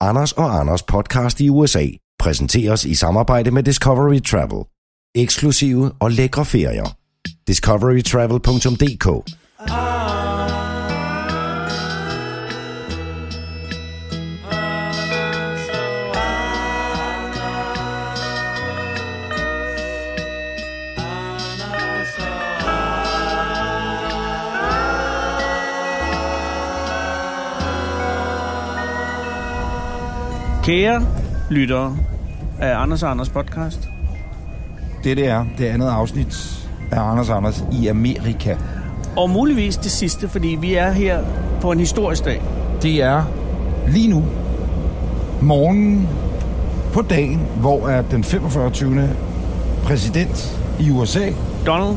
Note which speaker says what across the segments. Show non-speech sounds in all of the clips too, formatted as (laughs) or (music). Speaker 1: Anders og Anders podcast i USA præsenteres i samarbejde med Discovery Travel. Eksklusive og lækre ferier. discoverytravel.dk
Speaker 2: Kære lyttere af Anders og Anders podcast.
Speaker 3: Det det er det andet afsnit af Anders Anders i Amerika.
Speaker 2: Og muligvis det sidste, fordi vi er her på en historisk dag.
Speaker 3: Det er lige nu morgenen på dagen, hvor er den 45. præsident i USA,
Speaker 2: Donald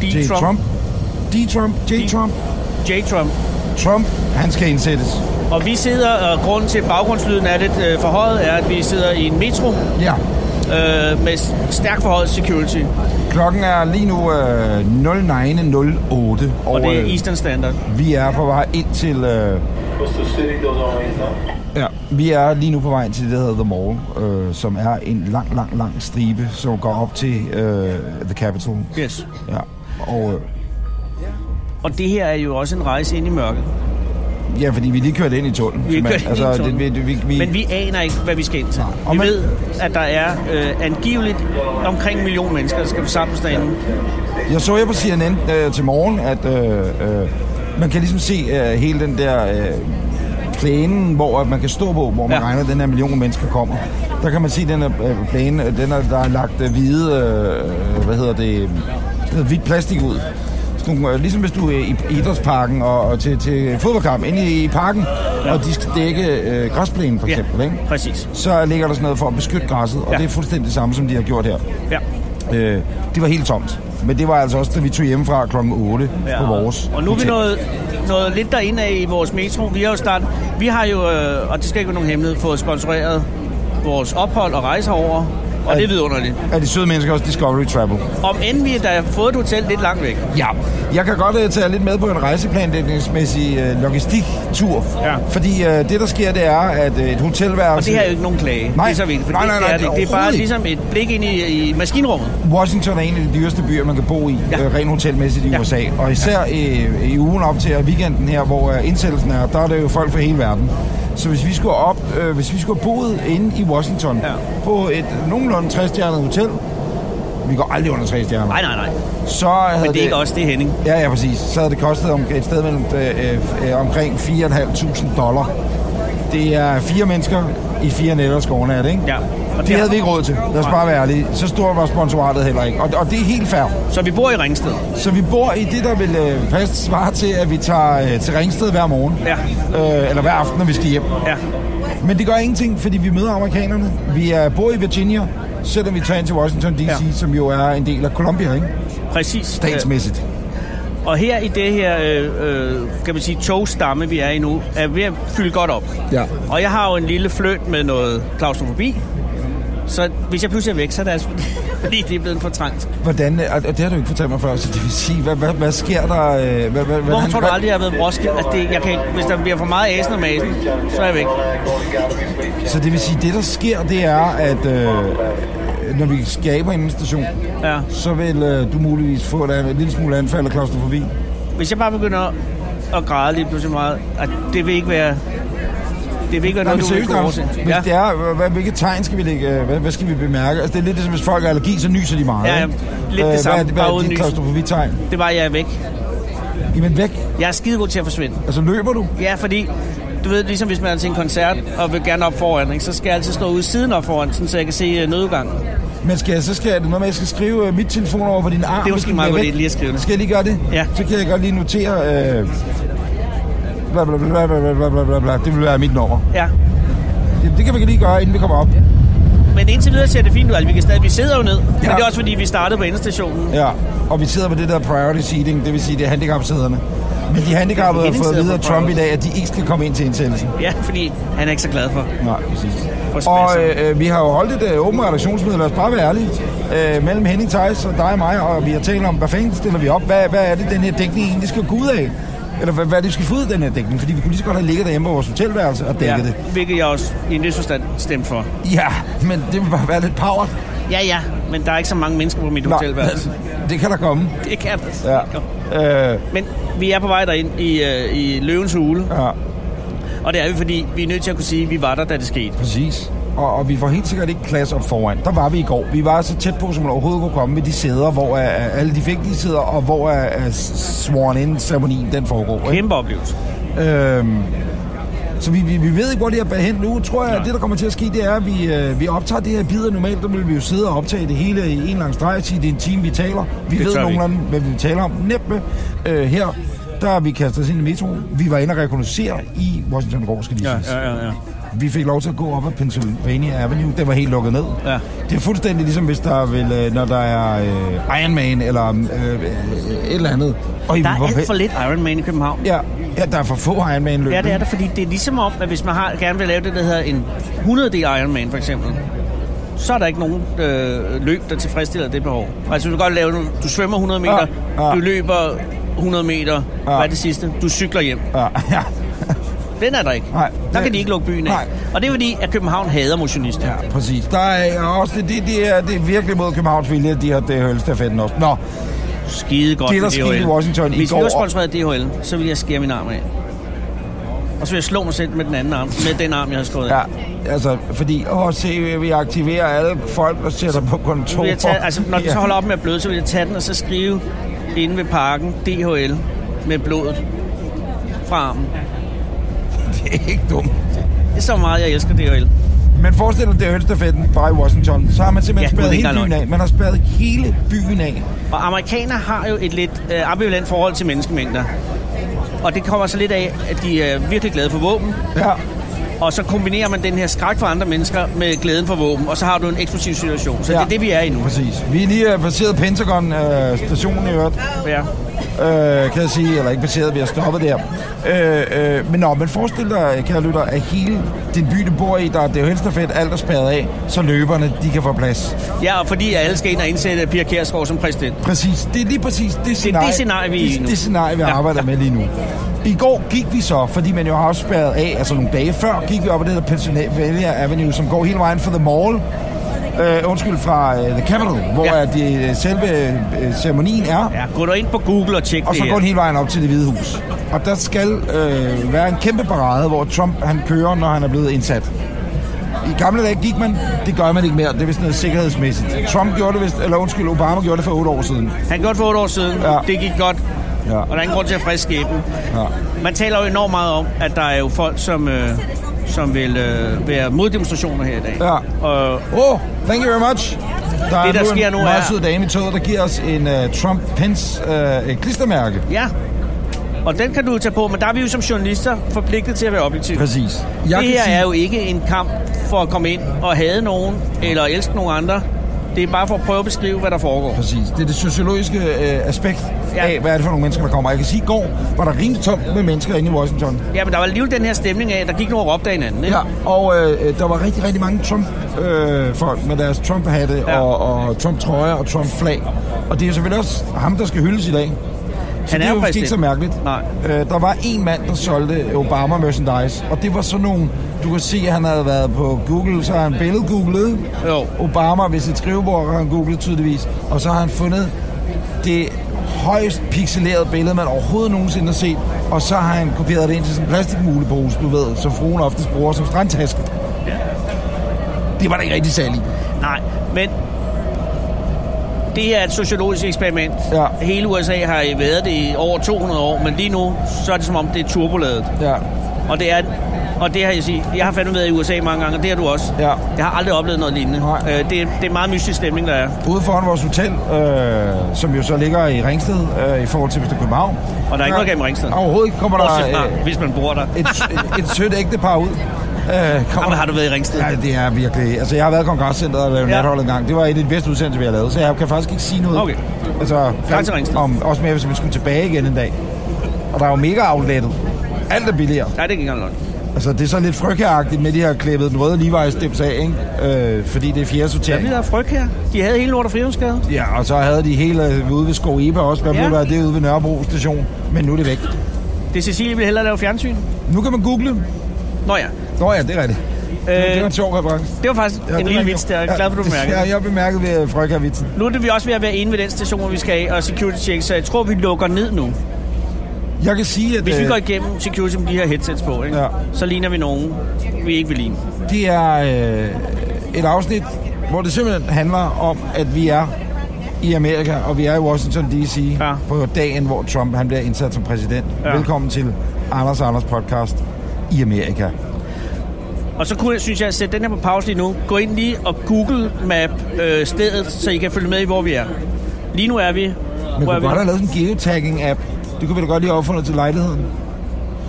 Speaker 2: D.
Speaker 3: J.
Speaker 2: Trump,
Speaker 3: Trump. D. Trump, J.
Speaker 2: D.
Speaker 3: Trump,
Speaker 2: J. Trump.
Speaker 3: Trump, han skal indsættes.
Speaker 2: Og vi sidder, og grunden til at baggrundslyden er lidt øh, forhøjet, er, at vi sidder i en metro
Speaker 3: Ja,
Speaker 2: øh, med s- stærkt forhøjet security.
Speaker 3: klokken er lige nu øh, 09.08, og,
Speaker 2: Og det er
Speaker 3: øh,
Speaker 2: Eastern Standard.
Speaker 3: vi er på vej ind til... Øh,
Speaker 4: Coastal City goes on right now.
Speaker 3: Ja, vi er lige nu på vej ind til det, der hedder The Mall, øh, som er en lang, lang, lang stribe, som går op til øh, The Capitol.
Speaker 2: Yes.
Speaker 3: Ja. Og, øh,
Speaker 2: Og det her er jo også en rejse ind i mørket.
Speaker 3: ja, fordi vi er lige kørt ind i tunnelen.
Speaker 2: Vi er
Speaker 3: simpelthen.
Speaker 2: kørt ind i tunnelen.
Speaker 3: altså, Det, vi, vi, vi,
Speaker 2: Men vi aner ikke, hvad vi skal ind til.
Speaker 3: Nej, og
Speaker 2: Vi
Speaker 3: man-
Speaker 2: ved, at der er øh, angiveligt omkring en million mennesker, der skal forsamles derinde.
Speaker 3: Jeg så her på CNN øh, til morgen, at øh, øh, man kan ligesom se øh, hele den der øh, plænen, hvor at man kan stå på, hvor man
Speaker 2: Ja.
Speaker 3: ja. regner, at den her million mennesker kommer. Der kan man se den her øh, plæne, øh, den er, der er lagt øh, hvide, øh, hvad hedder det, øh, sådan noget hvidt plastik ud. Sådan nogle, øh, ligesom hvis du er i i idrætsparken og, og til, til fodboldkamp inde i, i parken, ja. og de skal dække øh, græsplænen for
Speaker 2: Ja,
Speaker 3: eksempel, ikke?
Speaker 2: præcis.
Speaker 3: så ligger der sådan noget for at beskytte græsset, og
Speaker 2: Ja.
Speaker 3: ja. det er fuldstændig det samme, som de har gjort her.
Speaker 2: Ja.
Speaker 3: Øh, det var helt tomt. Men det var altså også, da vi tog hjemmefra kl. 8 ja. på vores
Speaker 2: Og nu er vi
Speaker 3: hotel.
Speaker 2: nået, nået lidt derinde af i vores metro. Vi har jo start, vi har jo, øh, og det skal ikke være nogen hemmelighed, fået sponsoreret vores ophold og rejser over. Og det er vidunderligt.
Speaker 3: Er de søde mennesker også Discovery Travel?
Speaker 2: Om end vi der har fået et hotel lidt langt væk.
Speaker 3: Ja. Jeg kan godt uh, tage lidt med på en rejseplanlægningsmæssig uh, logistiktur.
Speaker 2: Ja.
Speaker 3: Fordi uh, det, der sker, det er, at uh, et hotelværelse...
Speaker 2: Og det her er jo ikke nogen klage.
Speaker 3: Nej.
Speaker 2: det er så vigtigt, for
Speaker 3: Nej,
Speaker 2: det-
Speaker 3: nej,
Speaker 2: det,
Speaker 3: nej,
Speaker 2: er det, ikke. det er bare
Speaker 3: overhovedet
Speaker 2: ligesom et blik ind i, i maskinrummet.
Speaker 3: Washington er en af de dyreste byer, man kan bo i,
Speaker 2: Ja.
Speaker 3: ja. øh, rent hotelmæssigt i
Speaker 2: Ja.
Speaker 3: ja. USA. Og især øh, i ugen op til og weekenden her, hvor øh, indsættelsen er, der er det jo folk fra hele verden. Så hvis vi skulle op, øh, hvis vi skulle have boet inde i Washington
Speaker 2: Ja.
Speaker 3: ja. på et nogenlunde 60-stjernet hotel, vi går aldrig under 3 stjerner,
Speaker 2: Nej, nej, nej.
Speaker 3: så havde
Speaker 2: Men det er ikke os, det er Henning.
Speaker 3: Ja, ja, præcis. Så havde det kostet om, et sted mellem, øh, øh, øh, omkring 4.500 dollar. Det er fire mennesker i fire nætter skovnat, ikke?
Speaker 2: Ja. Og
Speaker 3: Og det
Speaker 2: der-
Speaker 3: havde vi ikke råd til. Lad os
Speaker 2: Nej.
Speaker 3: bare være ærlige. Så stort var sponsoratet heller ikke. Og, og det er helt fair.
Speaker 2: Så vi bor i Ringsted.
Speaker 3: Så vi bor i det, der vil øh, passe svare til, at vi tager øh, til Ringsted hver morgen.
Speaker 2: Ja.
Speaker 3: Øh, eller hver aften, når vi skal hjem.
Speaker 2: Ja.
Speaker 3: Men det gør ingenting, fordi vi møder amerikanerne. Vi er, bor i Virginia, selvom vi tager ind til Washington D.C.,
Speaker 2: Ja. Øh,
Speaker 3: ja. som jo er en del af Columbia, ikke?
Speaker 2: Præcis.
Speaker 3: Statsmæssigt.
Speaker 2: Øh, Og her i det her, øh, øh, kan man sige, togstamme, vi er i nu, er ved at fylde godt op.
Speaker 3: Ja.
Speaker 2: Og jeg har jo en lille fløt med noget klaustrofobi. Så hvis jeg pludselig er væk, så er det altså (laughs) fordi, det er blevet for trangt.
Speaker 3: Hvordan, og og det har du ikke fortalt mig før, så det vil sige, hvad, hvad, hvad sker der? øh, Hvad, hvad, hvad,
Speaker 2: Hvorfor
Speaker 3: han-
Speaker 2: tror du
Speaker 3: hvad-
Speaker 2: aldrig, jeg har været på Roskilde? Altså, det, jeg kan ikke, hvis der bliver for meget æsen og masen, så er jeg væk.
Speaker 3: Så det vil sige, det der sker, det er, at øh, når vi skaber en station,
Speaker 2: Ja.
Speaker 3: så vil øh, du muligvis få et, an- et lille smule anfald af klaustrofobi.
Speaker 2: Hvis jeg bare begynder at græde lige pludselig meget, at det vil ikke være... Det vil ikke være
Speaker 3: Nej,
Speaker 2: noget,
Speaker 3: men
Speaker 2: du vil
Speaker 3: seriøst,
Speaker 2: kunne
Speaker 3: Anders,
Speaker 2: overse.
Speaker 3: hvis
Speaker 2: Ja.
Speaker 3: det er, hvad- hvad, hvilke tegn skal vi lægge, øh, hvad, hvad skal vi bemærke? Altså, det er lidt ligesom, hvis folk har allergi, så nyser de meget.
Speaker 2: Ja, ja.
Speaker 3: ikke?
Speaker 2: Lidt det
Speaker 3: Øh,
Speaker 2: samme,
Speaker 3: Hvad er, det- hvad
Speaker 2: bare
Speaker 3: er
Speaker 2: uden
Speaker 3: dit
Speaker 2: nysen.
Speaker 3: klaustrofobi-tegn?
Speaker 2: Det var, jeg er væk.
Speaker 3: Jamen væk.
Speaker 2: Jeg er skidegod til at forsvinde.
Speaker 3: Altså, løber du?
Speaker 2: Ja, fordi du ved, ligesom hvis man er til en koncert og vil gerne op foran, ikke, så skal jeg altid stå ude siden op foran, sådan, så jeg kan se øh, nødudgangen.
Speaker 3: Men skal jeg, så skal jeg, er det noget med, at jeg skal skrive øh, mit telefon over på din arm.
Speaker 2: Det er måske
Speaker 3: Skal den
Speaker 2: meget
Speaker 3: være
Speaker 2: godt,
Speaker 3: væk?
Speaker 2: lige at skrive det.
Speaker 3: Skal jeg lige gøre det?
Speaker 2: Ja.
Speaker 3: Så kan jeg godt lige notere... Øh, bla, bla, bla, bla, bla, bla, bla, bla, bla. Det vil være mit nummer.
Speaker 2: Ja.
Speaker 3: Det, det kan vi lige gøre, inden vi kommer op.
Speaker 2: Men indtil videre ser det fint ud. Altså, vi, kan stadig, vi sidder jo ned, ja. men det er også fordi, vi startede på endestationen.
Speaker 3: Ja. Og vi sidder på det der priority seating, det vil sige, det er handicapsæderne. Men de handicappede har fået at vide af Trump i dag, at de ikke skal komme ind til indsættelsen.
Speaker 2: Ja, fordi han er ikke så glad for.
Speaker 3: Nej, præcis.
Speaker 2: For
Speaker 3: Og
Speaker 2: spasser.
Speaker 3: øh, øh, vi har jo holdt et øh, åbent redaktionsmøde, lad os bare være ærlige, øh, mellem Henning Theis og dig og mig, og vi har talt om, hvad fanden stiller vi op? Hvad, hvad er det, den her dækning egentlig skal gå ud af? Eller hvad, hvad er det, vi skal få ud af den her dækning? Fordi vi kunne lige så godt have ligget derhjemme på vores hotelværelse og dækket ja. det.
Speaker 2: hvilket jeg også i en vis forstand stemte for.
Speaker 3: Ja, men det vil bare være lidt power.
Speaker 2: Ja, ja, men der er ikke så mange mennesker på mit
Speaker 3: Nå, (laughs)
Speaker 2: hotelværelse.
Speaker 3: det kan der komme.
Speaker 2: Det kan der.
Speaker 3: Ja. Øh,
Speaker 2: Men vi er på vej derind i, øh, i løvens hule,
Speaker 3: ja,
Speaker 2: og det er vi, fordi vi er nødt til at kunne sige, at vi var der, da det skete.
Speaker 3: præcis. Og, og vi får helt sikkert ikke plads op foran. Der var vi i går. Vi var så tæt på, som man overhovedet kunne komme med de sæder, hvor er, alle de vigtige sæder, og hvor øh, er, er sworn-in-ceremonien, den foregår. Ikke?
Speaker 2: Kæmpe oplevelse.
Speaker 3: Øhm, så vi, vi, vi ved ikke, hvor det er hen nu. Tror jeg, at det, der kommer til at ske, det er, at vi, øh, vi optager det her bidder. Normalt der ville vi jo sidde og optage det hele i en lang streg, sige, det er en time, vi taler. Vi
Speaker 2: Det
Speaker 3: ved
Speaker 2: tør vi
Speaker 3: nogenlunde, hvad vi taler om. Næppe øh, her, der har vi kastet os ind i metroen. Vi var inde og rekognoscere i Washington Gård, skal lige
Speaker 2: Ja,
Speaker 3: ja, siges.
Speaker 2: ja, ja, ja.
Speaker 3: Vi fik lov til at gå op ad Pennsylvania Avenue. Den var helt lukket ned.
Speaker 2: Ja.
Speaker 3: Det er fuldstændig ligesom, hvis der vil, øh, når der er øh, Iron Man eller øh, øh, et eller andet. Og I
Speaker 2: Der
Speaker 3: var-
Speaker 2: er alt for lidt Iron Man i København.
Speaker 3: Ja, ja, der er for få Iron Man løb.
Speaker 2: Ja, det er der, fordi det er ligesom om, at hvis man har, gerne vil lave det, der hedder en 100 d Iron Man, for eksempel, så er der ikke nogen øh, løb, der tilfredsstiller det behov. Altså, du kan godt lave, nu, du svømmer 100 meter,
Speaker 3: Ja, ja.
Speaker 2: du løber 100 meter, hvad er det sidste? Du cykler hjem.
Speaker 3: Ja, ja.
Speaker 2: Den er der ikke.
Speaker 3: Nej,
Speaker 2: der
Speaker 3: det-
Speaker 2: kan de ikke lukke byen af.
Speaker 3: Nej.
Speaker 2: Og det er fordi, at København hader motionister. Ja.
Speaker 3: Ja, præcis. Der er også det, det, det, er, det er virkelig mod Københavns vilje, at de har det hølstafetten også. Nå,
Speaker 2: Skide godt
Speaker 3: Det, der
Speaker 2: med
Speaker 3: skete
Speaker 2: DHL.
Speaker 3: i Washington i
Speaker 2: Hvis
Speaker 3: går-
Speaker 2: vi var sponsoreret af DHL, så ville jeg skære min arm af. Og så ville jeg slå mig selv med den anden arm, med den arm, jeg har skåret af.
Speaker 3: ja, altså, fordi, åh, se, vi aktiverer alle folk, der sætter på
Speaker 2: Nu
Speaker 3: kontor.
Speaker 2: vil jeg tage, altså, når den
Speaker 3: Ja.
Speaker 2: så holder op med at bløde, så vil jeg tage den og så skrive inde ved parken DHL med blodet fra armen.
Speaker 3: (laughs) Det er ikke dumt.
Speaker 2: Det er så meget, jeg elsker DHL.
Speaker 3: Men forestil dig, det er hølstafetten bare i Washington. Så har man
Speaker 2: Ja,
Speaker 3: simpelthen ja,
Speaker 2: det er
Speaker 3: spærret
Speaker 2: ikke
Speaker 3: hele byen
Speaker 2: løgn.
Speaker 3: af. Man har spærret hele byen af.
Speaker 2: Og amerikanere har jo et lidt øh, ambivalent forhold til menneskemængder. Og det kommer så lidt af, at de er virkelig glade for våben.
Speaker 3: Ja,
Speaker 2: Og så kombinerer man den her skræk for andre mennesker med glæden for våben. Og så har du en eksplosiv situation. Så
Speaker 3: Ja.
Speaker 2: det er det, vi er i nu.
Speaker 3: præcis. Vi er lige øh, passeret Pentagon-stationen i øvrigt.
Speaker 2: Ja.
Speaker 3: øh, kan jeg sige, eller ikke baseret, vi har stoppet der. Øh, øh, men nå, men forestil dig, kære lytter, at hele din by, du bor i, der det er jo helst fedt, alt er spærret af, så løberne, de kan få plads.
Speaker 2: ja, og fordi alle skal ind og indsætte Pia Kjærsgaard som præsident.
Speaker 3: Præcis, det er lige præcis det scenarie,
Speaker 2: det scenarie, vi er i
Speaker 3: det,
Speaker 2: nu.
Speaker 3: det scenarie, vi
Speaker 2: Ja,
Speaker 3: arbejder med lige nu. I går gik vi så, fordi man jo har også spærret af, altså nogle dage før, gik vi op ad det der Pennsylvania Avenue, som går hele vejen fra The Mall, øh, undskyld, fra øh, The Capitol, hvor
Speaker 2: Ja.
Speaker 3: ja. de, øh, selve øh, ceremonien er.
Speaker 2: Ja, gå du ind på Google og tjek
Speaker 3: Og
Speaker 2: det
Speaker 3: så
Speaker 2: her.
Speaker 3: går den hele vejen op til det hvide hus. Og der skal øh, være en kæmpe parade, hvor Trump han kører, når han er blevet indsat. I gamle dage gik man, det gør man ikke mere, det er vist noget sikkerhedsmæssigt. Trump gjorde det vist, eller undskyld, Obama gjorde det for otte år siden.
Speaker 2: Han gjorde det for otte år siden.
Speaker 3: Ja.
Speaker 2: Ja. Det gik godt.
Speaker 3: Ja.
Speaker 2: Ja. Og der er ingen grund til at friske skæben.
Speaker 3: Ja.
Speaker 2: Man taler jo enormt meget om, at der er jo folk, som, øh, som vil øh, være moddemonstrationer her i dag.
Speaker 3: Ja.
Speaker 2: Og
Speaker 3: Oh, thank you very much. Der
Speaker 2: Det, der sker
Speaker 3: en
Speaker 2: nu,
Speaker 3: meget
Speaker 2: er-
Speaker 3: sød dame i toget, der giver os en uh, Trump-Pence uh, klistermærke.
Speaker 2: ja, og den kan du tage på, men der er vi jo som journalister forpligtet til at være objektive.
Speaker 3: Præcis.
Speaker 2: Jeg det her sige... er jo ikke en kamp for at komme ind og hade nogen, eller elske nogen andre. Det er bare for at prøve at beskrive, hvad der foregår.
Speaker 3: Præcis. Det er det sociologiske øh, aspekt ja.
Speaker 2: Ja.
Speaker 3: af, hvad er det for nogle mennesker, der kommer. Jeg kan sige, i går var der rimelig tomt med mennesker inde i Washington.
Speaker 2: Ja, men der var alligevel den her stemning af, at der gik nogen og råbte af hinanden. Ikke?
Speaker 3: Ja, og øh, øh, der var rigtig, rigtig mange Trump-folk øh, folk med deres Trump-hatte ja.
Speaker 2: Ja.
Speaker 3: og, og Trump-trøjer og Trump-flag. Og det er selvfølgelig også ham, der skal hyldes i dag. Så
Speaker 2: Han
Speaker 3: det
Speaker 2: er jo
Speaker 3: er jo måske ikke så
Speaker 2: præsident.
Speaker 3: mærkeligt.
Speaker 2: Nej.
Speaker 3: Øh, der var en mand, der solgte Obama-merchandise, og det var sådan nogle... Du kan se, at han havde været på Google, så har han billedgooglet
Speaker 2: Jo.
Speaker 3: Obama ved sit skrivebord, har han googlet tydeligvis, og så har han fundet det højst pixelerede billede, man overhovedet nogensinde har set, og så har han kopieret det ind til sådan en plastikmulepose, du ved, som fruen oftest bruger som strandtaske. Det var der ikke rigtig særlig.
Speaker 2: Nej, men det her er et sociologisk eksperiment.
Speaker 3: Ja.
Speaker 2: Hele USA har i været det i over 200 år, men lige nu, så er det som om, det er turboladet.
Speaker 3: Ja.
Speaker 2: Og det er og det har jeg sige, jeg har fandme været i USA mange gange, og det har du også.
Speaker 3: Ja.
Speaker 2: Jeg har aldrig oplevet noget lignende.
Speaker 3: Nej.
Speaker 2: Øh, det, er- det er meget mystisk stemning, der er.
Speaker 3: Ude foran vores hotel, øh, som jo så ligger i Ringsted, øh, i forhold til hvis det er København.
Speaker 2: Og der er ikke noget gennem Ringsted.
Speaker 3: Overhovedet ikke kommer
Speaker 2: Bortset
Speaker 3: der
Speaker 2: fra,
Speaker 3: øh,
Speaker 2: hvis man bor der.
Speaker 3: et, et, et sødt ægtepar ud. Øh, kommer
Speaker 2: Jamen, har du været i Ringsted?
Speaker 3: Ja, det er virkelig... Altså, jeg har været i Kongresscenteret og lavet ja.
Speaker 2: Ja.
Speaker 3: natholdet en gang. Det var en af de bedste udsendelser, vi har lavet, så jeg kan faktisk ikke sige noget.
Speaker 2: Okay.
Speaker 3: Altså,
Speaker 2: Tak til Ringsted.
Speaker 3: om, også mere, hvis vi skulle tilbage igen en dag. Og der er jo mega outlettet. Alt er billigere.
Speaker 2: Nej, det er ikke engang løgn.
Speaker 3: Altså, det er sådan lidt frygtagtigt med de her klippet den røde Levi's steps af, ikke? Øh, fordi det er fjerde
Speaker 2: Jeg
Speaker 3: sortering.
Speaker 2: bliver frygt her. De havde hele Nord- og Frihedsgade.
Speaker 3: Ja, og så havde de hele øh, ude ved Skov Eba også. Hvad
Speaker 2: Ja.
Speaker 3: blev der af det ude ved Nørrebro station? Men nu er det væk.
Speaker 2: Det Det er Cecilie, vil hellere lave fjernsyn.
Speaker 3: Nu kan man google.
Speaker 2: Nå ja.
Speaker 3: Nå ja, det er rigtigt. Øh, det var en sjov reference.
Speaker 2: Det var faktisk ja,
Speaker 3: Ja,
Speaker 2: en
Speaker 3: det
Speaker 2: lille
Speaker 3: var-
Speaker 2: vits der. Jeg er glad for, du bemærkede.
Speaker 3: Ja, jeg bemærkede ved øh, Frøkær-vitsen.
Speaker 2: Nu er det vi også ved at være inde ved den station, hvor vi skal af, og security check, så jeg tror, vi lukker ned nu.
Speaker 3: Jeg kan sige, at
Speaker 2: Hvis vi
Speaker 3: øh,
Speaker 2: går igennem security med de her headsets på, ikke?
Speaker 3: Ja.
Speaker 2: så ligner vi nogen, vi ikke vil ligne.
Speaker 3: det er øh, et afsnit, hvor det simpelthen handler om, at vi er i Amerika, og vi er i Washington D.C.
Speaker 2: Ja.
Speaker 3: på dagen, hvor Trump han bliver indsat som præsident.
Speaker 2: Ja.
Speaker 3: Ja. Velkommen til Anders og Anders podcast i Amerika.
Speaker 2: Og så kunne jeg, synes jeg, sætte den her på pause lige nu. Gå ind lige og google map øh, stedet, så I kan følge med i, hvor vi er. Lige nu er vi...
Speaker 3: Man
Speaker 2: Hvor er
Speaker 3: kunne
Speaker 2: vi?
Speaker 3: godt have lavet sådan en geotagging-app. Det kunne vi da godt lige have opfundet til lejligheden. Men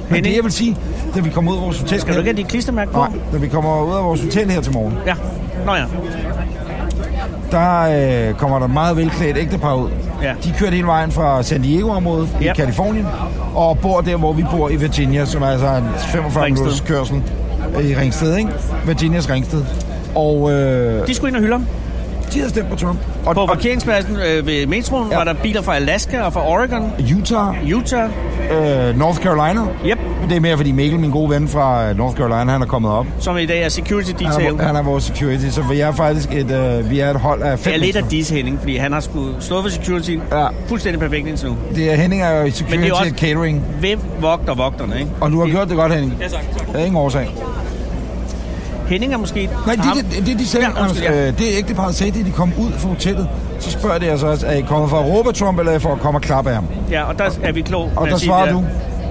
Speaker 2: Henning?
Speaker 3: det, jeg vil sige, da vi kommer ud af vores hotel...
Speaker 2: Skal du ikke have dit klistermærke på?
Speaker 3: Nej, da vi kommer ud af vores hotel her til morgen,
Speaker 2: Ja. Nå ja.
Speaker 3: der øh, kommer der meget velklædt ægtepar ud.
Speaker 2: Ja.
Speaker 3: De kørte hele vejen fra San Diego-området
Speaker 2: Yep.
Speaker 3: i Kalifornien, og bor der, hvor vi bor i Virginia, som er altså en 45
Speaker 2: Ringsted.
Speaker 3: minutters kørsel i Ringsted, ikke? Virginias Ringsted. Og øh,
Speaker 2: De skulle ind og hylde ham.
Speaker 3: de havde stemt på Trump. Og,
Speaker 2: På
Speaker 3: og
Speaker 2: parkeringspladsen øh, ved metroen ja.
Speaker 3: Ja.
Speaker 2: var der biler fra Alaska og fra Oregon,
Speaker 3: Utah,
Speaker 2: Utah.
Speaker 3: øh, North Carolina.
Speaker 2: Yep.
Speaker 3: Det er mere, fordi Mikkel, min gode ven fra øh, North Carolina, han er kommet op.
Speaker 2: Som i dag er security
Speaker 3: Han er,
Speaker 2: detail.
Speaker 3: han er vores security, så vi er faktisk et, øh, vi er et hold af fem
Speaker 2: Jeg er lidt af
Speaker 3: mennesker.
Speaker 2: disse Henning, fordi han har sgu slået for security ja.
Speaker 3: Ja.
Speaker 2: fuldstændig perfekt indtil nu.
Speaker 3: Det er Henning er jo i
Speaker 2: Men det
Speaker 3: security
Speaker 2: er også-
Speaker 3: også... catering,
Speaker 2: Hvem vogter vogterne, ikke?
Speaker 3: og du har gjort det godt, Henning.
Speaker 2: Ja, tak.
Speaker 3: Det er ingen årsag.
Speaker 2: Henning er måske...
Speaker 3: Nej, det,
Speaker 2: ham.
Speaker 3: det, det, det de sagde,
Speaker 2: Ja,
Speaker 3: ja,
Speaker 2: undskyld,
Speaker 3: undskyld,
Speaker 2: ja.
Speaker 3: øh, det er ikke det par sagde, det de kom ud fra hotellet. Så spørger de altså også, er I kommet for at råbe af Trump, eller er I for at komme og klappe af ham?
Speaker 2: Ja, og der er vi klog.
Speaker 3: Og
Speaker 2: med
Speaker 3: der
Speaker 2: at sige,
Speaker 3: svarer
Speaker 2: vi er-
Speaker 3: du?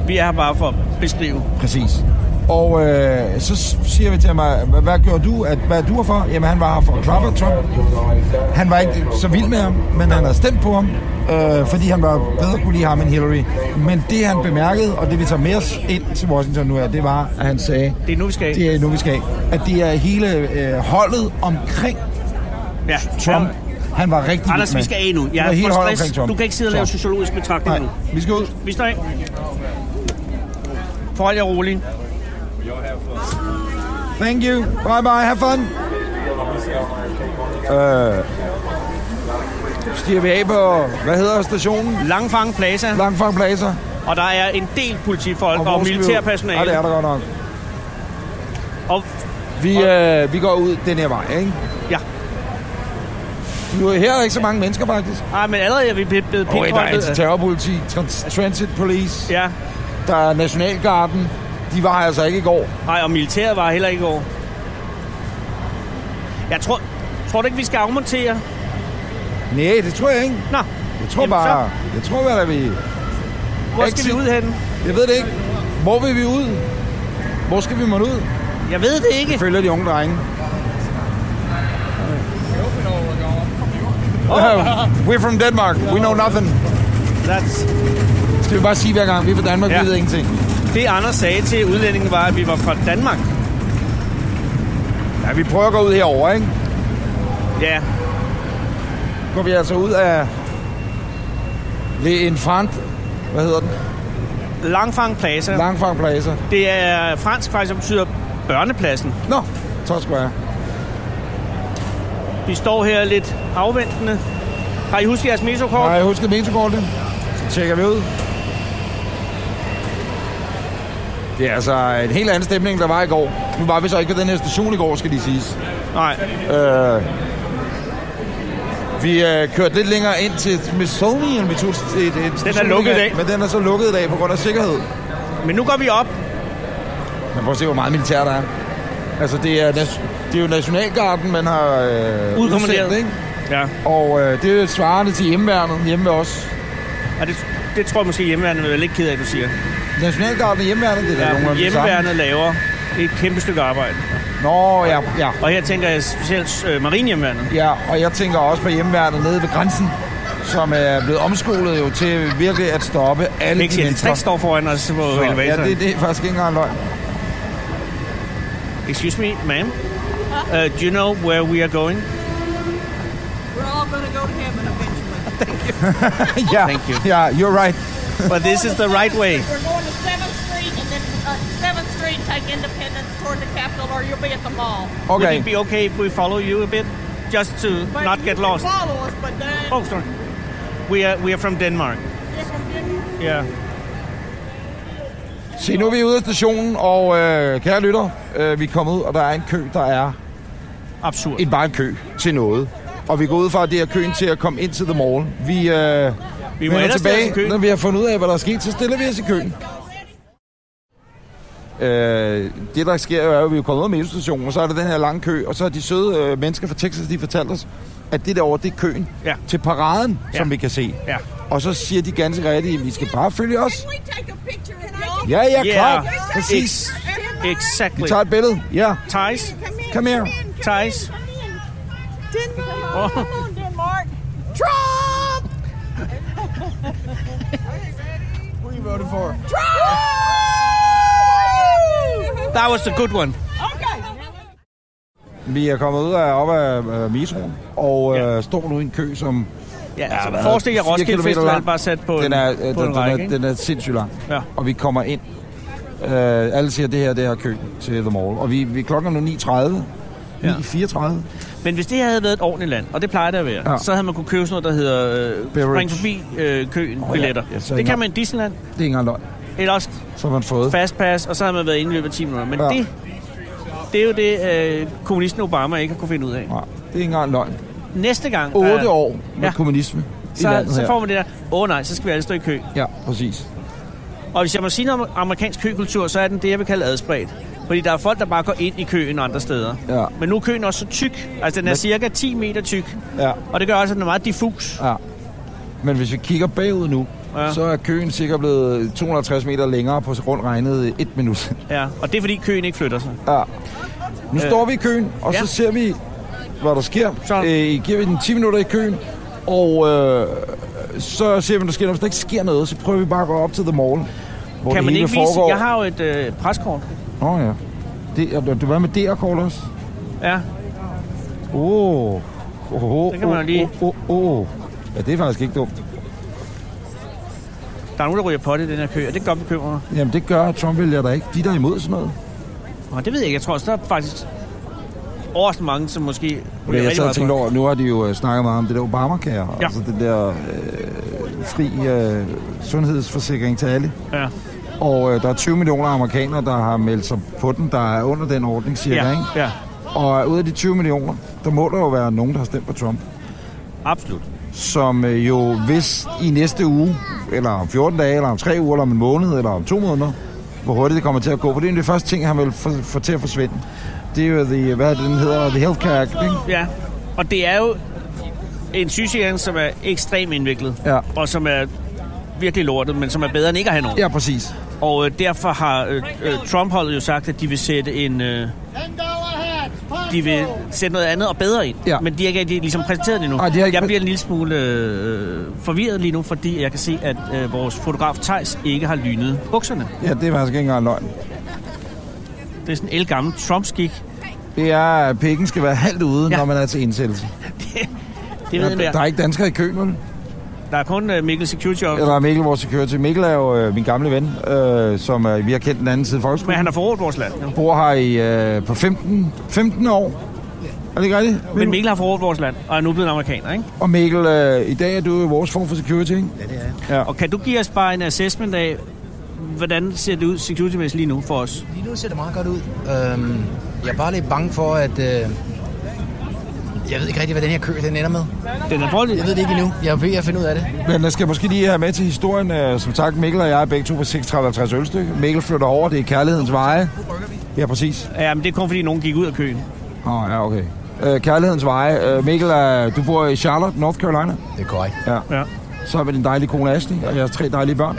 Speaker 2: Vi er her bare for at beskrive.
Speaker 3: Præcis. Og øh, så s- siger vi til ham, hvad, hvad gjorde du? At, hvad er du her for? Jamen, han var her for at klappe af Trump. Han var ikke så vild med ham, men han havde stemt på ham, øh, fordi han var bedre kunne lide ham end Hillary. Men det, han bemærkede, og det vi tager med os ind til Washington nu her, det var, at han sagde,
Speaker 2: Det er nu, vi skal af.
Speaker 3: det er nu, vi skal af. At det er hele øh, holdet omkring
Speaker 2: Ja.
Speaker 3: Trump.
Speaker 2: Ja.
Speaker 3: Han var rigtig
Speaker 2: Anders,
Speaker 3: vild med.
Speaker 2: vi skal af nu. Jeg
Speaker 3: Det var
Speaker 2: er
Speaker 3: helt
Speaker 2: for
Speaker 3: højt omkring
Speaker 2: stress.
Speaker 3: Trump.
Speaker 2: Du kan ikke sidde og lave
Speaker 3: Så.
Speaker 2: sociologisk betragtning nu.
Speaker 3: Nej, vi skal ud.
Speaker 2: Vi står af. Forhold jer roligt.
Speaker 3: Thank you. Bye bye. Have fun. Øh, stiger vi af på, hvad hedder stationen?
Speaker 2: Langfang Plaza,
Speaker 3: Langfang Plaza.
Speaker 2: og der er en del politifolk og,
Speaker 3: hvor
Speaker 2: og
Speaker 3: skal vi ud?
Speaker 2: militærpersonale.
Speaker 3: Ja, det er der godt nok.
Speaker 2: Og,
Speaker 3: Vi, øh, vi går ud den her vej, ikke?
Speaker 2: ja.
Speaker 3: Nu, her er der ikke så mange mennesker, faktisk.
Speaker 2: Ej, men allerede er vi blevet blevet
Speaker 3: Okay, der er
Speaker 2: pinpointet.
Speaker 3: antiterrorpoliti, trans- transit police,
Speaker 2: Ja,
Speaker 3: der er Nationalgarden. De var her altså ikke i går.
Speaker 2: Nej, og militæret var heller ikke over. Jeg tror, tror du ikke, vi skal afmontere?
Speaker 3: Nej, det tror jeg ikke.
Speaker 2: Nå,
Speaker 3: Jeg tror
Speaker 2: Jamen,
Speaker 3: bare, jeg tror bare, at vi...
Speaker 2: hvor skal vi
Speaker 3: Exit.
Speaker 2: ud henne?
Speaker 3: Jeg ved det ikke. Hvor vil vi ud? Hvor skal vi måtte ud?
Speaker 2: Jeg ved det ikke.
Speaker 3: Følger de unge drenge. We're from Denmark. We know nothing.
Speaker 2: That's...
Speaker 3: Skal vi bare sige hver gang, vi er fra Danmark,
Speaker 2: Ja.
Speaker 3: vi ved ingenting.
Speaker 2: Det, Anders sagde til udlændingen, var, at vi var fra Danmark.
Speaker 3: Ja, vi prøver at gå ud herover, ikke?
Speaker 2: Ja,
Speaker 3: Går vi altså ud af... Le Infant. Hvad hedder den?
Speaker 2: Langfang Plaza.
Speaker 3: Langfang Plaza.
Speaker 2: Det er fransk faktisk, som betyder børnepladsen.
Speaker 3: Nå, så skal jeg.
Speaker 2: Vi står her lidt afventende. Har I husket jeres metrokort?
Speaker 3: Har jeg husket metrokortet? Så tjekker vi ud. Det er altså en helt anden stemning, der var i går. Nu var vi så ikke ved den her station i går, skal de siges.
Speaker 2: Nej.
Speaker 3: Øh, vi øh, kørte lidt længere ind til Smithsonian. Vi tog et, et den
Speaker 2: lukket i dag.
Speaker 3: Men den er så lukket i dag på grund af sikkerhed.
Speaker 2: Men nu går vi op.
Speaker 3: Man får se, hvor meget militær der er. Altså, det er, nas- det er jo Nationalgarden, man har øh,
Speaker 2: Udkommanderet.
Speaker 3: udsendt, ikke?
Speaker 2: Ja,
Speaker 3: Og øh, det er jo svarende til hjemmeværnet hjemme ved os.
Speaker 2: og det, det tror jeg måske hjemmeværende vil være lidt ked af, at du siger.
Speaker 3: Nationalgarden og hjemmeværnet, det er ja,
Speaker 2: Ja,
Speaker 3: nogenlunde det samme.
Speaker 2: hjemmeværende laver et kæmpe stykke arbejde.
Speaker 3: Nå, ja, ja.
Speaker 2: Og her tænker jeg specielt øh, marinehjemmeværnet.
Speaker 3: Ja, og jeg tænker også på hjemmeværnet nede ved grænsen, som er blevet omskolet jo til virkelig at stoppe alle
Speaker 2: Ikke
Speaker 3: de
Speaker 2: siger, at
Speaker 3: mennesker.
Speaker 2: Trix står foran os på
Speaker 3: Så, ja,
Speaker 2: elevatoren.
Speaker 3: det, det er faktisk ikke engang løgn.
Speaker 2: Excuse me, ma'am. Uh, do you know where we are going?
Speaker 5: We're all gonna go to heaven eventually.
Speaker 3: ja,
Speaker 2: Thank you.
Speaker 3: ja, you're right.
Speaker 2: But this is the right way.
Speaker 5: We're going to Seventh Street and then uh, Seventh Street take Independence toward the Capitol, or you'll be at the mall.
Speaker 2: Would
Speaker 3: Okay.
Speaker 2: it be okay if we follow you a bit? Just to
Speaker 5: But
Speaker 2: not
Speaker 5: you
Speaker 2: get
Speaker 5: can
Speaker 2: lost.
Speaker 5: Follow us, but then
Speaker 2: Oh, sorry. We are, we are from Denmark.
Speaker 5: Different-
Speaker 2: Yeah.
Speaker 3: Se, nu er vi ude af stationen, og øh, kære lytter, øh, vi er kommet ud, og der er en kø, der er
Speaker 2: Absurd.
Speaker 3: en, bare en kø til noget. Og vi går ud fra, at det er køen til at komme ind til The Mall.
Speaker 2: Vi
Speaker 3: Vi, øh,
Speaker 2: må
Speaker 3: vender
Speaker 2: ellers stille os i køen.
Speaker 3: Når vi har fundet ud af, hvad der er sket, så stiller vi os i køen. Øh, det, der sker, er jo, at vi er kommet ud af metrostationen, og så er der den her lange kø, og så har de søde øh, mennesker fra Texas, de fortalte os, at det derovre, det er køen
Speaker 2: Ja.
Speaker 3: til paraden,
Speaker 2: Ja.
Speaker 3: som vi kan se.
Speaker 2: Ja.
Speaker 3: Og så siger de ganske rigtigt, at vi skal bare følge os.
Speaker 5: Can we take a picture of y'all?
Speaker 3: Ja, ja,
Speaker 2: Yeah.
Speaker 3: klart.
Speaker 5: Ex-
Speaker 3: Præcis. Vi
Speaker 2: Exactly.
Speaker 3: tager et billede. Ja.
Speaker 2: Thijs.
Speaker 3: Kom her.
Speaker 2: Thijs.
Speaker 5: Denmark.
Speaker 2: Åh.
Speaker 5: Come on, Denmark. Trump!
Speaker 6: Who you voting for?
Speaker 5: Trump!
Speaker 2: That was the good one.
Speaker 5: Okay.
Speaker 3: Vi er kommet ud af, op af øh, metroen, og øh, ja. står nu i en kø, som...
Speaker 2: Ja, altså,
Speaker 3: hvad,
Speaker 2: forestil jer
Speaker 3: fire
Speaker 2: Roskilde
Speaker 3: kilometer
Speaker 2: Festival
Speaker 3: lang.
Speaker 2: bare sat på
Speaker 3: den
Speaker 2: en,
Speaker 3: er, øh,
Speaker 2: på
Speaker 3: den,
Speaker 2: en række.
Speaker 3: den, er,
Speaker 2: ikke?
Speaker 3: den er sindssygt lang.
Speaker 2: Ja.
Speaker 3: Og vi kommer ind. Øh, alle siger, det her det her kø til The Mall. Og vi, vi klokken er nu 9.30.
Speaker 2: Ja.
Speaker 3: 9.34.
Speaker 2: Men hvis det havde været et ordentligt land, og det plejer det at være,
Speaker 3: Ja.
Speaker 2: ja. så havde man kunne købe sådan noget, der hedder øh,
Speaker 3: Beverage.
Speaker 2: spring forbi øh, køen
Speaker 3: ja.
Speaker 2: billetter.
Speaker 3: Jeg sagde
Speaker 2: Det
Speaker 3: ikke
Speaker 2: kan man i Disneyland,
Speaker 3: Det er ikke engang løgn.
Speaker 2: eller også
Speaker 3: Så har man fået.
Speaker 2: fast pass, og så havde man været inde i løbet af 10 minutter. Men
Speaker 3: Ja.
Speaker 2: ja. det, det er jo det, øh, kommunisten Obama ikke har kunne finde ud af.
Speaker 3: Nej, det er ikke engang løgn.
Speaker 2: Næste gang,
Speaker 3: 8
Speaker 2: der-
Speaker 3: år med
Speaker 2: Ja.
Speaker 3: kommunisme i
Speaker 2: så,
Speaker 3: landet
Speaker 2: så
Speaker 3: her.
Speaker 2: får man det der, åh oh, nej, så skal vi alle stå i kø.
Speaker 3: Ja, præcis.
Speaker 2: Og hvis jeg må sige noget om amerikansk køkultur, så er den det, jeg vil kalde adspredt. Fordi der er folk, der bare går ind i køen andre steder.
Speaker 3: Ja.
Speaker 2: Men nu er køen også så tyk. Altså, den er cirka 10 meter tyk.
Speaker 3: Ja.
Speaker 2: Og det gør også, at den er meget diffus.
Speaker 3: Ja. Men hvis vi kigger bagud nu, ja.
Speaker 2: Ja.
Speaker 3: så er køen sikkert blevet 250 meter længere på rundt regnet et minut. (laughs)
Speaker 2: Ja. Og det er, fordi køen ikke flytter sig.
Speaker 3: Ja. Nu øh. står vi i køen, og ja.
Speaker 2: ja.
Speaker 3: så ser vi, hvad der sker.
Speaker 2: Så-
Speaker 3: Øh, giver vi den 10 minutter i køen, og øh, så ser vi, hvad der sker. Når der ikke sker noget, så prøver vi bare at gå op til The Mall, hvor
Speaker 2: kan man
Speaker 3: det hele
Speaker 2: ikke vise...
Speaker 3: foregår.
Speaker 2: Jeg har jo et øh, preskort.
Speaker 3: Nå ja. Det, og du- du var med DR-kort også?
Speaker 2: Ja.
Speaker 3: Åh. Oh. Oh, oh,
Speaker 2: Det kan man jo lige-
Speaker 3: Oh, oh, oh. Ja, det er faktisk ikke dumt.
Speaker 2: Der er nogen, der ryger på det i den her kø, og det kan godt bekymre mig.
Speaker 3: Jamen, det gør Trump vælger da ikke. De er der er imod sådan noget.
Speaker 2: Og det ved jeg ikke. Jeg tror også, der er faktisk overraskende mange, som måske...
Speaker 3: Okay, jeg sad og
Speaker 2: meget
Speaker 3: tænkte
Speaker 2: på.
Speaker 3: over, nu har de jo øh, snakket meget om det der Obamacare, ja.
Speaker 2: Ja.
Speaker 3: altså den der øh, fri øh, sundhedsforsikring til alle.
Speaker 2: Ja.
Speaker 3: Og øh, der er 20 millioner amerikanere, der har meldt sig på den, der er under den ordning cirka,
Speaker 2: Ja,
Speaker 3: ikke?
Speaker 2: ja,
Speaker 3: Og ud af de 20 millioner, der må der jo være nogen, der har stemt på Trump,
Speaker 2: absolut.
Speaker 3: som øh, jo hvis i næste uge, eller om 14 dage, eller om 3 uger, eller om en måned, eller om to måneder, hvor hurtigt det kommer til at gå. For det er en af de første ting, han vil få, få til at forsvinde. Det er jo the, hvad er det, den hedder, The Healthcare Act, ikke?
Speaker 2: Ja, og det er jo en sygesikring, som er ekstremt indviklet,
Speaker 3: Ja.
Speaker 2: og som er virkelig lortet, men som er bedre end ikke at have nogen.
Speaker 3: Ja, præcis.
Speaker 2: Og øh, derfor har øh, øh, Trump-holdet jo sagt, at de vil sætte en... Øh, de vil sætte noget andet og bedre ind.
Speaker 3: Ja.
Speaker 2: Men de er ikke de er ligesom præsenteret det endnu.
Speaker 3: Ej, de har ikke-
Speaker 2: Jeg bliver en lille smule øh, forvirret lige nu, fordi jeg kan se, at øh, vores fotograf Tejs ikke har lynet bukserne.
Speaker 3: Ja, det er faktisk ikke engang løgn.
Speaker 2: Det er sådan en elgammel Trump-skik.
Speaker 3: Det er, at pikken skal være halvt ude, ja.
Speaker 2: Ja.
Speaker 3: når man er til indsættelse.
Speaker 2: Det ved jeg.
Speaker 3: Der, der er ikke danskere i køen, vel?
Speaker 2: Der er kun øh, Mikkel Security Officer,
Speaker 3: Eller Mikkel, vores security. Mikkel er jo øh, min gamle ven, øh, som øh, vi har kendt den anden side af
Speaker 2: men
Speaker 3: folkeskolen.
Speaker 2: han har forrådt vores land.
Speaker 3: Han bor her i, øh, på 15, 15 år. Er det ikke rigtigt?
Speaker 2: Men
Speaker 3: Mikkel?
Speaker 2: Mikkel har forrådt vores land, og er nu blevet amerikaner, ikke?
Speaker 3: Og Mikkel, øh, i dag er du jo vores form for security, ikke? Ja, det er ja.
Speaker 2: Og kan du give os bare en assessment af, hvordan ser det ud security lige nu for os?
Speaker 6: Lige nu ser det meget godt ud. Øhm, jeg er bare lidt bange for, at... Øh, jeg ved ikke rigtig, hvad den her kø den ender med.
Speaker 2: Den er forholdsvis...
Speaker 6: Jeg ved det ikke endnu. Jeg er ved at finde ud af det.
Speaker 3: Men jeg skal måske lige have med til historien. øh, Som sagt, Mikkel og jeg er begge to på 36 ølstykke. Mikkel flytter over, det er kærlighedens veje. Ja, præcis.
Speaker 2: Ja, men det er kun fordi, nogen gik ud af køen.
Speaker 3: Åh, oh, ja, okay. Øh, kærlighedens veje. Øh, Mikkel, øh, du bor i Charlotte, North Carolina.
Speaker 6: Det er korrekt.
Speaker 3: Ja.
Speaker 2: Ja.
Speaker 3: Så med din dejlige kone Ashley og jeres tre dejlige børn.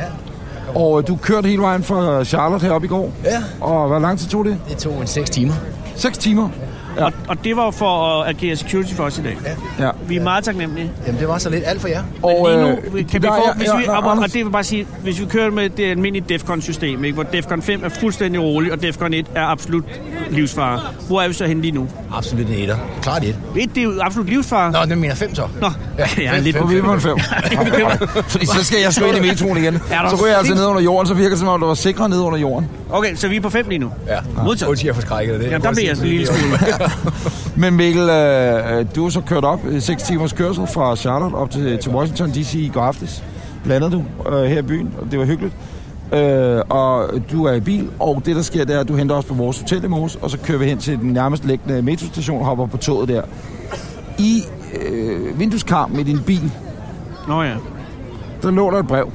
Speaker 3: Og øh, du kørte hele vejen fra Charlotte herop i går.
Speaker 6: Ja.
Speaker 3: Og hvor lang tid tog det?
Speaker 6: Det tog en 6 timer.
Speaker 3: 6 timer. Ja.
Speaker 2: Ja. Og, og det var jo for at agere security for os i dag.
Speaker 3: Ja.
Speaker 2: Vi er meget taknemmelige.
Speaker 6: Jamen, det var så lidt alt for jer.
Speaker 2: Og,
Speaker 3: Og,
Speaker 2: lige nu,
Speaker 3: øh,
Speaker 2: kan vi
Speaker 3: nej,
Speaker 2: få,
Speaker 3: ja,
Speaker 2: hvis
Speaker 3: ja,
Speaker 2: vi,
Speaker 3: nej,
Speaker 2: og, og
Speaker 3: Anders.
Speaker 2: det vil bare sige, hvis vi kører med det almindelige DEFCON-system, ikke, hvor DEFCON 5 er fuldstændig rolig, og DEFCON 1 er absolut livsfare. Hvor er vi så henne lige nu?
Speaker 6: Absolut en etter. Klart et.
Speaker 2: Et, det er jo absolut livsfare.
Speaker 6: Nå, den mener fem så.
Speaker 2: Nå. Ja, lidt
Speaker 3: På Viberen
Speaker 2: (laughs)
Speaker 3: 5. Fordi så skal jeg slå ind i metroen igen. Så ryger jeg altså ned under jorden, så virker det som om, du var sikrere ned under jorden.
Speaker 2: Okay, så vi er på 5 lige nu.
Speaker 6: Ja.
Speaker 2: Modtaget.
Speaker 6: Undskyld, jeg forskrækket af det.
Speaker 2: Jamen, der bliver jeg sådan en lille smule.
Speaker 3: Men Mikkel, øh, øh, du er så kørt op 6 timers kørsel fra Charlotte op til, til Washington D.C. i går aftes. Landede du øh, her i byen, og det var hyggeligt. Øh, og du er i bil, og det der sker, det er, at du henter os på vores hotel i Mos, og så kører vi hen til den nærmest liggende metrostation og hopper på toget der. I øh, vindueskarmen i din bil,
Speaker 2: Nå
Speaker 3: (laughs)
Speaker 2: ja.
Speaker 3: der lå der et brev,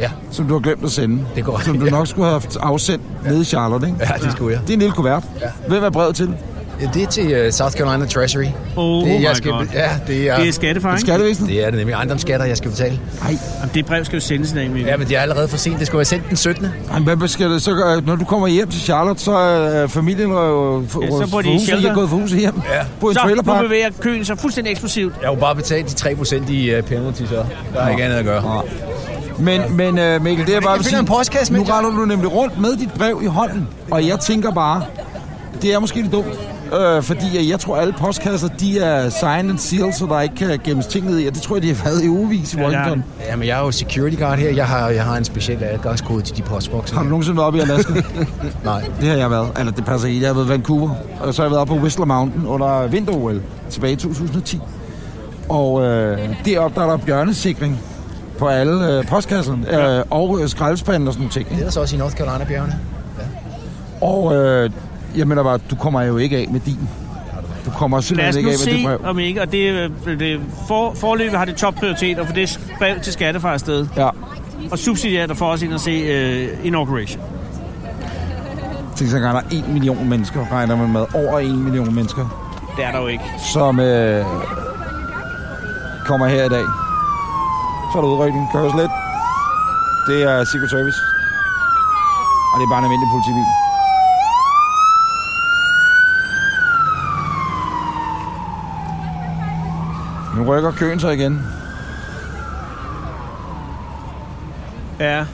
Speaker 6: Ja,
Speaker 3: som du har glemt at sende.
Speaker 6: Det går-
Speaker 3: Som du nok skulle have haft afsendt nede i Charlotte, ikke?
Speaker 6: ja det skulle jeg.
Speaker 3: Det er en lille kuvert. Ja. Hvem er brevet til?
Speaker 6: Ja, Det er til uh, South Carolina Treasury.
Speaker 2: Oh
Speaker 6: det, er,
Speaker 2: my
Speaker 6: jeg skal,
Speaker 2: God.
Speaker 6: Ja, det er,
Speaker 2: Det er skattefar, ikke?
Speaker 3: Skattevæsenet?
Speaker 6: det er det nemlig ejendomsskatter, jeg skal betale.
Speaker 3: Nej.
Speaker 2: Jamen, det brev skal jo sendes i dag, Mikkel.
Speaker 6: Ja, men det er allerede for sent. Det skulle være sendt den 17.
Speaker 3: Jamen, hvad skal det, så, gøre? når du kommer hjem til Charlotte, så er øh, familien øh, for,
Speaker 2: Ja, så bor de i
Speaker 3: huset,
Speaker 2: shelter.
Speaker 3: er gået for huset hjem.
Speaker 6: Ja.
Speaker 3: Bor i
Speaker 2: Så, nu
Speaker 3: trailerpark.
Speaker 2: bevæger køen sig fuldstændig eksplosivt.
Speaker 6: Jeg har jo bare betalt de 3% i uh, penalty, så der er ikke andet at gøre.
Speaker 3: Men, men øh, Mikkel, det er bare
Speaker 6: jeg
Speaker 3: at
Speaker 6: finder en postkasse,
Speaker 3: nu
Speaker 6: mens jeg-
Speaker 3: retter du nemlig rundt med dit brev i hånden, og jeg tænker bare, det er måske lidt dumt, øh, fordi øh, jeg tror, alle postkasser, de er signed and sealed, så der ikke kan gemmes ting ned i, og det tror jeg, de har været i ugevis i
Speaker 2: Ja, det har
Speaker 3: Washington.
Speaker 6: Jamen, jeg er jo security guard her. Jeg har, jeg har en speciel adgangskode til de postbokser.
Speaker 3: Har du nogensinde været oppe i Alaska?
Speaker 2: (laughs)
Speaker 6: Nej.
Speaker 3: det har jeg været. Eller det passer ikke. Jeg har været i Vancouver. Og så har jeg været oppe på Whistler Mountain under vinter tilbage i 2010. Og øh, deroppe, der er der bjørnesikring på alle øh, postkasserne. Øh, og øh, skraldespanden og sådan nogle ting. ikke?
Speaker 6: Det er der så også i North Carolina bjergene.
Speaker 3: Og øh, jeg mener bare, du kommer jo ikke af med din. Du kommer
Speaker 2: Lad os
Speaker 3: simpelthen
Speaker 2: nu
Speaker 3: ikke af med det
Speaker 2: se,
Speaker 3: brev.
Speaker 2: om ikke, og det, øh, det for, forløbet har det topprioritet, og for det brev til skattefar afsted.
Speaker 3: Ja,
Speaker 2: Og subsidiært at få os ind og se øh, Inauguration.
Speaker 3: tænk så regner 1 million mennesker, regner man med. Over 1 million mennesker,
Speaker 2: Det er der jo ikke.
Speaker 3: som øh, kommer her i dag. Så er der udrykning. Kører lidt. Det er Secret Service. Og det er bare en almindelig politibil. Nu rykker køen sig igen.
Speaker 2: Ja.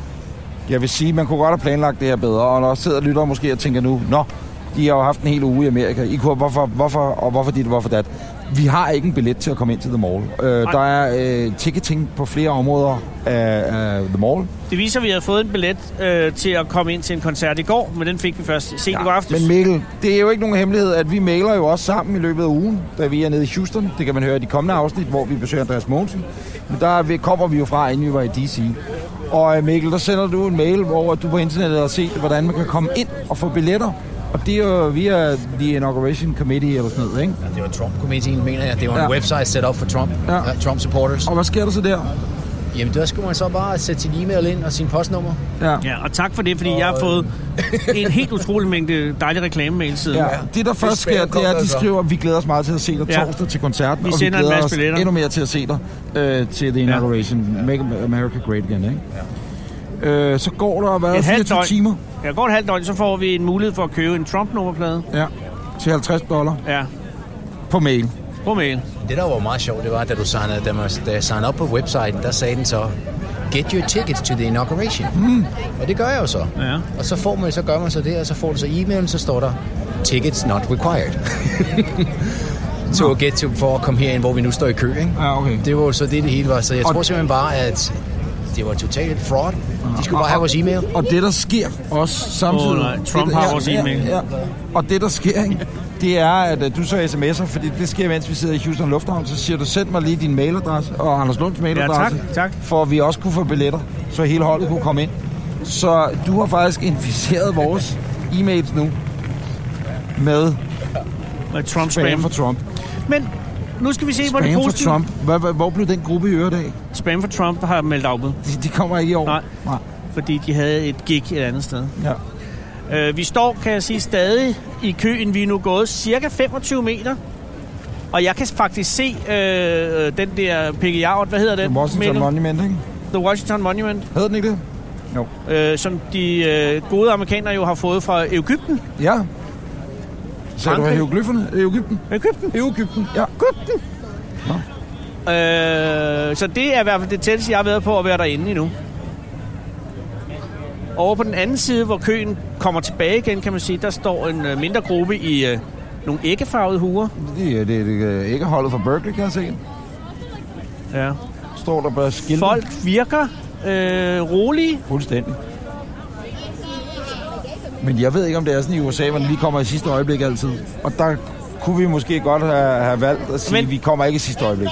Speaker 3: Jeg vil sige, man kunne godt have planlagt det her bedre, og når jeg sidder og lytter måske og tænker nu, nå, de har jo haft en hel uge i Amerika. I kunne, hvorfor, hvorfor, og hvorfor dit, og hvorfor dat. Vi har ikke en billet til at komme ind til The Mall. Øh, der er øh, ticketing på flere områder af, af The Mall.
Speaker 2: Det viser, at vi havde fået en billet øh, til at komme ind til en koncert i går, men den fik vi først sent i går aftes.
Speaker 3: Men Mikkel, det er jo ikke nogen hemmelighed, at vi mailer jo også sammen i løbet af ugen, da vi er nede i Houston. Det kan man høre i de kommende afsnit, hvor vi besøger Andreas Mogensen. Men der vi- kommer vi jo fra, inden vi var i D.C. Og øh, Mikkel, der sender du en mail, hvor du på internettet har set, hvordan man kan komme ind og få billetter. Og det er jo via The Inauguration Committee eller sådan noget, ikke?
Speaker 6: Ja, det var Trump-komiteen, mener jeg. Det var en
Speaker 3: Ja.
Speaker 6: ja. website set op for Trump.
Speaker 3: Ja.
Speaker 6: Ja. Ja, Trump-supporters.
Speaker 3: Og hvad sker der så der?
Speaker 6: Jamen, der skulle man så bare sætte sin e-mail ind og sin postnummer.
Speaker 3: Ja.
Speaker 2: Ja, og tak for det, fordi jeg har fået en helt utrolig mængde dejlige reklamemail
Speaker 3: (laughs)
Speaker 2: siden.
Speaker 3: Ja. Det, der først
Speaker 6: smager
Speaker 3: sker, det
Speaker 6: godt,
Speaker 3: er, at de
Speaker 6: altså.
Speaker 3: skriver, at vi glæder os meget til at se dig
Speaker 2: Ja.
Speaker 3: torsdag til koncerten,
Speaker 2: Vi
Speaker 3: og vi
Speaker 2: sender en
Speaker 3: glæder
Speaker 2: masse
Speaker 3: os
Speaker 2: billetter.
Speaker 3: endnu mere til at se dig øh, til The Inauguration. Make America Great Again, ikke? Øh, så går der, hvad,
Speaker 2: Et halvt
Speaker 3: 24
Speaker 2: døgn.
Speaker 3: timer
Speaker 2: Ja, går et halvt døgn, så får vi en mulighed for at købe en Trump-nummerplade.
Speaker 3: ja, til 50 dollar
Speaker 2: Ja,
Speaker 3: på mail.
Speaker 2: på mail.
Speaker 6: Det, der var meget sjovt, det var, da du signede, da, man, da jeg signede op på websiten, der sagde den så, get your tickets to the inauguration. Mm. Og det gør jeg jo så.
Speaker 2: Ja.
Speaker 6: Og så, får man, så gør man så det, og så får du så e-mailen, så står der, tickets not required. (laughs) to get to, for at komme herind, hvor vi nu står i kø, ikke?
Speaker 3: Ja, okay.
Speaker 6: Det var jo så det, det hele var. Så jeg
Speaker 3: Og-
Speaker 6: tror simpelthen bare, at det var totalt fraud. De skulle
Speaker 3: Og-
Speaker 6: bare have vores e-mail.
Speaker 3: Og det, der sker også samtidig...
Speaker 2: Åh, nej. øh, Trump
Speaker 3: det,
Speaker 2: har vores e-mail.
Speaker 3: Ja, ja. Og det, der sker, ikke, det er, at øh, du så sms'er, fordi det sker, mens vi sidder i Houston Lufthavn, så siger du, send mig lige din mailadresse og Anders Lunds mailadresse,
Speaker 2: Ja, tak, tak.
Speaker 3: for at vi også kunne få billetter, så hele holdet kunne komme ind. Så du har faktisk inficeret vores e-mails nu med
Speaker 2: Med Trump spam.
Speaker 3: spam for Trump.
Speaker 2: Men nu skal vi se, hvor det
Speaker 3: Spam for
Speaker 2: positive...
Speaker 3: Trump. Hvad- hvad- Hvor blev den gruppe i øvrigt af?
Speaker 2: Spam for Trump har meldt afbud,
Speaker 3: De, de kommer ikke i år.
Speaker 2: Nej.
Speaker 3: Nej.
Speaker 2: fordi de havde et gig et andet sted.
Speaker 3: Ja.
Speaker 2: Øh, vi står, kan jeg sige, stadig i køen. Vi er nu gået cirka 25 meter. Og jeg kan faktisk se øh, den der P.G. Javert, hvad hedder den?
Speaker 3: The Washington
Speaker 2: Mikkel?
Speaker 3: Monument, ikke?
Speaker 2: The Washington Monument,
Speaker 3: Hed den ikke det? Jo.
Speaker 2: øh, som de øh, gode amerikanere jo har fået fra Ægypten.
Speaker 3: Ja. Så du
Speaker 2: Frankrig.
Speaker 3: hieroglyfferne? Ægypten?
Speaker 2: Ægypten.
Speaker 3: Ægypten, ja. Ægypten.
Speaker 2: Øh, så det er i hvert fald det tætteste, jeg har været på at være derinde endnu. Over på den anden side, hvor køen kommer tilbage igen, kan man sige, der står en øh, mindre gruppe i øh, nogle æggefarvede huer.
Speaker 3: Det er det, er- det er ikke holdet fra Berkeley, kan jeg se.
Speaker 2: Ja.
Speaker 3: Står der bare skilte.
Speaker 2: Folk virker øh, rolige.
Speaker 3: Fuldstændig. Men jeg ved ikke, om det er sådan i USA, hvor den lige kommer i sidste øjeblik altid. Og der kunne vi måske godt have, have valgt at sige,
Speaker 2: Men-
Speaker 3: at vi kommer ikke i sidste øjeblik.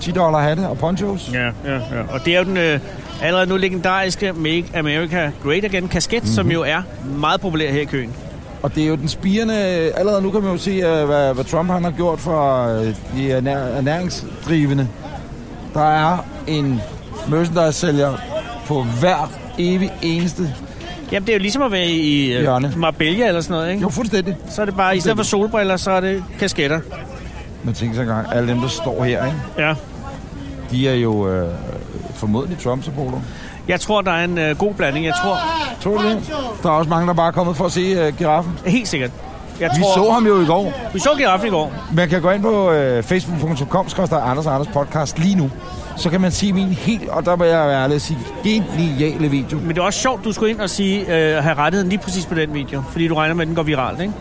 Speaker 3: 10 dollar hatte og ponchos.
Speaker 2: Ja, ja, ja. Og det er jo den øh, Allerede nu legendariske Make America Great Again kasket, mm-hmm. som jo er meget populær her i køen.
Speaker 3: Og det er jo den spirende... Allerede nu kan man jo se, øh, hvad, hvad Trump han har gjort for øh, de ernæ- ernæringsdrivende. Der er en merchandise-sælger på hver evig eneste.
Speaker 2: Jamen, det er jo ligesom at være i øh,
Speaker 3: Hjørne.
Speaker 2: Marbella eller sådan noget, ikke?
Speaker 3: Jo, fuldstændig.
Speaker 2: Så er det bare, i stedet for solbriller, så er det kasketter.
Speaker 3: Men tænk så engang, alle dem, der står her, ikke?
Speaker 2: Ja.
Speaker 3: de er jo øh, formodentlig Trump-supporter.
Speaker 2: Jeg tror, der er en øh, god blanding. Jeg tror
Speaker 3: Tror du det? Der er også mange, der bare er kommet for at se øh, giraffen.
Speaker 2: helt sikkert. Jeg
Speaker 3: Vi
Speaker 2: tror,
Speaker 3: så ham jo i går.
Speaker 2: vi så giraffen i går.
Speaker 3: Man kan gå ind på øh, facebook.com, skriver der Anders og Anders podcast lige nu. Så kan man se min helt, og der vil jeg være ærlig og sige, geniale video.
Speaker 2: Men det er også sjovt, du skulle ind og sige, øh, have rettigheden lige præcis på den video. Fordi du regner med, at den går viralt, ikke?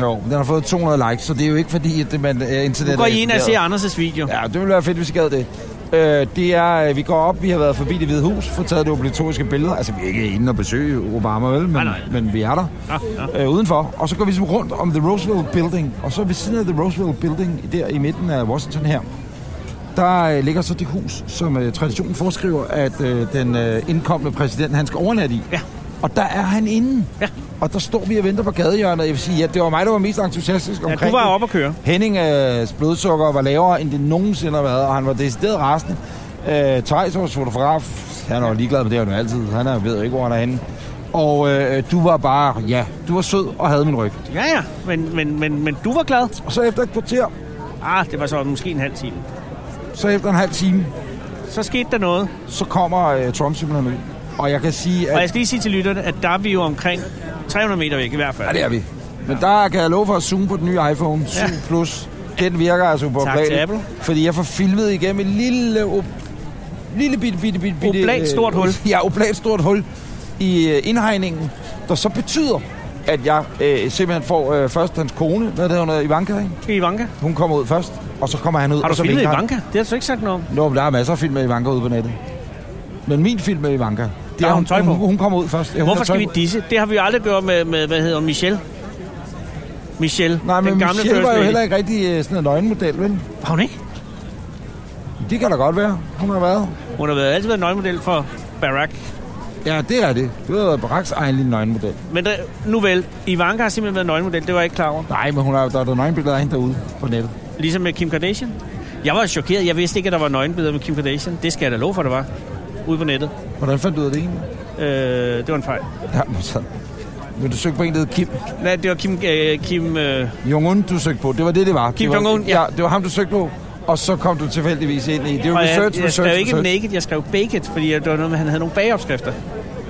Speaker 3: Jo, den har fået 200 likes, så det er jo ikke fordi, at det, man øh, internet...
Speaker 2: Nu går I ind og ser Anders' video.
Speaker 3: Ja, det ville være fedt, hvis I gad det. Øh, det er, øh, vi går op, vi har været forbi det hvide hus, får taget det obligatoriske billede. Altså, vi er ikke inde og besøge Obama, vel? Men,
Speaker 2: Nej, nej.
Speaker 3: men vi er der.
Speaker 2: Ja, ja.
Speaker 3: øh, udenfor. Og så går vi så rundt om The Roosevelt Building. Og så ved siden af The Roosevelt Building, der i midten af Washington her, der øh, ligger så det hus, som øh, traditionen foreskriver, at øh, den øh, indkommende præsident, han skal overnatte i.
Speaker 2: Ja.
Speaker 3: Og der er han inde.
Speaker 2: Ja.
Speaker 3: Og der står vi og venter på gadehjørnet. Jeg vil sige, at det var mig, der var mest entusiastisk omkring
Speaker 2: Ja, du var
Speaker 3: det.
Speaker 2: oppe at køre.
Speaker 3: Henninges øh, blodsukker var lavere, end det nogensinde har været, og han var decideret rasende. Øh, Thijs, vores fotograf, han er jo ligeglad med det, han er jo altid. Han er, ved jo ikke, hvor han er henne. Og øh, du var bare, ja, du var sød og havde min ryg.
Speaker 2: Ja, ja. Men, men, men, men du var glad.
Speaker 3: Og så efter et kvarter,
Speaker 2: Ah, det var så måske en halv time.
Speaker 3: så efter en halv time,
Speaker 2: Så skete der noget.
Speaker 3: så kommer øh, Trump simpelthen ud. Og jeg kan sige,
Speaker 2: Og jeg
Speaker 3: at...
Speaker 2: skal lige sige til lytterne, at der er vi jo omkring 300 meter væk i hvert fald.
Speaker 3: Ja, det er vi. Men der kan jeg love for at zoome på den nye iPhone 7
Speaker 2: Ja.
Speaker 3: Plus. Den virker altså på
Speaker 2: Tak til Apple.
Speaker 3: Fordi jeg får filmet igennem et lille, op, lille bitte, bitte, bitte, bitte...
Speaker 2: Oblat stort
Speaker 3: øh,
Speaker 2: hul.
Speaker 3: (laughs) Ja, oblat stort hul i øh, indhegningen, der så betyder, at jeg øh, simpelthen får øh, først hans kone, hvad hedder hun, øh, Ivanka, ikke?
Speaker 2: I Ivanka.
Speaker 3: hun kommer ud først, og så kommer han ud.
Speaker 2: Har du
Speaker 3: og så
Speaker 2: filmet
Speaker 3: vinker han.
Speaker 2: Ivanka? Det har du ikke sagt noget om.
Speaker 3: Nå, men der er masser af film med Ivanka ude på nettet. Men min film med Ivanka, det
Speaker 2: har hun tøj på.
Speaker 3: Hun, hun kommer ud først. Ja, hun
Speaker 2: Hvorfor
Speaker 3: har tøj
Speaker 2: skal vi
Speaker 3: på.
Speaker 2: disse? Det har vi jo aldrig gjort med, med hvad hedder hun, Michelle. Michelle,
Speaker 3: Nej, men
Speaker 2: den gamle
Speaker 3: Michelle
Speaker 2: first
Speaker 3: var jo
Speaker 2: lady.
Speaker 3: heller ikke rigtig øh, sådan en nøgenmodel, vel?
Speaker 2: Var hun ikke?
Speaker 3: Det kan da godt være. Hun har været.
Speaker 2: Hun har været, altid været nøgenmodel for Barack.
Speaker 3: Ja, det er det. Det var Baraks egen lille nøgenmodel.
Speaker 2: Men der, nu vel, Ivanka har simpelthen været nøgenmodel, det var jeg ikke klar over.
Speaker 3: Nej, men hun har, der er der nøgenbilleder af hende derude på nettet.
Speaker 2: Ligesom med Kim Kardashian. Jeg var chokeret, jeg vidste ikke, at der var nøgenbilleder med Kim Kardashian. Det skal jeg da love for, der var. Ude på nettet.
Speaker 3: Hvordan fandt du ud af det egentlig?
Speaker 2: Øh, det var en fejl.
Speaker 3: Ja, men så... Men du søgte på en, der hed Kim
Speaker 2: Nej, det var Kim... Øh, Kim øh,
Speaker 3: Jong-un, du søgte på. Det var det, det var.
Speaker 2: Kim
Speaker 3: Det var-
Speaker 2: Jong-un, ja.
Speaker 3: ja. det var ham, du søgte på. Og så kom du tilfældigvis ind i. Det er jo
Speaker 2: og jeg,
Speaker 3: research,
Speaker 2: jeg skrev
Speaker 3: research,
Speaker 2: ikke
Speaker 3: research.
Speaker 2: naked, jeg skrev baked, fordi det var noget med, at han havde nogle bageopskrifter.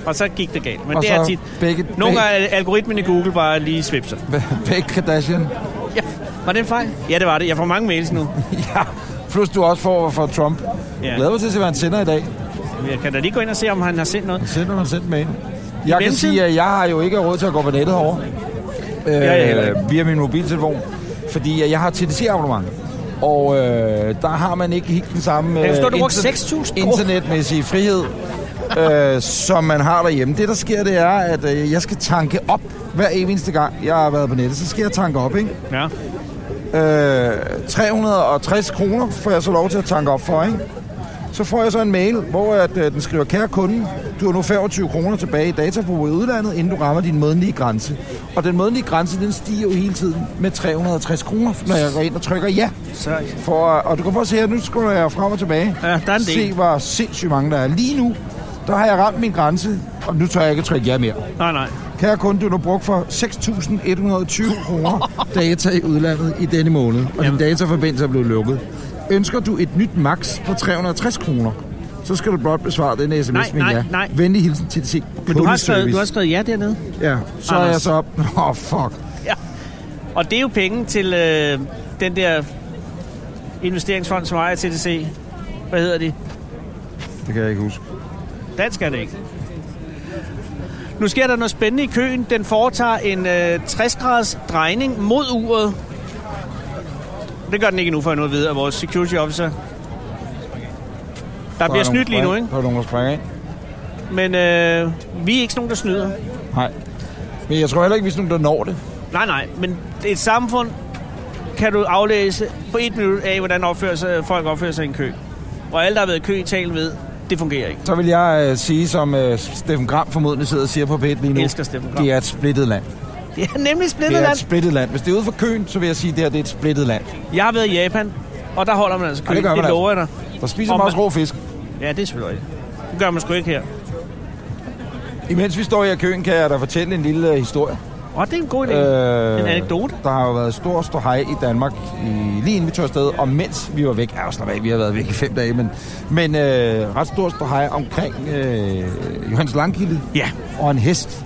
Speaker 2: Og så gik det galt. Men
Speaker 3: Og
Speaker 2: det
Speaker 3: så
Speaker 2: er tit...
Speaker 3: baked-
Speaker 2: Nogle
Speaker 3: baked.
Speaker 2: gange er algoritmen i Google bare lige svipser.
Speaker 3: (laughs) Bæk Kardashian.
Speaker 2: Ja, var det en fejl? Ja, det var det. Jeg får mange mails nu.
Speaker 3: ja. Plus du også får fra Trump.
Speaker 2: Ja.
Speaker 3: Ja. Glæder mig til at se, hvad han sender i dag.
Speaker 2: Jeg kan da lige gå ind og se, om han har sendt noget.
Speaker 3: Sender man sendt med ind. Jeg kan
Speaker 2: mellemtiden-
Speaker 3: sige, at jeg har jo ikke råd til at gå på nettet herovre. Øh,
Speaker 2: jeg heller ikke.
Speaker 3: via min mobiltelefon. Fordi øh, jeg har TDC-abonnement. Og øh, der har man ikke helt den samme øh,
Speaker 2: kan forstå, du brugte 6.000 kroner.
Speaker 3: internetmæssige frihed, øh, som man har derhjemme. Det, der sker, det er, at øh, jeg skal tanke op hver eneste gang, jeg har været på nettet. Så skal jeg tanke op, ikke?
Speaker 2: Ja.
Speaker 3: øh, 360 kroner får jeg så lov til at tanke op for, ikke? Så får jeg så en mail, hvor at, øh, den skriver, kære kunde, du har nu 25 kroner tilbage i dataforbruget i udlandet, inden du rammer din månedlige grænse. Og den månedlige grænse, den stiger jo hele tiden med 360 kroner, når jeg går ind og trykker ja.
Speaker 2: Så,
Speaker 3: For, og du kan prøve at se her, nu scroller jeg frem og tilbage.
Speaker 2: Ja, der er en del.
Speaker 3: Se, hvor sindssygt mange der er. Lige nu, der har jeg ramt min grænse, og nu tør jeg ikke at trykke ja mere.
Speaker 2: nej, nej.
Speaker 3: Kære kunde, du har nu brugt for 6.120 kroner data i udlandet i denne måned, og din dataforbindelse er blevet lukket. Ønsker du et nyt max på 360 kroner, så skal du blot besvare den sms
Speaker 2: Nej,
Speaker 3: med
Speaker 2: nej,
Speaker 3: ja.
Speaker 2: nej.
Speaker 3: Venlig hilsen til det
Speaker 2: Men du har, skrevet, du har skrevet ja dernede.
Speaker 3: Ja, så er
Speaker 2: Anders.
Speaker 3: jeg så op. Åh, oh, fuck.
Speaker 2: Ja. Og det er jo penge til øh, den der investeringsfond, som ejer TDC. Hvad hedder de?
Speaker 3: Det kan jeg ikke huske.
Speaker 2: Dansk er det ikke. Nu sker der noget spændende i køen. Den foretager en øh, 60-graders drejning mod uret. Det gør den ikke nu, for jeg nu at vide af vores security officer. Der bliver snydt lige nu, ikke?
Speaker 3: Der er nogen, der springer ind.
Speaker 2: Men øh, vi er ikke sådan nogen, der snyder.
Speaker 3: Nej. Men jeg tror heller ikke, hvis nogen, der når det.
Speaker 2: Nej, nej, men et samfund kan du aflæse på et minut af, hvordan opfører sig, folk opfører sig i en kø. Og alle, der har været i kø i Italien ved, Det fungerer ikke.
Speaker 3: Så vil jeg øh, sige, som øh, Steffen Gram formodentlig sidder og siger på p lige nu.
Speaker 2: Elsker Steffen Gram.
Speaker 3: Det er et splittet land.
Speaker 2: Det er nemlig splittet
Speaker 3: Det er
Speaker 2: land.
Speaker 3: et splittet land. Hvis det er ude for Køen, så vil jeg sige, at det her det er et splittet land.
Speaker 2: Jeg har været i Japan, og der holder man altså kø.
Speaker 3: det gør man altså.
Speaker 2: lover jeg dig.
Speaker 3: Der spiser
Speaker 2: Om-
Speaker 3: man også rå fisk.
Speaker 2: Ja, det er selvfølgelig rigtigt. Det gør man sgu ikke her.
Speaker 3: Imens vi står her i køen, kan jeg da fortælle en lille øh, historie.
Speaker 2: Åh, det er en god idé.
Speaker 3: Øh,
Speaker 2: en anekdote.
Speaker 3: Der har jo været stor ståhej i Danmark, i, lige inden vi tog afsted, og mens vi var væk. Ja, slap af, vi har været væk i fem dage, men, men øh, ret stor ståhej omkring øh, Johannes Langkilde
Speaker 2: Ja.
Speaker 3: og en hest.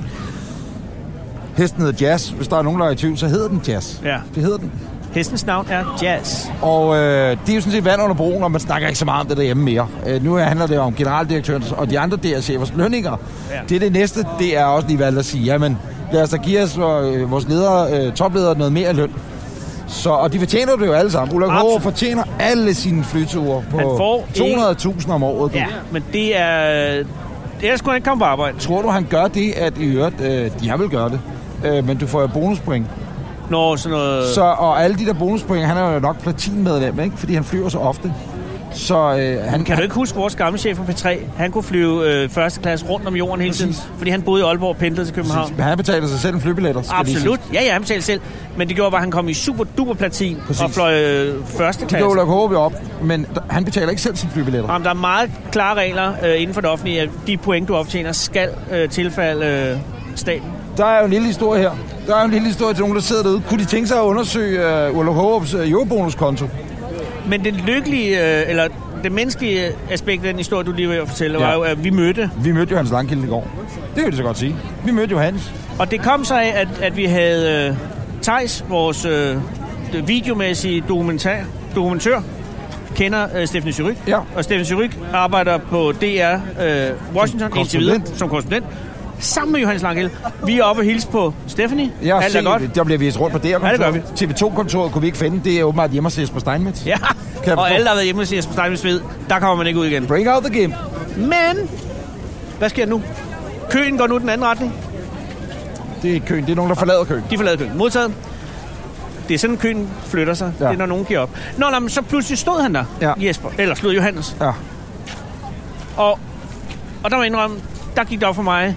Speaker 3: Hesten hedder Jazz. Hvis der er nogen, der er i tvivl, så hedder den Jazz.
Speaker 2: Ja.
Speaker 3: Det hedder den.
Speaker 2: Hestens navn er Jazz.
Speaker 3: Og øh, det er jo sådan set vand under broen, og man snakker ikke så meget om det derhjemme mere. Øh, nu handler det om generaldirektørens og de andre DR-chefers lønninger.
Speaker 2: Ja.
Speaker 3: Ja. Det er det næste, det er også lige valgt at sige, jamen lad os da give os, øh, vores ledere, øh, topledere noget mere i løn. Så, og de fortjener det jo alle sammen. Ulla
Speaker 2: Absolut.
Speaker 3: Kåre fortjener alle sine flyture på
Speaker 2: Han får
Speaker 3: 200.000 om året. Du.
Speaker 2: Ja, men det er... Ellers skulle han ikke komme på arbejde.
Speaker 3: Tror du, han gør det, at i øvrigt, øh, jeg vil gøre det, øh, men du får jo bonuspoint.
Speaker 2: Når sådan noget...
Speaker 3: Så, og alle de der bonuspoint, han er jo nok platinmedlem, ikke? fordi han flyver så ofte. Så øh, han,
Speaker 2: Kan du ikke huske vores gamle chef fra P3? Han kunne flyve øh, første klasse rundt om jorden hele tiden,
Speaker 3: Præcis.
Speaker 2: fordi han boede i Aalborg og pendlede til København.
Speaker 3: Præcis. Men han betaler sig selv en flybilletter. skal lige
Speaker 2: Absolut.
Speaker 3: sige.
Speaker 2: Ja, ja, han betalte selv. Men det gjorde bare, at han kom i super duper platin Præcis.
Speaker 3: Præcis.
Speaker 2: og fløj øh, første
Speaker 3: Det går
Speaker 2: klasse.
Speaker 3: Ulrik Håbe op, men d- han betaler ikke selv sine flybilletter.
Speaker 2: Jamen, der er meget klare regler øh, inden for det offentlige, at de point, du optjener, skal øh, tilfalde øh, staten.
Speaker 3: Der er jo en lille historie her. Der er jo en lille historie til nogen, der sidder derude. Kunne de tænke sig at undersøge uh, Ulrik Håbes uh, eurobonuskonto?
Speaker 2: Men den lykkelige, øh, eller det menneskelige aspekt af den historie, du lige var ved at fortælle, ja. var
Speaker 3: Ja.
Speaker 2: jo, at vi mødte.
Speaker 3: Vi mødte jo hans langkilde i går. Det vil jeg så godt sige. Vi mødte jo hans.
Speaker 2: Og det kom så af, at, at vi havde øh, Tejs, vores øh, videomæssige dokumentar, dokumentør, kender øh, Steffen Syryk.
Speaker 3: Ja.
Speaker 2: Og Steffen Syryk arbejder på DR øh, Washington indtil videre
Speaker 3: korrespondent.
Speaker 2: som korrespondent. Sammen med Johannes Langhild. Vi er oppe og hilse på Stephanie.
Speaker 3: Jeg har
Speaker 2: Alt er
Speaker 3: set,
Speaker 2: godt.
Speaker 3: Der bliver vist rundt på det her
Speaker 2: Ja, det gør
Speaker 3: kontor. TV2-kontoret kunne vi ikke finde. Det er åbenbart hjemme hos Jesper Steinmetz.
Speaker 2: Ja,
Speaker 3: jeg forstå?
Speaker 2: og alle, der har været hjemme og siger, Steinmetz ved, der kommer man ikke ud igen.
Speaker 3: Bring out the game.
Speaker 2: Men, hvad sker der nu? Køen går nu den anden retning.
Speaker 3: Det er ikke køen. Det er nogen, der forlader køen.
Speaker 2: De forlader køen. Modtaget. Det er sådan, køen flytter sig. Ja.
Speaker 3: Ja.
Speaker 2: Det er, når nogen giver op. Nå, nej, men så pludselig stod han der, ja.
Speaker 3: Ja.
Speaker 2: Jesper. Eller stod Johannes.
Speaker 3: Ja.
Speaker 2: Og, og der var indrømme, der gik det op for mig,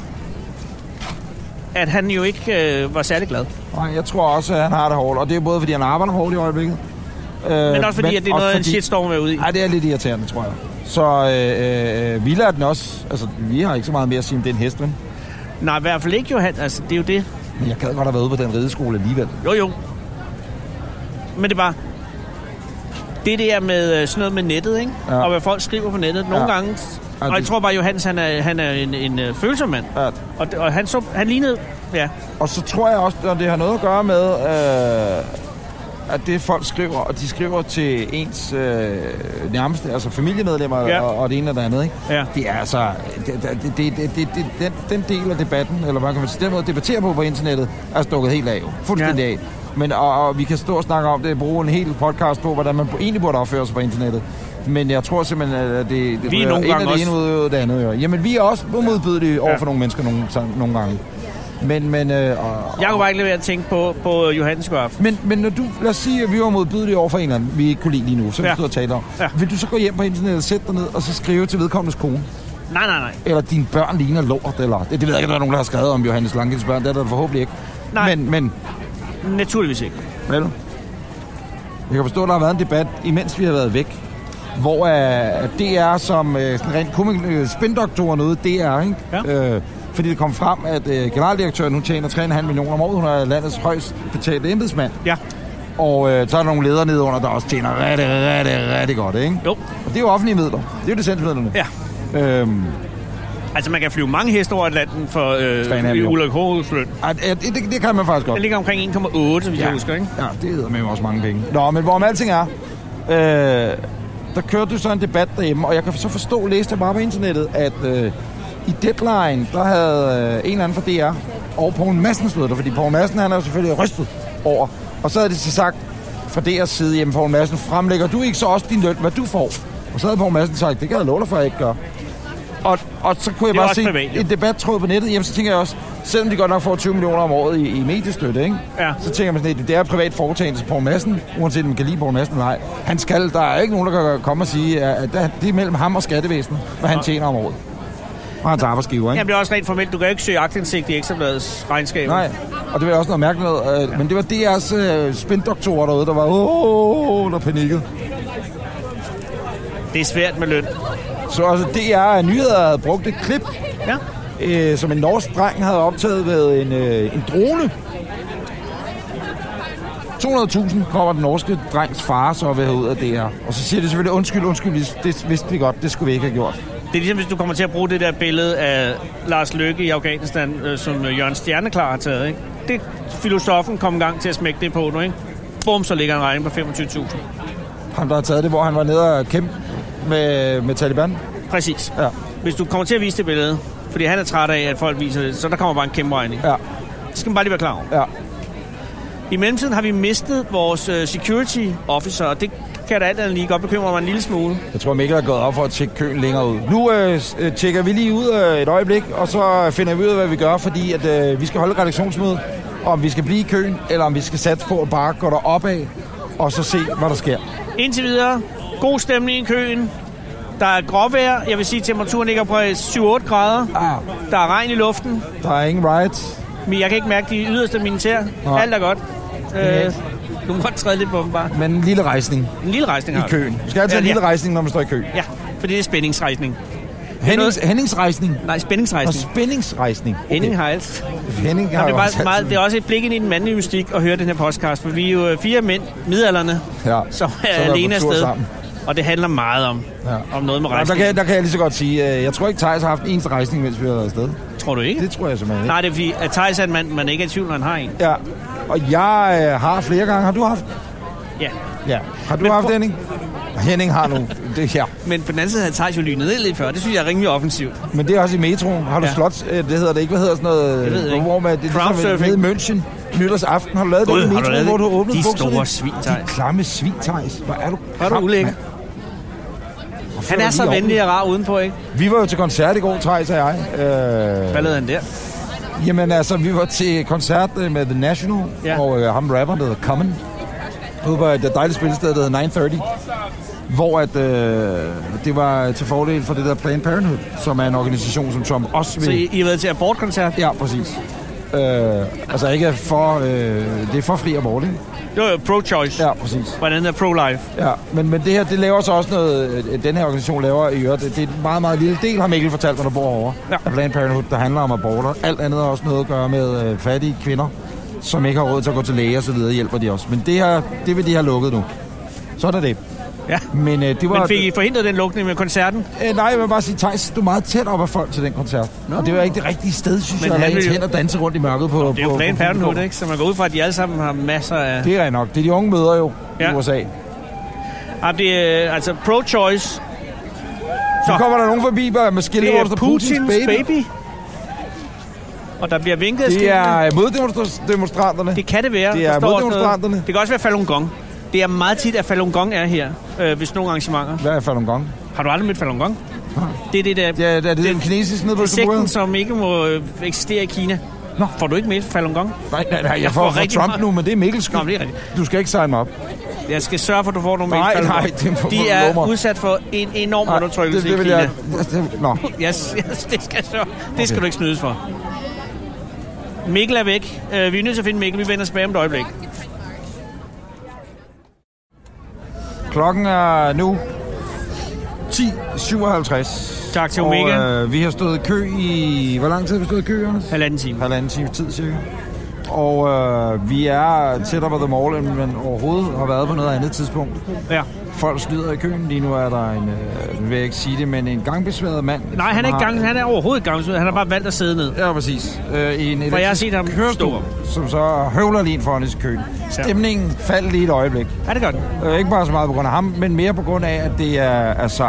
Speaker 2: at han jo ikke øh, var særlig glad.
Speaker 3: Nej, jeg tror også, at han har det hårdt. Og det er både, fordi han arbejder hårdt i øjeblikket. Øh,
Speaker 2: Men også fordi, men at det er noget af en shitstorm, vi er ude i.
Speaker 3: Nej, det er lidt irriterende, tror jeg. Så øh, øh, vi lader den også... Altså, vi har ikke så meget mere at sige om den hest, men
Speaker 2: Nej, i hvert fald ikke, Johan. Altså, det er jo det.
Speaker 3: men jeg gad godt have været ude på den rideskole alligevel.
Speaker 2: Jo, jo. Men det er bare... Det der med øh, sådan noget med nettet, ikke? Ja.
Speaker 3: Ja.
Speaker 2: Og hvad folk skriver på nettet. Nogle ja.
Speaker 3: Ja.
Speaker 2: gange...
Speaker 3: Ja,
Speaker 2: Og jeg
Speaker 3: det-
Speaker 2: tror bare, Johannes, han er, han er en, en øh, følsom mand.
Speaker 3: Ja.
Speaker 2: Og, og han, så, han lignede... Ja,
Speaker 3: Og så tror jeg også, at det har noget at gøre med, øh, at det folk skriver, og de skriver til ens øh, nærmeste, altså familiemedlemmer
Speaker 2: Ja.
Speaker 3: ja. og, og det ene og det andet, ikke?
Speaker 2: Ja.
Speaker 3: Det er altså... Det, det, det, det, det, det, den, den del af debatten, eller hvad kan man sige, den måde at debattere på på internettet, er stukket helt af jo. Fuldstændig
Speaker 2: Ja.
Speaker 3: ja. af. Men, og, og vi kan stå og snakke om det, og bruge en hel podcast på, hvordan man egentlig burde opføre sig på internettet. Men jeg tror simpelthen, at det, det
Speaker 2: Vi er
Speaker 3: rører
Speaker 2: nogle
Speaker 3: ind af
Speaker 2: gange
Speaker 3: det ene
Speaker 2: også-
Speaker 3: ud af det andet. Jo. Jamen, vi er også modbydelige over
Speaker 2: Ja.
Speaker 3: for nogle mennesker nogle, nogle gange. Men, men, øh, og,
Speaker 2: jeg kunne bare ikke lade være at tænke på, på Johannes går aften.
Speaker 3: men, men når du, lad os sige, at vi var modbydelige over for en eller anden, vi ikke kunne lide lige nu, som
Speaker 2: Ja.
Speaker 3: ja. vi stod og talte om.
Speaker 2: Ja.
Speaker 3: Ja. Vil du så gå hjem på internettet og sætte dig ned, og så skrive til vedkommendes kone?
Speaker 2: Nej, nej, nej.
Speaker 3: Eller dine børn ligner lort, eller... Det, det ved jeg ikke, om der er nogen, der har skrevet om Johannes Langkins børn. Det er der forhåbentlig ikke.
Speaker 2: Nej.
Speaker 3: Men, men,
Speaker 2: Naturligvis ikke.
Speaker 3: vel? Jeg kan forstå, at der har været en debat, imens vi har været væk, hvor øh, DR som øh, sådan rent komik- øh, spindoktoren ude, DR, ikke?
Speaker 2: Ja.
Speaker 3: Øh, fordi det kom frem, at øh, generaldirektøren, hun tjener 3,5 millioner om året. Hun er landets højst betalte embedsmand.
Speaker 2: Ja,
Speaker 3: Og øh, så er der nogle ledere nede under, der også tjener rigtig, rigtig, rigtig godt, ikke?
Speaker 2: jo.
Speaker 3: Og det er jo offentlige midler. Det er jo licensmidlerne.
Speaker 2: Ja.
Speaker 3: Øhm,
Speaker 2: Altså, man kan flyve mange heste over Atlanten for
Speaker 3: Tre
Speaker 2: øh,
Speaker 3: millioner.
Speaker 2: Ulrik Håhus løn.
Speaker 3: at, at, det, det kan man faktisk godt.
Speaker 2: Den ligger omkring 1,8, hvis ja. jeg husker, ikke?
Speaker 3: Ja, det hedder med også mange penge. Nå, men hvorom alting er, øh, der kørte du så en debat derhjemme, og jeg kan så forstå, læste jeg bare på internettet, at øh, i Deadline, der havde øh, en eller anden fra DR, og Poul Madsen stod der, fordi Poul Madsen, han er jo selvfølgelig rystet over. Og så havde de så sagt fra DR's side, jamen Poul Madsen, fremlægger du ikke så også din løn, hvad du får? Og så havde Poul Madsen sagt, det kan jeg love dig for, at jeg ikke gør. Og, og så kunne jeg
Speaker 2: Det er
Speaker 3: bare
Speaker 2: også
Speaker 3: se
Speaker 2: privat, jo.
Speaker 3: en debattråd på nettet, jamen så tænker jeg også, Selvom de godt nok får 20 millioner om året i, i mediestøtte, ikke?
Speaker 2: Ja.
Speaker 3: så tænker man sådan lidt, det er et privat foretagende til Poul Madsen, uanset om man kan lide Poul Madsen eller ej. Han skal, der er ikke nogen, der kan komme og sige, at at der- det er mellem ham og skattevæsenet, hvad han tjener om året. Og hans arbejdsgiver, ikke?
Speaker 2: Jamen, det er også rent formelt. Du kan jo ikke søge agtindsigt i Ekstrabladets regnskab.
Speaker 3: Nej, og det var også noget mærkeligt noget. Øh, men det var DR's øh, spindoktorer derude, der var, åh, der panikkede.
Speaker 2: Det er svært med løn.
Speaker 3: Så altså DR Nyheder havde brugt et klip,
Speaker 2: Ja.
Speaker 3: øh, som en norsk dreng havde optaget ved en, øh, en drone. 200.000 kommer den norske drengs far så ved ud af DR. Og så siger de selvfølgelig, undskyld, undskyld, hvis- det vidste vi godt, det skulle vi ikke have gjort.
Speaker 2: Det er ligesom, hvis du kommer til at bruge det der billede af Lars Løkke i Afghanistan, øh, som øh, Jørgen Stjerneklar har taget. Ikke? Det filosofen kom i gang til at smække det på nu, ikke? Bum, så ligger en regning på 25.000.
Speaker 3: Ham, der har taget det, hvor han var nede og kæmpe med, med Taliban.
Speaker 2: Præcis.
Speaker 3: Ja,
Speaker 2: Hvis du kommer til at vise det billede, fordi han er træt af, at folk viser det, så der kommer bare en kæmpe regning.
Speaker 3: ja,
Speaker 2: Det skal man bare lige være klar over.
Speaker 3: ja.
Speaker 2: I mellemtiden har vi mistet vores øh, security officer, og det kan da alt andet lige godt bekymre mig en lille smule.
Speaker 3: Jeg tror, Mikkel er gået op for at tjekke køen længere ud. Nu øh, s- øh, tjekker vi lige ud øh, et øjeblik, og så finder vi ud af, hvad vi gør, fordi at, øh, vi skal holde et redaktionsmøde, og om vi skal blive i køen, eller om vi skal satse på at bare gå derop af og så se, hvad der sker.
Speaker 2: Indtil videre, god stemning i køen. Der er gråvejr, jeg vil sige, at temperaturen ligger på 7-8 grader.
Speaker 3: Ah,
Speaker 2: Der er regn i luften,
Speaker 3: der er ingen riots.
Speaker 2: men jeg kan ikke mærke de yderste af mine tæer.
Speaker 3: Nej.
Speaker 2: Alt er godt. Øh, du må godt træde lidt på dem bare.
Speaker 3: Men en lille rejsning
Speaker 2: En lille rejsning
Speaker 3: i
Speaker 2: har vi.
Speaker 3: køen. Du skal altid have en
Speaker 2: Ja,
Speaker 3: lille rejsning, når man står i kø.
Speaker 2: Ja, for det er spændingsrejsning.
Speaker 3: Hennings, Henningsrejsning
Speaker 2: Nej,
Speaker 3: og
Speaker 2: spændingsrejsning.
Speaker 3: spændingsrejsning. Okay.
Speaker 2: Henning har alt.
Speaker 3: Henning har
Speaker 2: Jamen, det,
Speaker 3: jo
Speaker 2: er
Speaker 3: også
Speaker 2: bare meget, det
Speaker 3: altid-
Speaker 2: er også et blik ind i den mandlige mystik at høre den her podcast, for vi er jo øh, fire mænd, midalderne, (laughs)
Speaker 3: Ja,
Speaker 2: som
Speaker 3: som
Speaker 2: er
Speaker 3: er på
Speaker 2: alene
Speaker 3: tur
Speaker 2: afsted.
Speaker 3: sammen.
Speaker 2: Og det handler meget om,
Speaker 3: Ja.
Speaker 2: om noget med
Speaker 3: Jamen, Der
Speaker 2: rejsning.
Speaker 3: kan, der kan jeg lige så godt sige, øh, jeg tror ikke, Thijs har haft en eneste rejsning, mens vi har været afsted.
Speaker 2: Tror du ikke?
Speaker 3: Det tror jeg simpelthen ikke.
Speaker 2: Nej, det er fordi, at Thijs er en mand, man ikke er i tvivl, når han har en.
Speaker 3: Ja. Og jeg øh, har flere gange. Har du haft?
Speaker 2: Ja.
Speaker 3: Ja. Har du
Speaker 2: Men
Speaker 3: haft
Speaker 2: prøv-
Speaker 3: Henning? Henning har nu. Det, ja.
Speaker 2: Men på den anden side havde Thijs jo lynet ned lidt før. Det synes jeg er rimelig offensivt.
Speaker 3: Men det er også i metroen. Har du
Speaker 2: Ja.
Speaker 3: ja. slot? øh, Det hedder det ikke. Hvad hedder sådan noget?
Speaker 2: Jeg ved ikke.
Speaker 3: Hvor man, det, er
Speaker 2: Crowdsurfing.
Speaker 3: Ligesom, nede i München. Nytårsaften. Har du lavet
Speaker 2: Gud,
Speaker 3: det i
Speaker 2: har du
Speaker 3: metroen,
Speaker 2: lavet
Speaker 3: hvor du
Speaker 2: det?
Speaker 3: åbnede
Speaker 2: De
Speaker 3: bukserne?
Speaker 2: store svin, Thijs.
Speaker 3: De klamme svin, Thijs. Hvor er du?
Speaker 2: Hvor er du
Speaker 3: klam,
Speaker 2: ulækker.
Speaker 3: mand.
Speaker 2: Han er så
Speaker 3: Lige
Speaker 2: venlig og rar udenpå, ikke?
Speaker 3: over. Vi var jo til koncert i går, Thijs og jeg. Øh,
Speaker 2: Hvad lavede han der?
Speaker 3: Jamen altså, vi var til koncert øh, med The National,
Speaker 2: Ja.
Speaker 3: ja. og øh, ham rapper, der hedder Common, ude på et øh, dejligt spillested, der hedder 930, hvor at, øh, det var til fordel for det der Planned Parenthood, som er en organisation, som Trump også vil...
Speaker 2: Så I, I har været til abortkoncert?
Speaker 3: Ja, præcis. Øh, altså ikke for... Øh, det er for fri abort, ikke?
Speaker 2: Det var jo pro-choice.
Speaker 3: Ja, præcis.
Speaker 2: Hvordan er pro-life?
Speaker 3: Ja, men, men det her, det laver så også noget, øh, den her organisation laver i øvrigt. Det, det er en meget, meget lille del, har Mikkel fortalt, når der bor over.
Speaker 2: Ja.
Speaker 3: Ja. Af Planned Parenthood, der handler om aborter. Alt andet har også noget at gøre med øh, fattige kvinder, som ikke har råd til at gå til læge og så videre, hjælper de også. Men det her, det vil de have lukket nu. Sådan er det.
Speaker 2: Ja.
Speaker 3: Men øh, det var...
Speaker 2: Men fik I forhindret den lukning med koncerten?
Speaker 3: Øh, nej, jeg vil bare sige, Thijs, du er meget tæt op af folk til den koncert. No. Og det var ikke det rigtige sted, synes
Speaker 2: Men
Speaker 3: jeg,
Speaker 2: han
Speaker 3: at
Speaker 2: ville
Speaker 3: lade
Speaker 2: jo-
Speaker 3: hen og danse rundt i mørket på...
Speaker 2: Det er jo Planned
Speaker 3: på, på publikum.
Speaker 2: Parenthood, ikke? Så man går ud fra, at de alle sammen har masser af...
Speaker 3: Det er rigtigt nok. Det er de unge møder jo ja.
Speaker 2: Ja.
Speaker 3: i USA.
Speaker 2: Jamen, det er altså pro-choice.
Speaker 3: Så kommer der nogen forbi med- med skilte,
Speaker 2: Det
Speaker 3: hvor
Speaker 2: er
Speaker 3: der står
Speaker 2: Putins baby. Og der bliver vinket af
Speaker 3: Det
Speaker 2: skiltene.
Speaker 3: er moddemonstranterne.
Speaker 2: Det kan det være.
Speaker 3: Det
Speaker 2: Der
Speaker 3: er
Speaker 2: står også
Speaker 3: moddemonstranterne.
Speaker 2: noget. Det kan også være Falun Gong. Det er meget tit, at Falun Gong er her, øh, hvis nogle arrangementer.
Speaker 3: Hvad er Falun Gong?
Speaker 2: Har du aldrig mødt Falun Gong? Det er det der
Speaker 3: Ja, det er det, den kinesiske nede på
Speaker 2: sekten,
Speaker 3: Østerbro.
Speaker 2: som ikke må øh, eksistere i Kina. Nå.
Speaker 3: Nå.
Speaker 2: Får du ikke med Falun Gong?
Speaker 3: Nej, nej, nej, jeg får, får
Speaker 2: rigtig
Speaker 3: Trump
Speaker 2: meget-
Speaker 3: nu, men det er Mikkels skyld.
Speaker 2: Nå, men det er rigtigt.
Speaker 3: Du skal ikke signe mig op.
Speaker 2: Jeg skal sørge for, at du får nogle
Speaker 3: Nej,
Speaker 2: med Falun
Speaker 3: nej,
Speaker 2: Gong.
Speaker 3: det må-
Speaker 2: De
Speaker 3: må-
Speaker 2: er
Speaker 3: må-
Speaker 2: udsat for en enorm
Speaker 3: Nej,
Speaker 2: undertrykkelse
Speaker 3: det
Speaker 2: i
Speaker 3: vil
Speaker 2: Kina.
Speaker 3: jeg... det- Nå,
Speaker 2: Yes, yes, det skal, så. det skal du ikke snydes for. Mikkel er væk. Øh, vi er nødt til at finde Mikkel. Vi vender tilbage om et øjeblik.
Speaker 3: klokken er nu 10.57.
Speaker 2: Tak til
Speaker 3: Og
Speaker 2: Omega.
Speaker 3: øh, vi har stået i kø i... Hvor lang tid har vi stået i kø, Jonas?
Speaker 2: Halvanden time.
Speaker 3: Halvanden time tid, cirka. Og øh, vi er tættere på The Mall, end man overhovedet har været på noget andet tidspunkt.
Speaker 2: Ja.
Speaker 3: Folk snyder i køen. Lige nu er der en, øh, nu vil jeg ikke sige det, men en gangbesværet mand.
Speaker 2: Nej, han er, ikke
Speaker 3: som har-
Speaker 2: gang, han er overhovedet gangsud. Han har bare valgt at sidde ned.
Speaker 3: Ja, præcis. Øh, I en
Speaker 2: For jeg har
Speaker 3: elektrisk
Speaker 2: set ham
Speaker 3: kørestol,
Speaker 2: stå op.
Speaker 3: som så høvler lige ind foran os i køen. Stemningen faldt lige et øjeblik.
Speaker 2: Er det godt?
Speaker 3: Øh, ikke bare så meget på grund af ham, men mere på grund af, at det er altså...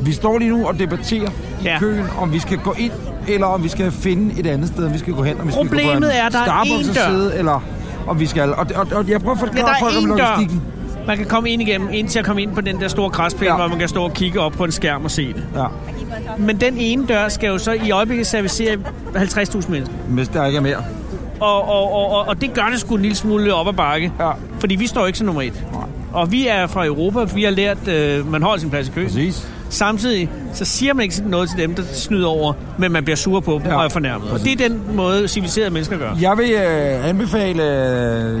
Speaker 3: Vi står lige nu og debatterer i
Speaker 2: Ja.
Speaker 3: ja. køen, om vi skal gå ind, eller om vi skal finde et andet sted, om vi skal gå hen, om vi skal gå på
Speaker 2: Problemet
Speaker 3: en
Speaker 2: er, at der er
Speaker 3: Starbucks'
Speaker 2: én dør.
Speaker 3: side, eller om vi skal... Og, og, og jeg prøver at
Speaker 2: Men
Speaker 3: forklare
Speaker 2: der er
Speaker 3: folk om
Speaker 2: én dør.
Speaker 3: logistikken.
Speaker 2: Man kan komme ind igennem, indtil at komme ind på den der store græsplæne, ja.
Speaker 3: Ja.
Speaker 2: hvor man kan stå og kigge op på en skærm og se det.
Speaker 3: Ja.
Speaker 2: Men den ene dør skal jo så i øjeblikket servicere 50.000 mennesker.
Speaker 3: Hvis der ikke er mere.
Speaker 2: Og, og, og, og, og det gør det sgu en lille smule op ad bakke.
Speaker 3: Ja.
Speaker 2: Fordi vi står ikke som nummer et. Og vi er fra Europa, vi har lært, øh, man holder sin plads i køen.
Speaker 3: Præcis.
Speaker 2: Samtidig så siger man ikke sådan noget til dem, der snyder over, men man bliver sur på dem
Speaker 3: Ja,
Speaker 2: ja. og er fornærmet. Og det er den måde, civiliserede mennesker gør.
Speaker 3: Jeg vil øh, anbefale øh,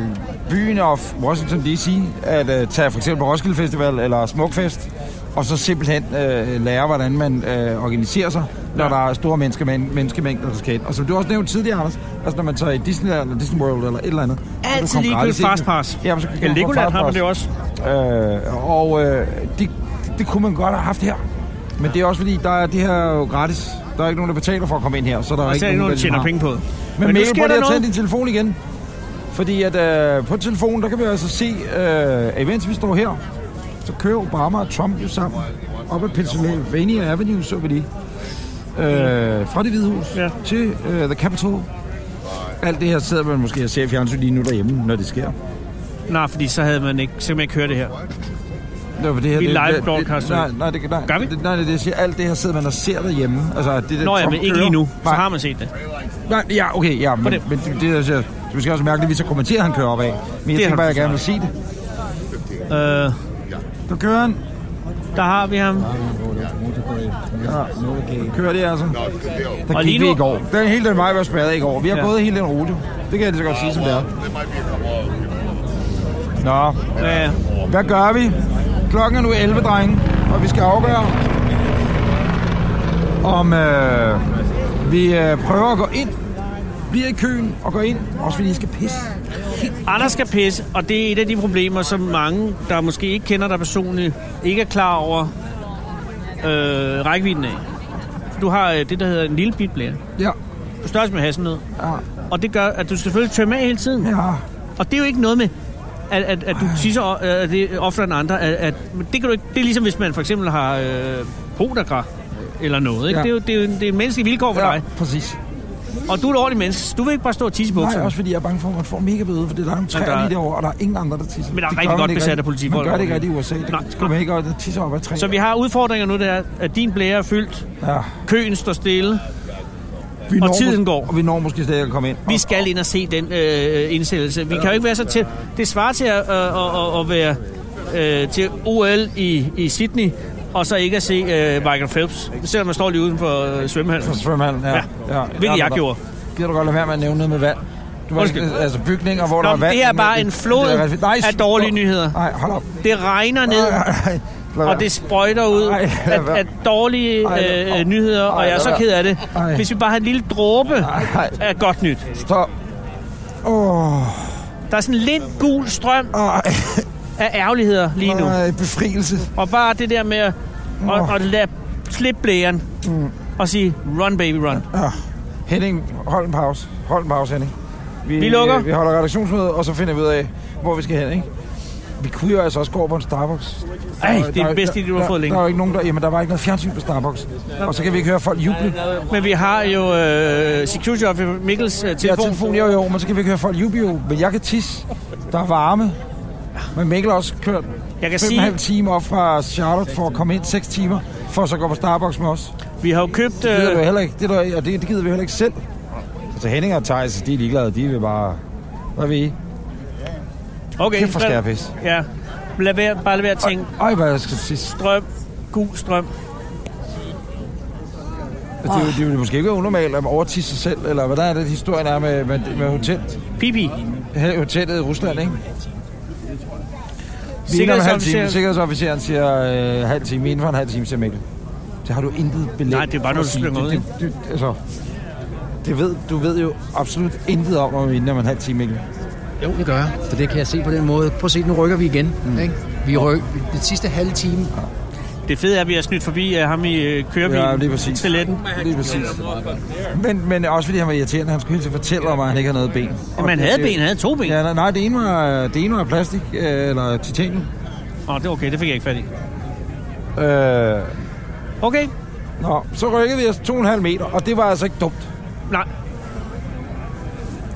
Speaker 3: byen of Washington D.C. at øh, tage for eksempel Roskilde Festival eller Smukfest, og så simpelthen øh, lære, hvordan man øh, organiserer sig, når
Speaker 2: Ja.
Speaker 3: ja. der er store menneskemæng- menneskemængder, der skal ind. Og som du også nævnte tidligere, Anders, altså når man tager i Disneyland eller Disney World eller et eller andet. så kan du
Speaker 2: Altid
Speaker 3: komme
Speaker 2: lige
Speaker 3: gratis
Speaker 2: købe
Speaker 3: ind.
Speaker 2: fastpass.
Speaker 3: Ja, men så kan
Speaker 2: Ja,
Speaker 3: du få
Speaker 2: Legoland har man
Speaker 3: fastpass.
Speaker 2: det også.
Speaker 3: Øh, og øh, det, det kunne man godt have haft her. Men det er også fordi, der er det her jo gratis. Der er ikke nogen, der betaler for at komme ind her, så der er
Speaker 2: Og
Speaker 3: ikke
Speaker 2: så er der
Speaker 3: nogen,
Speaker 2: nogen, der
Speaker 3: ligesom
Speaker 2: tjener
Speaker 3: har-
Speaker 2: penge på. det.
Speaker 3: men, men
Speaker 2: nu
Speaker 3: Mikkel,
Speaker 2: sker
Speaker 3: prøv
Speaker 2: der
Speaker 3: lige at tage
Speaker 2: noget.
Speaker 3: din telefon igen. Fordi at øh, på telefonen, der kan vi altså se, øh, at imens vi står her, så kører Obama og Trump jo sammen op ad Pennsylvania Avenue, så vi lige. Øh, fra det hvide hus
Speaker 2: Ja.
Speaker 3: ja. til øh, The Capitol. Alt det her sidder man måske og ser i fjernsyn lige nu derhjemme, når det sker.
Speaker 2: Nej, fordi så havde man ikke, så kan man ikke høre det her.
Speaker 3: Det var det her,
Speaker 2: Vi
Speaker 3: det,
Speaker 2: live
Speaker 3: det-
Speaker 2: broadcaster.
Speaker 3: Nej, nej, det, nej,
Speaker 2: Gør vi?
Speaker 3: Det, nej, det er det, jeg siger. Alt det her sidder man og ser derhjemme. Altså, det, der
Speaker 2: Nå ja,
Speaker 3: Trump
Speaker 2: men ikke
Speaker 3: kører.
Speaker 2: lige nu. Så
Speaker 3: Nej.
Speaker 2: har man set det.
Speaker 3: Nej, ja, okay, ja, men,
Speaker 2: det-
Speaker 3: men det, det, er så- du skal også mærke, at vi så kommenterer, at han kører opad. Men jeg
Speaker 2: Det har
Speaker 3: tænker bare,
Speaker 2: du
Speaker 3: at jeg gerne vil sige det.
Speaker 2: Øh,
Speaker 3: Du kører han.
Speaker 2: der har vi ham.
Speaker 3: Ja, kører det altså. Der
Speaker 2: Og
Speaker 3: og
Speaker 2: lige
Speaker 3: gik vi
Speaker 2: nu-
Speaker 3: i går. Den hele den vej var spærret i går. Vi har
Speaker 2: Ja.
Speaker 3: gået hele den rute. Det kan jeg lige så godt sige, som det er. Nå,
Speaker 2: Ja,
Speaker 3: hvad gør vi? Klokken er nu 11, drenge, og vi skal afgøre, om øh, vi øh, prøver at gå ind, bliver i køen og går ind, også fordi I skal pisse.
Speaker 2: Anders skal pisse, og det er et af de problemer, som mange, der måske ikke kender dig personligt, ikke er klar over øh, rækkevidden af. Du har øh, det, der hedder en lille bitblære.
Speaker 3: Ja,
Speaker 2: Du størrelse med hasselnød.
Speaker 3: ja,
Speaker 2: Og det gør, at du selvfølgelig tømmer af hele tiden.
Speaker 3: ja.
Speaker 2: Og det er jo ikke noget med, at, at, at du tisser øh, at det er oftere end andre. At, at, men det, kan du ikke, det er ligesom, hvis man for eksempel har øh, podagra eller noget. Ikke?
Speaker 3: Ja.
Speaker 2: Det, er jo, det, er jo, en- det er en menneskelig vilkår for ja.
Speaker 3: ja
Speaker 2: dig.
Speaker 3: præcis.
Speaker 2: Og du er et ordentligt menneske, så du vil ikke bare stå og tisse i
Speaker 3: Nej,
Speaker 2: bukserne.
Speaker 3: også fordi jeg er bange for, at man får mega bøde, for det er der nogle træer
Speaker 2: der er-
Speaker 3: lige derovre, og der er ingen andre, der tisser.
Speaker 2: Men der er
Speaker 3: Det
Speaker 2: rigtig
Speaker 3: gør man
Speaker 2: godt
Speaker 3: ikke
Speaker 2: besat
Speaker 3: rigtig.
Speaker 2: af politifolk
Speaker 3: Man gør det ikke
Speaker 2: over
Speaker 3: rigtig i USA.
Speaker 2: Nej.
Speaker 3: Der skal man ikke og tisse op ad træer.
Speaker 2: Så vi har udfordringer nu, det er, at din blære er fyldt,
Speaker 3: Ja,
Speaker 2: køen står stille.
Speaker 3: vi
Speaker 2: Og
Speaker 3: når
Speaker 2: tiden
Speaker 3: mås-
Speaker 2: går.
Speaker 3: Og vi når måske stadig at komme ind.
Speaker 2: Vi
Speaker 3: Og-
Speaker 2: skal ind og se den øh, indsættelse. Vi kan jo ikke være så til... Det svarer til at, øh, at, at, at være øh, til OL i, i Sydney, og så ikke at se øh, Michael Phelps, selvom man står lige uden for øh, svømmehallen.
Speaker 3: For svømmehallen, ja.
Speaker 2: Ja, hvilket jeg
Speaker 3: der-
Speaker 2: gjorde.
Speaker 3: Gider du godt lade være med at nævne noget med vand? Du var,
Speaker 2: Undskyld.
Speaker 3: altså bygninger, hvor
Speaker 2: Nå,
Speaker 3: der er
Speaker 2: men
Speaker 3: vand.
Speaker 2: det er bare
Speaker 3: men-
Speaker 2: en flod
Speaker 3: det er rigtig- Nej,
Speaker 2: af
Speaker 3: stop.
Speaker 2: dårlige nyheder.
Speaker 3: Nej, hold op.
Speaker 2: Det regner
Speaker 3: Nej,
Speaker 2: ned,
Speaker 3: nej, lad
Speaker 2: og
Speaker 3: være.
Speaker 2: det sprøjter ud
Speaker 3: Ej, lad
Speaker 2: af,
Speaker 3: være.
Speaker 2: af dårlige
Speaker 3: Ej, lad-
Speaker 2: øh, nyheder,
Speaker 3: Ej,
Speaker 2: og jeg er
Speaker 3: lad
Speaker 2: så
Speaker 3: være.
Speaker 2: ked af det.
Speaker 3: Ej.
Speaker 2: Hvis vi bare har en lille dråbe
Speaker 3: Ej.
Speaker 2: af godt nyt.
Speaker 3: Stop. Åh,
Speaker 2: Der er sådan en lidt gul strøm
Speaker 3: ej,
Speaker 2: af ærgerligheder lige nu.
Speaker 3: ej, befrielse.
Speaker 2: Og bare det der med at, at,
Speaker 3: Åh.
Speaker 2: at lade slippe blæren
Speaker 3: Mm.
Speaker 2: og sige, run baby run.
Speaker 3: Ah. Henning, hold en pause. Hold en pause, Henning.
Speaker 2: Vi lukker.
Speaker 3: Vi holder redaktionsmøde, og så finder vi ud af, hvor vi skal hen, ikke? Vi kunne jo altså også gå over på en Starbucks.
Speaker 2: Ej,
Speaker 3: Der-
Speaker 2: det er
Speaker 3: der-
Speaker 2: det bedste, idé, du har
Speaker 3: der-
Speaker 2: fået længe.
Speaker 3: Der er jo ikke nogen, der... Jamen, der var ikke noget fjernsyn på Starbucks. Og så kan vi ikke høre folk juble.
Speaker 2: Men vi har jo øh, security officer Mikkels øh,
Speaker 3: Ja,
Speaker 2: telefon.
Speaker 3: telefon, jo, jo, men så kan vi ikke høre folk juble, jo. Men jeg kan tisse. Der er varme. Men Mikkel har også kørt
Speaker 2: Jeg kan
Speaker 3: fem og en halv
Speaker 2: sige,
Speaker 3: time op fra Charlotte for at komme ind 6 timer, for at så gå på Starbucks med os.
Speaker 2: vi har jo købt...
Speaker 3: Det gider, du
Speaker 2: Øh,
Speaker 3: heller ikke, det, der, og det, det gider vi heller ikke selv. Altså Henning og Thijs, de er ligeglade. De vil bare... Hvad ved I?
Speaker 2: okay,
Speaker 3: Kæft for
Speaker 2: lad-
Speaker 3: skærpis.
Speaker 2: Ja, lad være, bare lad være at tænke,
Speaker 3: Øj, hvad jeg skal sige.
Speaker 2: strøm, gul strøm.
Speaker 3: Det, er jo- det, det er måske ikke unormalt at overtisse sig selv, eller hvad der er det, historien er med, med, med hotel,
Speaker 2: Pipi.
Speaker 3: hotellet i Rusland, ikke? Vi er en halv time.
Speaker 2: Sikkerhedsofficer.
Speaker 3: Sikkerhedsofficeren siger øh, halv time. Inden for en halv time, siger Mikkel. Det har du intet belæg.
Speaker 2: Nej, det er bare
Speaker 3: for at
Speaker 2: noget, du
Speaker 3: sige.
Speaker 2: slynger ud,
Speaker 3: Det, det, det, altså, det ved, du ved jo absolut intet om, om inden om en halv time, Mikkel.
Speaker 6: Jo, det gør jeg. For det kan jeg se på den måde. Prøv at se, nu rykker vi igen. Mm. Ikke? Vi rykker den sidste halve time.
Speaker 2: Det fede er, at vi har snydt forbi af ham i øh, kørebilen.
Speaker 3: Ja, lige præcis.
Speaker 2: Til letten.
Speaker 3: Lige præcis. Men, men også fordi han var irriterende. Han skulle hele tiden fortælle om, at han ikke havde noget ben.
Speaker 2: Jamen, han havde ben, han havde to ben.
Speaker 3: Ja, nej, nej, det ene var, det ene var plastik, øh, eller titanium.
Speaker 2: Åh, det er okay, det fik jeg ikke fat i.
Speaker 3: Øh,
Speaker 2: Okay,
Speaker 3: nå, så rykkede vi os 2,5 meter, og det var altså ikke dumt.
Speaker 2: nej.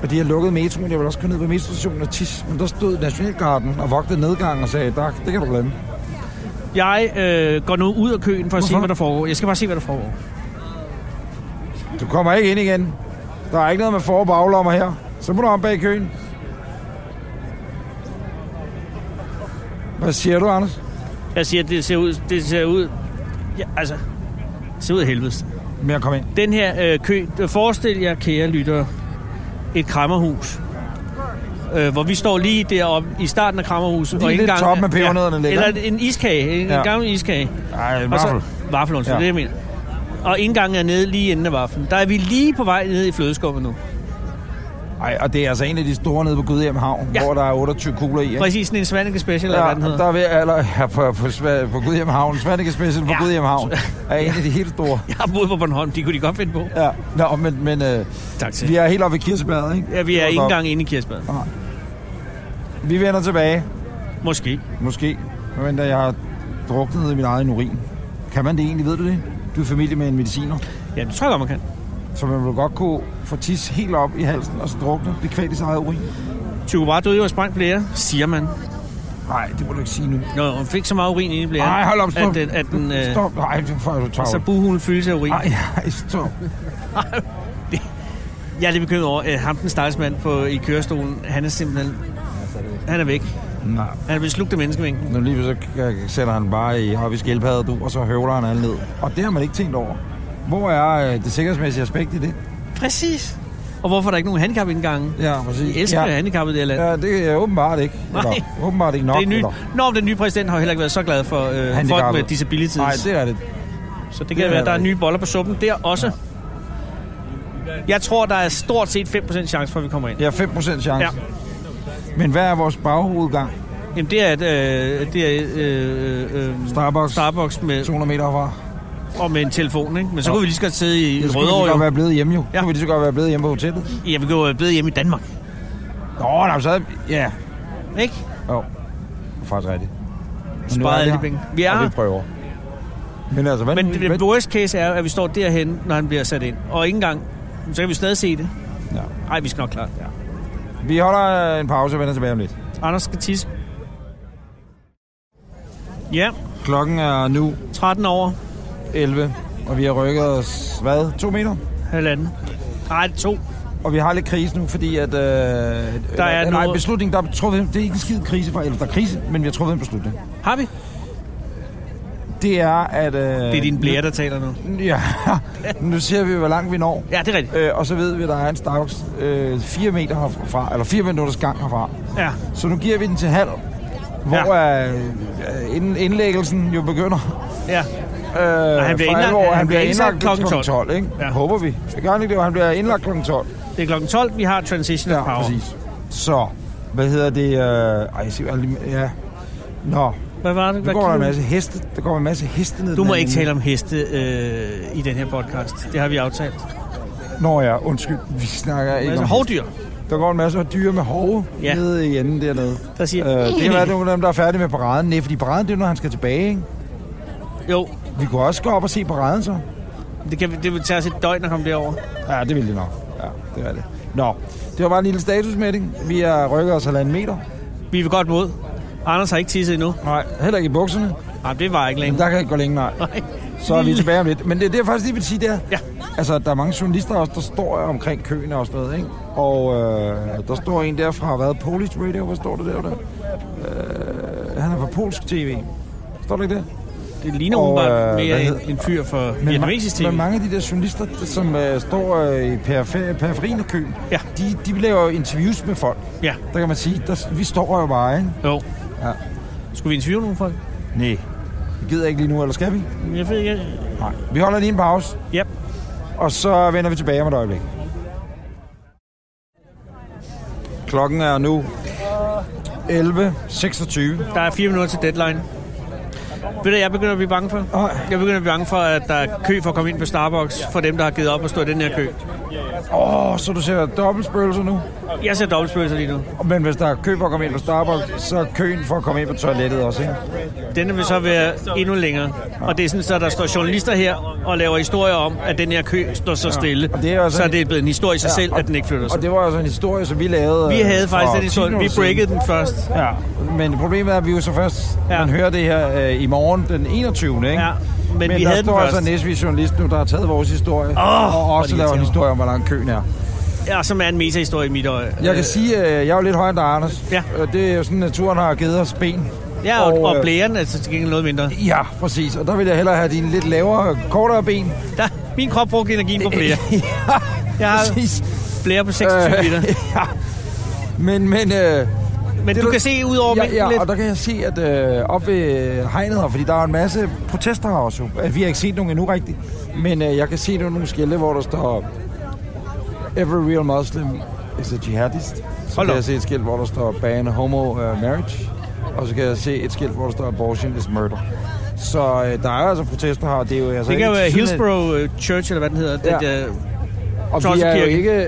Speaker 3: Og de har lukket metroen. Jeg ville også køre ned på metrostationen og tisse. Men der stod Nationalgarden og vogtede nedgangen og sagde, tak, det kan du glemme.
Speaker 2: Jeg øh, går nu ud af køen for at se,
Speaker 3: Hvorfor?
Speaker 2: hvad der foregår. Jeg skal bare se, hvad der foregår.
Speaker 3: Du kommer ikke ind igen. Der er ikke noget med for- og baglommer her. Så må du om bag køen. Hvad siger du, Anders?
Speaker 2: Jeg siger, det ser ud... Det ser ud... Ja, altså... Det ser ud af helvedes.
Speaker 3: Med at komme ind.
Speaker 2: Den her øh, kø... Forestil jer, kære lyttere, et krammerhus. Øh, hvor vi står lige deroppe i starten af krammerhuset.
Speaker 3: Lige
Speaker 2: ikke
Speaker 3: lidt
Speaker 2: engang-
Speaker 3: toppen af pebernødderne ligger.
Speaker 2: Eller en iskage. En
Speaker 3: Ja.
Speaker 2: ja. gammel iskage.
Speaker 3: Ej, i
Speaker 2: Og
Speaker 3: hvert
Speaker 2: så,
Speaker 3: fald.
Speaker 2: vaffel, undskyld,
Speaker 3: Ja.
Speaker 2: ja. det er min. Og indgangen er nede lige inden af vaflen. Der er vi lige på vej ned i flødeskummet nu.
Speaker 3: Ej, og det er altså en af de store nede på Gudhjem Havn, ja.
Speaker 2: Ja.
Speaker 3: hvor der er 28 kugler i. Ikke?
Speaker 2: Præcis sådan en Svanike Special, eller
Speaker 3: Ja,
Speaker 2: hvad den hedder.
Speaker 3: der er ved, eller, ja, på, på, Sva- på Gudhjem Havn. Svanike Special på ja.
Speaker 2: Ja.
Speaker 3: Gudhjem Havn er en af de helt store.
Speaker 2: Jeg har boet på Bornholm, de kunne de godt finde på.
Speaker 3: Ja, Nå, men, men øh,
Speaker 2: Tak til.
Speaker 3: vi er helt oppe i Kirsebladet, ikke?
Speaker 2: Ja, vi er
Speaker 3: Hold
Speaker 2: ikke
Speaker 3: op.
Speaker 2: engang inde i Kirsbad.
Speaker 3: Vi vender tilbage,
Speaker 2: Måske.
Speaker 3: måske. Men da jeg har druknet i min egen urin. Kan man det egentlig, ved du det? Du er familie med en mediciner,
Speaker 2: Ja, det tror jeg godt, man kan.
Speaker 3: så man vil godt kunne få tis helt op i halsen og så drukne det kvæl i sin egen urin.
Speaker 2: Tycho Brahe døde jo af sprængt blære, siger man.
Speaker 3: Nej, det må du ikke sige nu.
Speaker 2: Nå, hun fik så meget urin inde i blæren,
Speaker 3: Nej, hold op, stop.
Speaker 2: at den, at den øh, Altså,
Speaker 3: Stop, nej, det får du
Speaker 2: så
Speaker 3: travlt.
Speaker 2: buhulen fyldte af urin.
Speaker 3: Nej, nej, stop.
Speaker 2: Jeg er lidt bekymret over, at ham den stakkelsmand på i kørestolen, han er simpelthen... Han er væk.
Speaker 3: Nej.
Speaker 2: Han er blevet slugt af menneskemængden.
Speaker 3: Nu lige så k- sætter han bare i, op i skildpaddet, du, og så høvler han alle ned. Og det har man ikke tænkt over. Hvor er øh, det sikkerhedsmæssige aspekt i det?
Speaker 2: Præcis. Og hvorfor er der ikke nogen handicapindgange?
Speaker 3: Ja,
Speaker 2: Vi
Speaker 3: præcis.
Speaker 2: elsker ja.
Speaker 3: ja.
Speaker 2: handicappede i det her land. Ja,
Speaker 3: ja, det er åbenbart ikke.
Speaker 2: Nej.
Speaker 3: Eller, åbenbart ikke nok.
Speaker 2: det er nyt.
Speaker 3: eller-
Speaker 2: Nå, men den nye præsident har jo heller ikke været så glad for øh, folk med
Speaker 3: Handicappede.
Speaker 2: disabilities.
Speaker 3: Nej, det er det.
Speaker 2: Så det
Speaker 3: Det
Speaker 2: kan
Speaker 3: er
Speaker 2: det være, at der
Speaker 3: der
Speaker 2: er
Speaker 3: ikke.
Speaker 2: nye boller på suppen der også. Jeg tror, der er stort set 5% chance for, at vi kommer ind.
Speaker 3: Ja, 5% chance.
Speaker 2: Ja.
Speaker 3: Men hvad er vores baghovedgang?
Speaker 2: Jamen, det er, et, øh, det er øh, øh,
Speaker 3: Starbucks.
Speaker 2: Starbucks med,
Speaker 3: 200 meter fra.
Speaker 2: og med en telefon, ikke? Men så kunne vi lige så godt sidde i
Speaker 3: Det skulle vi lige så
Speaker 2: Rødovre.
Speaker 3: godt
Speaker 2: jo.
Speaker 3: være blevet hjemme jo. Ja.
Speaker 2: Ja.
Speaker 3: Kunne vi lige så godt være blevet hjemme på hotellet.
Speaker 2: Ja, vi kunne jo være blevet hjemme i Danmark,
Speaker 3: Nå, nej, så er Ja.
Speaker 2: ikke?
Speaker 3: Jo. Det er faktisk rigtigt. Men nu er
Speaker 2: Sparet alle
Speaker 3: her,
Speaker 2: de penge. Vi er
Speaker 3: og
Speaker 2: her.
Speaker 3: vi prøver. Men altså, hvad,
Speaker 2: Men det,
Speaker 3: hvad,
Speaker 2: det worst case er, at vi står derhen, når han bliver sat ind. Og ikke engang, så kan vi stadig se det.
Speaker 3: Ja.
Speaker 2: Nej, vi skal nok klare det. Ja.
Speaker 3: vi holder øh, en pause og vender tilbage om lidt.
Speaker 2: Anders skal tisse. Ja,
Speaker 3: Klokken er nu
Speaker 2: 13 over
Speaker 3: 11, og vi har rykket os, hvad, to meter?
Speaker 2: halvanden. Nej, to.
Speaker 3: Og vi har lidt krise nu, fordi at... Øh, der eller,
Speaker 2: er
Speaker 3: nej,
Speaker 2: noget-
Speaker 3: beslutningen, der er truffet... Det er ikke en skid krise for... Eller der er krise, men vi har truffet en beslutning.
Speaker 2: Har vi?
Speaker 3: Det er, at... Øh,
Speaker 2: Det er din blære, der taler nu.
Speaker 3: Ja, (laughs) nu ser vi, hvor langt vi når.
Speaker 2: Ja, det er rigtigt.
Speaker 3: Øh, og så ved vi, at der er en Starbucks øh, 4 meter herfra, eller 4 minutters gang herfra.
Speaker 2: Ja.
Speaker 3: Så nu giver vi den til halv, hvor ja. øh, inden indlæggelsen jo begynder.
Speaker 2: Ja.
Speaker 3: Øh,
Speaker 2: han bliver
Speaker 3: for
Speaker 2: indlagt-
Speaker 3: alvor.
Speaker 2: han
Speaker 3: han bliver
Speaker 2: bliver indsat
Speaker 3: indlagt
Speaker 2: klokken
Speaker 3: klokken 12. 12 ikke? Ja.
Speaker 2: Ja.
Speaker 3: Håber vi. Det gør han ikke det, han bliver indlagt klokken 12.
Speaker 2: Det er klokken 12, vi har Transition
Speaker 3: Ja,
Speaker 2: ja, Power. Præcis.
Speaker 3: præcis. Så, hvad hedder det? Øh, ej, jeg ser, lige- ja. Nå,
Speaker 2: Hvad var det?
Speaker 3: nu
Speaker 2: Hvad
Speaker 3: går der en
Speaker 2: kiggede
Speaker 3: masse heste. Der går en masse heste ned.
Speaker 2: Du må
Speaker 3: den
Speaker 2: ikke
Speaker 3: anden
Speaker 2: tale om heste øh, i den her podcast. Det har vi aftalt.
Speaker 3: ende. Nå ja, undskyld. Vi snakker ikke
Speaker 2: Altså,
Speaker 3: om
Speaker 2: hovdyr.
Speaker 3: heste. Der går en masse dyr med hove ja.
Speaker 2: Ja.
Speaker 3: nede i enden dernede.
Speaker 2: Der siger...
Speaker 3: Øh, det kan være, at det er nogle af dem, der er færdige med paraden. Nej, fordi paraden, det er jo, når han skal tilbage, ikke?
Speaker 2: Jo,
Speaker 3: Vi kunne også gå op og se paraden, så.
Speaker 2: det, kan, vi- det vil tage os et døgn at komme derover.
Speaker 3: Ja, det ville det nok. Ja, det er det. Nå, det var bare en lille statusmelding. Vi er rykket os halvanden meter.
Speaker 2: Vi vil godt mod. Anders har ikke tisset endnu.
Speaker 3: Nej, heller ikke i bukserne.
Speaker 2: Nej, det var ikke
Speaker 3: Men
Speaker 2: længe.
Speaker 3: der kan ikke gå længe, nej.
Speaker 2: (laughs) Nej. (laughs)
Speaker 3: Så er vi tilbage om lidt. Men det, det jeg faktisk lige vil sige, det er,
Speaker 2: Ja.
Speaker 3: altså, der er mange journalister også, der står omkring køen og sådan noget, ikke? Og øh, der står en der fra, hvad, Polish Radio, hvad står det der? der? Øh, han er fra polsk tv. Står der ikke det?
Speaker 2: Det ligner
Speaker 3: Og,
Speaker 2: åbenbart
Speaker 3: øh,
Speaker 2: mere
Speaker 3: hvad
Speaker 2: en,
Speaker 3: hed-
Speaker 2: en fyr for
Speaker 3: ma-
Speaker 2: vietnamesisk tv.
Speaker 3: men mange af de der journalister, der- som øh, står øh, i perifer- periferien af køen,
Speaker 2: Ja.
Speaker 3: de, de laver jo interviews med folk.
Speaker 2: Ja,
Speaker 3: Der kan man sige, der, vi står jo bare, ikke?
Speaker 2: jo.
Speaker 3: Ja.
Speaker 2: Skulle vi interviewe nogle folk?
Speaker 3: Nej. Vi gider ikke lige nu, eller skal vi?
Speaker 2: Jeg ved ikke.
Speaker 3: Nej. Vi holder lige en pause,
Speaker 2: Ja.
Speaker 3: og så vender vi tilbage om et øjeblik. Klokken er nu 11.26.
Speaker 2: Der er fire minutter til deadline. Ved du, hvad jeg begynder at blive bange for?
Speaker 3: Åh,
Speaker 2: Jeg begynder at blive bange for, at der er kø for at komme ind på Starbucks for dem, der har givet op og stå i den her kø.
Speaker 3: Åh, oh, så du ser dobbeltspøgelser nu?
Speaker 2: Jeg ser dobbeltspøgelser lige nu.
Speaker 3: Men hvis der er kø for at komme ind på Starbucks, så er køen for at komme ind på toilettet også, ikke?
Speaker 2: Denne vil så være endnu længere. Og det er sådan, så der står journalister her og laver historier om, at den her kø står så stille.
Speaker 3: og det er også
Speaker 2: så
Speaker 3: en-
Speaker 2: det er blevet en historie i sig selv,
Speaker 3: og-
Speaker 2: at den ikke flytter sig.
Speaker 3: Og det var altså en historie, som vi lavede...
Speaker 2: Vi
Speaker 3: øh,
Speaker 2: havde faktisk
Speaker 3: for
Speaker 2: den historie.
Speaker 3: 10
Speaker 2: Vi
Speaker 3: år siden.
Speaker 2: breakede den først.
Speaker 3: Ja, men problemet er, at vi jo så først
Speaker 2: Ja.
Speaker 3: ja. man hører det her øh, i morgen den 21. Ikke?
Speaker 2: Ja, men vi
Speaker 3: der
Speaker 2: havde den
Speaker 3: står
Speaker 2: først.
Speaker 3: altså Næsvig Journalist nu, der har taget vores historie,
Speaker 2: Åh,
Speaker 3: og
Speaker 2: hvor er det
Speaker 3: også laver en
Speaker 2: irriterende.
Speaker 3: historie om, hvor lang køen er.
Speaker 2: Ja, som er en metahistorie i mit øje.
Speaker 3: Jeg kan sige, at øh, jeg er jo lidt højere end dig, Anders.
Speaker 2: Ja.
Speaker 3: Øh, Det er jo sådan, naturen har givet os ben.
Speaker 2: Ja, og, og
Speaker 3: øh,
Speaker 2: blæren er til gengæld noget mindre.
Speaker 3: Ja, præcis. Og der vil jeg hellere have dine lidt lavere, kortere ben.
Speaker 2: Der, min krop brugte energien på
Speaker 3: (laughs)
Speaker 2: blære. Jeg har
Speaker 3: Præcis. Øh,
Speaker 2: blære på 26 liter.
Speaker 3: (laughs) ja. Men, men... Øh,
Speaker 2: Men
Speaker 3: det
Speaker 2: du
Speaker 3: du-
Speaker 2: kan se ud over
Speaker 3: Ja,
Speaker 2: mængden
Speaker 3: ja, og
Speaker 2: lidt.
Speaker 3: der kan jeg se, at øh, op ved hegnet her, fordi der er en masse protester her også jo. At Vi har ikke set nogen endnu rigtigt, men øh, jeg kan se der er nogle skilte, hvor der står Every real Muslim is a jihadist. Så
Speaker 2: Hold
Speaker 3: kan
Speaker 2: op.
Speaker 3: jeg se et skilt, hvor der står Ban homo uh, marriage. Og så kan jeg se et skilt, hvor der står Abortion is murder. Så øh, der er altså protester her, og det er jo altså
Speaker 2: Det kan jo være
Speaker 3: ikke sådan, at-
Speaker 2: Hillsborough øh, Church, eller hvad den hedder.
Speaker 3: Ja.
Speaker 2: Den, øh,
Speaker 3: Og vi er jo
Speaker 2: Troldskirke.
Speaker 3: ikke...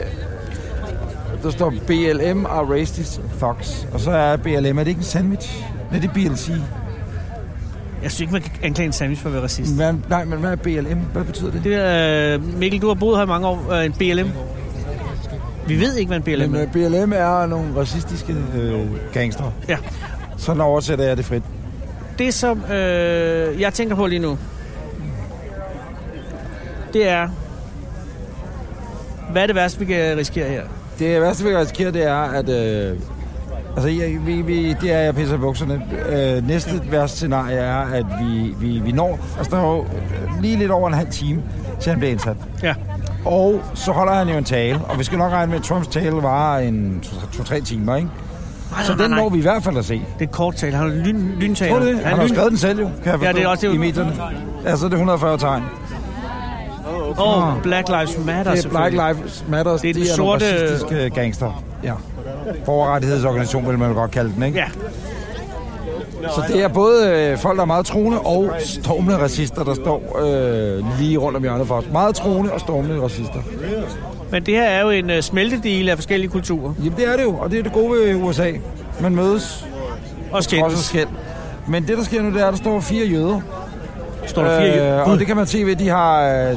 Speaker 3: Der står BLM are racist thugs. Og så er BLM, er det ikke en sandwich? Nej, det er BLC.
Speaker 2: jeg synes ikke, man kan anklage en sandwich for at være racist.
Speaker 3: Hvad, nej, men hvad er BLM? Hvad betyder det?
Speaker 2: Det er, øh, Mikkel, du har boet her i mange år. Øh, en BLM. Vi ved ikke, hvad en BLM
Speaker 3: Men
Speaker 2: er.
Speaker 3: øh, BLM er nogle racistiske øh, gangster.
Speaker 2: Ja.
Speaker 3: Sådan oversætter jeg det frit.
Speaker 2: Det, som øh, jeg tænker på lige nu, det er, hvad er det værste, vi kan risikere her?
Speaker 3: Det værste, vi kan risikere, det er, at... Øh, altså, jeg, vi, vi, det er, jeg pisser i bukserne. Øh, næste værste scenarie er, at vi, vi, vi når... Altså, der er jo øh, lige lidt over en halv time, til han bliver indsat.
Speaker 2: Ja.
Speaker 3: Og så holder han jo en tale, og vi skal nok regne med, at Trumps tale varer en to- to-tre timer, ikke? Så den når vi i hvert fald at se.
Speaker 2: Det er et kort tale. Han er lyn, lyntaler.
Speaker 3: Tror du det? Han har jo skrevet den selv, jo, kan jeg forstå,
Speaker 2: det er også det,
Speaker 3: i
Speaker 2: jo.
Speaker 3: medierne. Ja, så er det 140 tegn.
Speaker 2: Åh, oh, Black Lives Matter
Speaker 3: Det er Black
Speaker 2: selvfølgelig.
Speaker 3: Lives Matter.
Speaker 2: Det er den
Speaker 3: de
Speaker 2: sorte-
Speaker 3: nogle racistiske gangster. Ja. Borgerrettighedsorganisation, vil man godt kalde den, ikke?
Speaker 2: Ja,
Speaker 3: Så det er både øh, folk, der er meget troende, og stormende racister, der står øh, lige rundt om hjørnet for os. Meget troende og stormende racister.
Speaker 2: men det her er jo en uh, smeltedel af forskellige kulturer.
Speaker 3: Jamen, det er det jo, og det er det gode ved USA. Man mødes,
Speaker 2: Og
Speaker 3: også
Speaker 2: skændes.
Speaker 3: skæld. Men det, der sker nu, det er, at der står fire jøder.
Speaker 2: Står der fire
Speaker 3: Øh,
Speaker 2: øh,
Speaker 3: og det kan man se ved, at de har øh,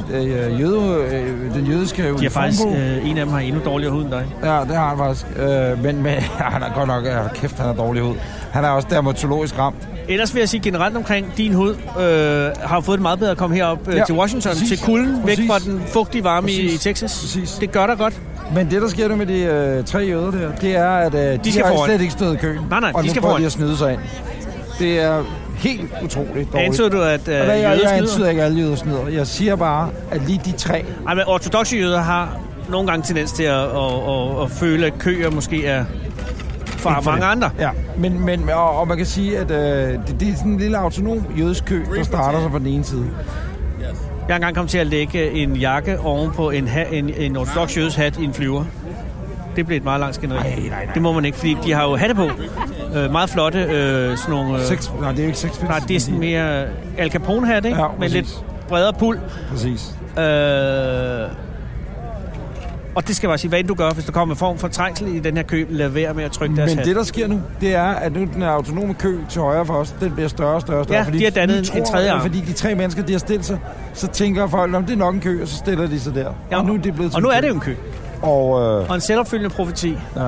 Speaker 3: øh, jøde, øh, den jødiske
Speaker 2: De har
Speaker 3: uniform
Speaker 2: faktisk,
Speaker 3: på.
Speaker 2: øh, en af dem har endnu dårligere hud end dig.
Speaker 3: Ja, det har han faktisk. Øh, men, men (laughs) han er godt nok... Øh, kæft, han er dårlig ud. Han er også dermatologisk ramt.
Speaker 2: Ellers vil jeg sige generelt omkring din hud, øh, har jo fået det meget bedre at komme herop øh, ja,
Speaker 3: Ja,
Speaker 2: til Washington, præcis,
Speaker 3: præcis,
Speaker 2: til kulden, væk
Speaker 3: præcis.
Speaker 2: fra den fugtige varme i,
Speaker 3: Præcis,
Speaker 2: i Texas.
Speaker 3: præcis.
Speaker 2: Det gør der godt.
Speaker 3: Men det, der sker nu med de øh, tre jøder der, det er, at øh, de, de
Speaker 2: skal
Speaker 3: har
Speaker 2: foran.
Speaker 3: slet ikke stået i køen.
Speaker 2: Nej, nej,
Speaker 3: og
Speaker 2: de
Speaker 3: nu
Speaker 2: skal
Speaker 3: prøver
Speaker 2: foran.
Speaker 3: de at snyde sig ind. Det er helt utroligt dårligt.
Speaker 2: Antyder du, at øh,
Speaker 3: og hvad, jeg,
Speaker 2: jøder
Speaker 3: jeg
Speaker 2: snyder?
Speaker 3: antyder ikke, at alle jøder snyder. Jeg siger bare, at lige de tre...
Speaker 2: Ej, men ortodoxe jøder har nogle gange tendens til at, at, at, at føle, at køer måske er fra mange andre.
Speaker 3: Ja, men, men og, og man kan sige, at øh, det, det er sådan en lille autonom jødisk kø, der starter sig på den ene side.
Speaker 2: Jeg har engang kommet til at lægge en jakke ovenpå en, ha- en, en ortodox jødes hat i en flyver. Det blev et meget langt skænderi. Det må man ikke, fordi de har jo hatte på. Øh, meget flotte øh, sådan nogle... Øh,
Speaker 3: Seks, nej, det er jo ikke seks
Speaker 2: nej, det er sådan mere Al Capone-hat, ikke?
Speaker 3: Ja,
Speaker 2: Med
Speaker 3: præcis.
Speaker 2: lidt bredere pul.
Speaker 3: Præcis.
Speaker 2: Øh, og det skal jeg bare sige, hvad end du gør, hvis der kommer en form for trængsel i den her kø, lad være med at trykke deres
Speaker 3: Men
Speaker 2: hat.
Speaker 3: det, der sker nu, det er, at nu den her autonome kø til højre for os, den bliver større og større. og større
Speaker 2: Ja, de har dannet
Speaker 3: vi
Speaker 2: en- en tredje arm.
Speaker 3: Fordi de tre mennesker, de har stillet sig, så tænker folk, om det er nok en kø, og så stiller de sig der.
Speaker 2: Ja,
Speaker 3: og nu er det blevet til
Speaker 2: og nu
Speaker 3: en
Speaker 2: er
Speaker 3: kø.
Speaker 2: det jo en kø.
Speaker 3: Og øh,
Speaker 2: Og en selvopfyldende profeti.
Speaker 3: ja.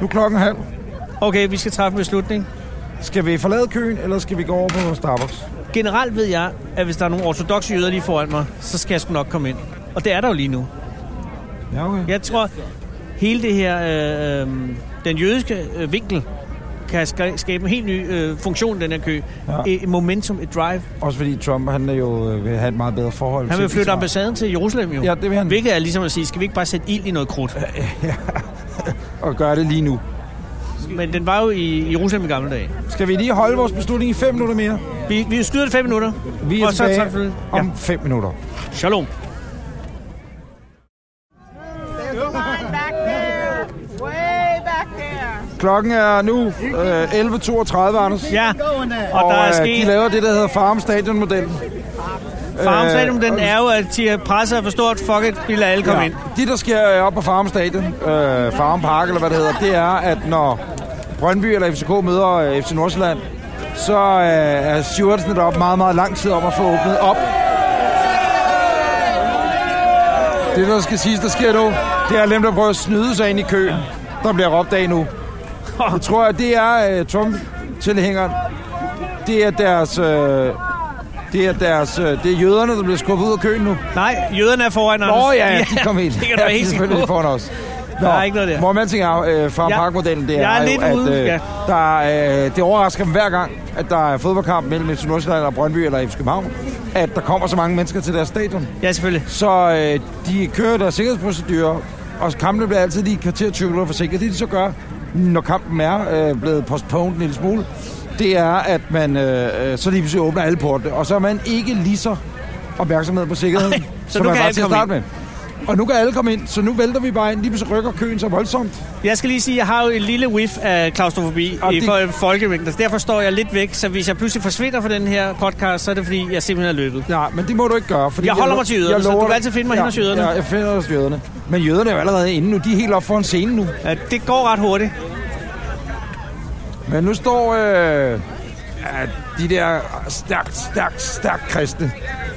Speaker 3: nu er klokken halv.
Speaker 2: Okay, vi skal træffe en beslutning.
Speaker 3: Skal vi forlade køen, eller skal vi gå over på Starbucks?
Speaker 2: Generelt ved jeg, at hvis der er nogle ortodoxe jøder lige foran mig, så skal jeg sgu nok komme ind. Og det er der jo lige nu.
Speaker 3: Ja, okay.
Speaker 2: Jeg tror, hele det her, øh, øh, den jødiske øh, vinkel, kan ska- skabe en helt ny øh, funktion, i den her kø.
Speaker 3: Ja.
Speaker 2: Ja. Et momentum, et drive.
Speaker 3: Også fordi Trump, han er jo øh, vil have et meget bedre forhold.
Speaker 2: Han
Speaker 3: til
Speaker 2: vil flytte
Speaker 3: Israel.
Speaker 2: ambassaden til Jerusalem jo.
Speaker 3: Ja, det vil han.
Speaker 2: Hvilket er ligesom at sige, skal vi ikke bare sætte ild i noget krudt?
Speaker 3: Og gøre det lige nu.
Speaker 2: Men den var jo i Jerusalem i gamle dage.
Speaker 3: Skal vi lige holde vores beslutning i 5 minutter mere?
Speaker 2: Vi, vi skyder det fem minutter.
Speaker 3: Vi er
Speaker 2: og så
Speaker 3: tilbage
Speaker 2: træffer vi-
Speaker 3: om 5 minutter.
Speaker 2: Ja. Shalom.
Speaker 5: There's a line back there, way back there.
Speaker 3: Klokken er nu øh, 11.32, Anders.
Speaker 2: Ja, og,
Speaker 3: Og
Speaker 2: der er
Speaker 3: øh, de
Speaker 2: sket...
Speaker 3: laver det, der hedder Farm Stadion-modellen.
Speaker 2: Farum
Speaker 3: Øh,
Speaker 2: Stadium, den
Speaker 3: og-
Speaker 2: er jo, at de er presset er for stort. Fuck it, vi lader alle komme ja. ind.
Speaker 3: Det, der sker øh, op på Farum Stadion, øh, Farum Park, eller hvad det hedder, det er, at når Brøndby eller FCK møder øh, FC Nordsjælland, så øh, er Stewartsen deroppe meget, meget lang tid om at få åbnet op. Det, der skal siges, der sker nu, det er at dem, der prøver at snyde sig ind i køen, der bliver råbt af nu. Jeg tror, at det er øh, Trump-tilhængeren. Det er deres... Øh, det er deres... Øh, det er jøderne, der bliver skubbet ud af køen nu.
Speaker 2: Nej, jøderne er foran, Anders.
Speaker 3: Nå ja, ja, de kom helt.
Speaker 2: (laughs) Det kan du
Speaker 3: Ja,
Speaker 2: være helt sikker
Speaker 3: selvfølgelig
Speaker 2: på.
Speaker 3: foran os. Nå,
Speaker 2: Der er ikke noget der.
Speaker 3: Hvor man tænker, øh, fra
Speaker 2: Ja.
Speaker 3: ja. parkmodellen, det er,
Speaker 2: Jeg er
Speaker 3: jo,
Speaker 2: lidt
Speaker 3: at
Speaker 2: ude,
Speaker 3: øh,
Speaker 2: ja.
Speaker 3: der, er, øh, det overrasker dem hver gang, at der er fodboldkamp mellem FC Nordsjælland og Brøndby eller FC København, at der kommer så mange mennesker til deres stadion.
Speaker 2: Ja, selvfølgelig.
Speaker 3: Så øh, de kører deres sikkerhedsprocedurer, og kampene bliver altid lige et kvarter 20 minutter forsinket. Det de så gør, når kampen er øh, blevet postponed en lille smule, det er, at man øh, øh, så lige pludselig åbner alle portene, og så er man ikke lige så opmærksomhed på sikkerheden,
Speaker 2: Ej, så
Speaker 3: som
Speaker 2: nu
Speaker 3: man
Speaker 2: kan
Speaker 3: var
Speaker 2: alle
Speaker 3: til at
Speaker 2: komme
Speaker 3: starte med. Og nu kan alle komme ind, så nu vælter vi bare ind. Lige pludselig rykker køen så voldsomt.
Speaker 2: Jeg skal lige sige, at jeg har jo en lille whiff af klaustrofobi
Speaker 3: Og
Speaker 2: i
Speaker 3: det-
Speaker 2: det... folkemængder. så Derfor står jeg lidt væk, så hvis jeg pludselig forsvinder fra den her podcast, så er det fordi, jeg simpelthen er løbet.
Speaker 3: Ja, men det må du ikke gøre. Fordi
Speaker 2: Jeg holder mig
Speaker 3: lo-
Speaker 2: til jøderne, så
Speaker 3: lover
Speaker 2: du kan
Speaker 3: dig-
Speaker 2: altid finde mig hen hos jøderne.
Speaker 3: Ja, jeg finder hos jøderne. Men jøderne er jo allerede inde nu. De er helt op foran scenen nu.
Speaker 2: Ja, det går ret hurtigt.
Speaker 3: Men nu står øh, ja, de der stærkt, stærkt, stærkt kristne.